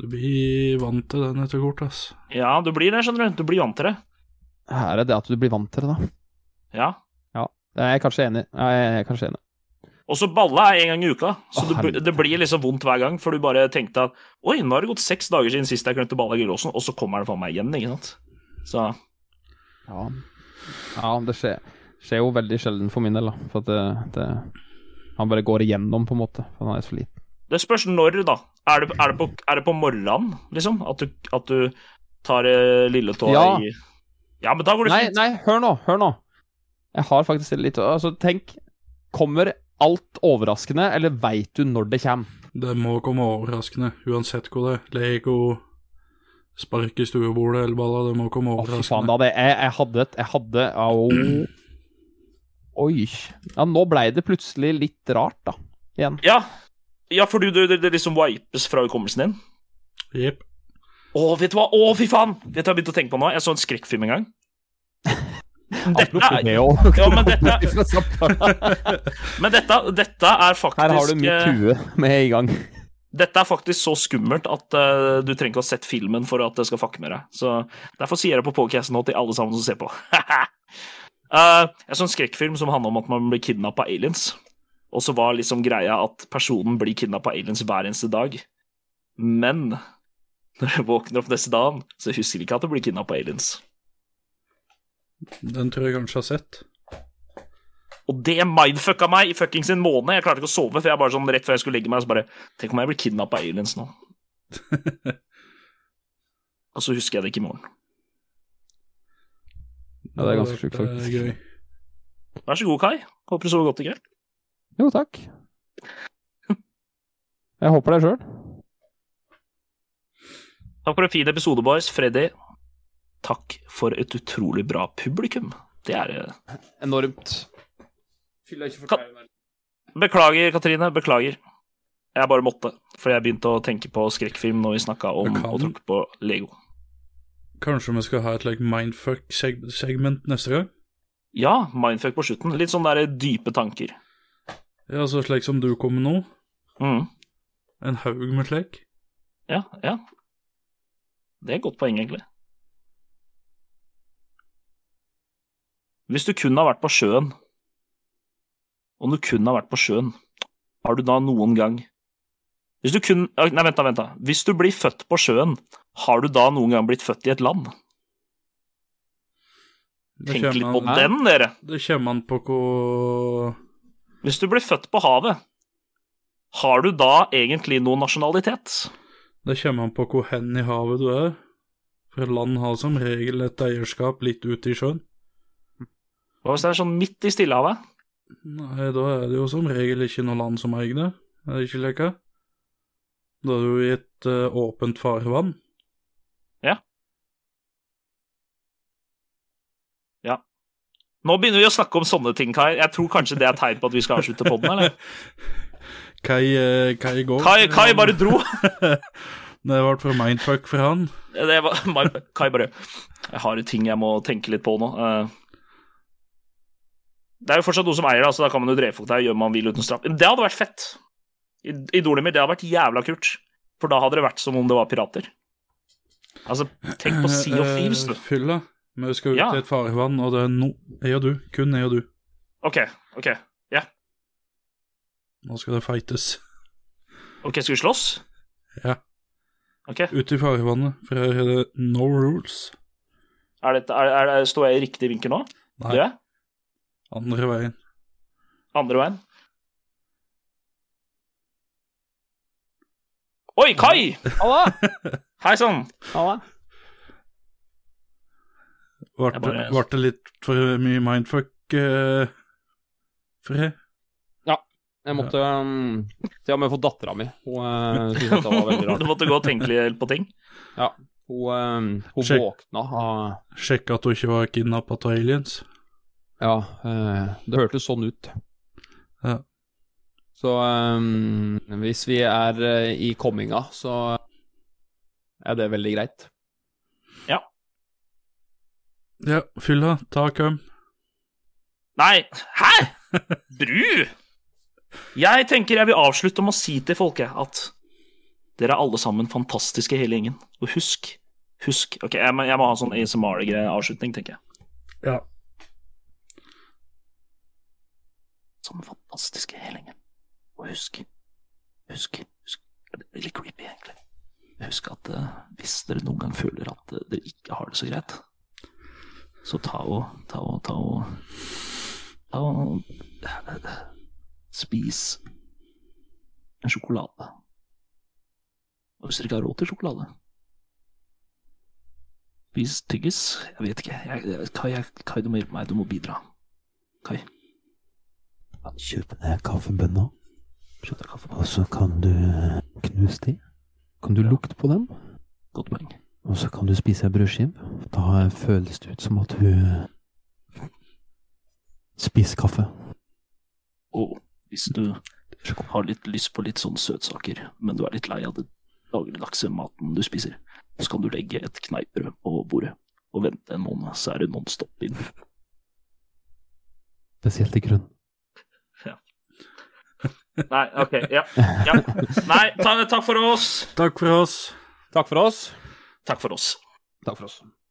S2: Du blir vant til den etter hvert, ass.
S1: Ja, du blir det, skjønner du. Du blir vant til det.
S3: Her er det at du blir vant til det, da.
S1: Ja.
S3: Jeg er kanskje enig. Ja, jeg er kanskje enig.
S1: Og så balle er en gang i uka, så
S3: Å,
S1: du,
S3: helvete.
S1: det blir liksom vondt hver gang, for du bare tenkte at Oi, nå har det gått seks dager siden sist jeg glemte balla i glidelåsen, og så kommer det faen meg igjen, ikke sant. Så
S3: Ja, ja det skjer, skjer jo veldig sjelden for min del, da. For at det, det Han bare går igjennom, på en måte. For han er så liten.
S1: det spørs når, da. Er det, er det, på, er det på morgenen, liksom? At du, at du tar eh, lilletåa
S3: Ja.
S1: i Ja, men da går det
S3: Nei,
S1: fint.
S3: nei, hør nå, hør nå. Jeg har faktisk litt Altså, tenk Kommer alt overraskende, eller veit du når det kommer?
S2: Det må komme overraskende, uansett hvor det er. Lego, spark i stuebordet eller balla, det må komme
S3: Å, fy faen,
S2: overraskende.
S3: da. Det, jeg, jeg hadde et Jeg hadde Au. Oi. Ja, nå blei det plutselig litt rart, da. Igjen.
S1: Ja. ja, for du, du, det- det liksom wipes fra hukommelsen din.
S2: Jepp.
S1: Å, vet du hva? Å, fy faen! Vet du hva jeg begynte å tenke på nå? Jeg så en skrekkfilm en
S3: [LAUGHS]
S1: gang. Dette
S3: Apropos
S1: er,
S3: det òg.
S1: [LAUGHS] ja, men dette, men dette, dette er
S3: Her har du
S1: faktisk
S3: mitt
S1: eh,
S3: hue med i gang.
S1: Dette er faktisk så skummelt at eh, du trenger ikke å ha sett filmen for at det skal fucke med deg. Så Derfor sier jeg det på podcasten nå til alle sammen som ser på. [LAUGHS] Eh, jeg så en skrekkfilm som handler om at man blir kidnappa av aliens. Og så var liksom greia at personen blir kidnappa av aliens hver eneste dag. Men når jeg våkner opp neste dag, så husker jeg ikke at du blir kidnappa av aliens.
S2: Den tror jeg kanskje jeg har sett.
S1: Og det mindfucka meg i fuckings en måned. Jeg klarte ikke å sove, for jeg bare sånn rett før jeg skulle legge meg, så bare Tenk om jeg blir kidnappa av aliens nå. Og så husker jeg det ikke i morgen.
S3: Ja, det er ganske sjukt,
S2: Det er
S3: faktisk.
S2: gøy.
S1: Vær så god, Kai. Håper du sover godt i kveld.
S3: Jo, takk. Jeg håper det sjøl.
S1: Takk for en fin episode, boys. Freddy, takk for et utrolig bra publikum. Det er eh,
S3: Enormt.
S1: Beklager, Katrine. Beklager. Jeg bare måtte, for jeg begynte å tenke på skrekkfilm når vi snakka om
S2: Jeg kan.
S1: å tråkke på Lego.
S2: Kanskje vi skal ha et like, mindfuck-segment neste gang?
S1: Ja, mindfuck på slutten. Litt sånn der dype tanker.
S2: Ja, så slik som du kom med nå.
S1: Mm.
S2: En haug med slik.
S1: Ja, ja. Det er et godt poeng, egentlig. Hvis du kun har vært på sjøen, om du kun har vært på sjøen, har du da noen gang Hvis du kun Nei, vent, da. vent da. Hvis du blir født på sjøen, har du da noen gang blitt født i et land?
S2: Det
S1: Tenk litt på
S2: kommer, an,
S1: den, dere.
S2: det kommer an på hvor
S1: Hvis du blir født på havet, har du da egentlig noen nasjonalitet?
S2: Det kommer an på hvor hen i havet du er. For et land har som regel et eierskap litt ute i sjøen.
S1: Hva hvis det er sånn midt i Stillehavet?
S2: Nei, da er det jo som regel ikke noe land som eier det. Er det ikke leka? Da er du i et eh, åpent farvann.
S1: Nå begynner vi å snakke om sånne ting, Kai. Jeg tror kanskje det er tegn på at vi skal avslutte podden, eller?
S2: Kai, eh, Kai går.
S1: Kai, Kai bare dro. [LAUGHS]
S2: Det ble for mindfuck for han.
S1: Det var, Mar- Kai bare Jeg har en ting jeg må tenke litt på nå. Eh, Det er jo fortsatt noen som eier det, så da kan man jo drefote deg og gjøre hva man vil uten straff. Men Det hadde vært fett. I, i Dornemir, det hadde vært jævla kult. For da hadde det vært som om det var pirater. Altså, tenk på Sea of
S2: Eh,
S1: Thieves, du.
S2: Fylla. Men vi skal ut
S1: Ja.
S2: i et farvann, og det er no... Jeg og du. Kun jeg og du.
S1: Ok, ok.
S2: Nå skal det fightes.
S1: Ok, Skal vi slåss?
S2: Ja.
S1: Ok.
S2: Ut i farvannet, for her er det no rules.
S1: Er dette, er, er, er, står jeg i riktig vinkel nå?
S2: Nei,
S1: Gjør jeg?
S2: andre veien.
S1: Andre veien. Oi, Kai!
S3: Halla!
S1: Hei sann!
S3: Halla.
S2: Ble
S1: Jeg
S2: det
S1: bare-
S2: ble det litt for mye mindfuck eh, for deg?
S3: Jeg måtte um, til og med få dattera mi. Hun uh, syntes at det var
S1: [LAUGHS]
S3: veldig
S1: Du
S3: rart.
S1: måtte gå og tenke litt på ting.
S3: Hun, um, hun
S2: Sjekk.
S3: våkna av
S2: Sjekke at du ikke var kidnappa av aliens?
S3: Ja, eh, det hørtes sånn ut.
S2: Ja.
S3: Så ehm, hvis vi er eh, i komminga, så er det veldig greit.
S2: Ja, fylla, ta køm.
S1: Nei, hæ?! Bru! Jeg tenker jeg vil avslutte med å si til folket at dere er alle sammen fantastiske, hele gjengen. Og husk, husk Ok, jeg må, jeg må ha sånn ASMR-avslutning, tenker jeg.
S2: Ja.
S1: Som fantastiske, hele gjengen. Og husk, husk, husk Det er veldig creepy, egentlig. Husk at eh, hvis dere noen gang føler at eh, dere ikke har det så greit, så ta og Ta og Ta og, ta og Spis en sjokolade. Og hvis dere ikke har råd til sjokolade Spis tyggis. Jeg vet ikke. Jeg, jeg- Kai, jeg, Kai, du må hjelpe meg. Du må bidra. Kai.
S4: Kjøp deg kaffebønner,
S1: Kjøp deg kaffe.
S4: og så kan du eh, knuse de. Kan du
S1: Ja.
S4: lukte på dem,
S1: Godt poeng.
S4: og så kan du spise ei brødskive. Da føles det ut som at du eh, spiser kaffe.
S1: Og hvis du har litt lyst på litt sånn søtsaker, men du er litt lei av den dagligdagse maten du spiser, så kan du legge et kneippbrød på bordet og vente en måned, så er det nonstop inn.
S4: Spesielt i
S1: [LAUGHS]
S4: grunn.
S1: Nei, ok. Ja. ja. Nei, ta, takk for oss.
S2: Takk for oss.
S3: Takk for oss.
S1: Takk for oss.
S3: Takk for oss.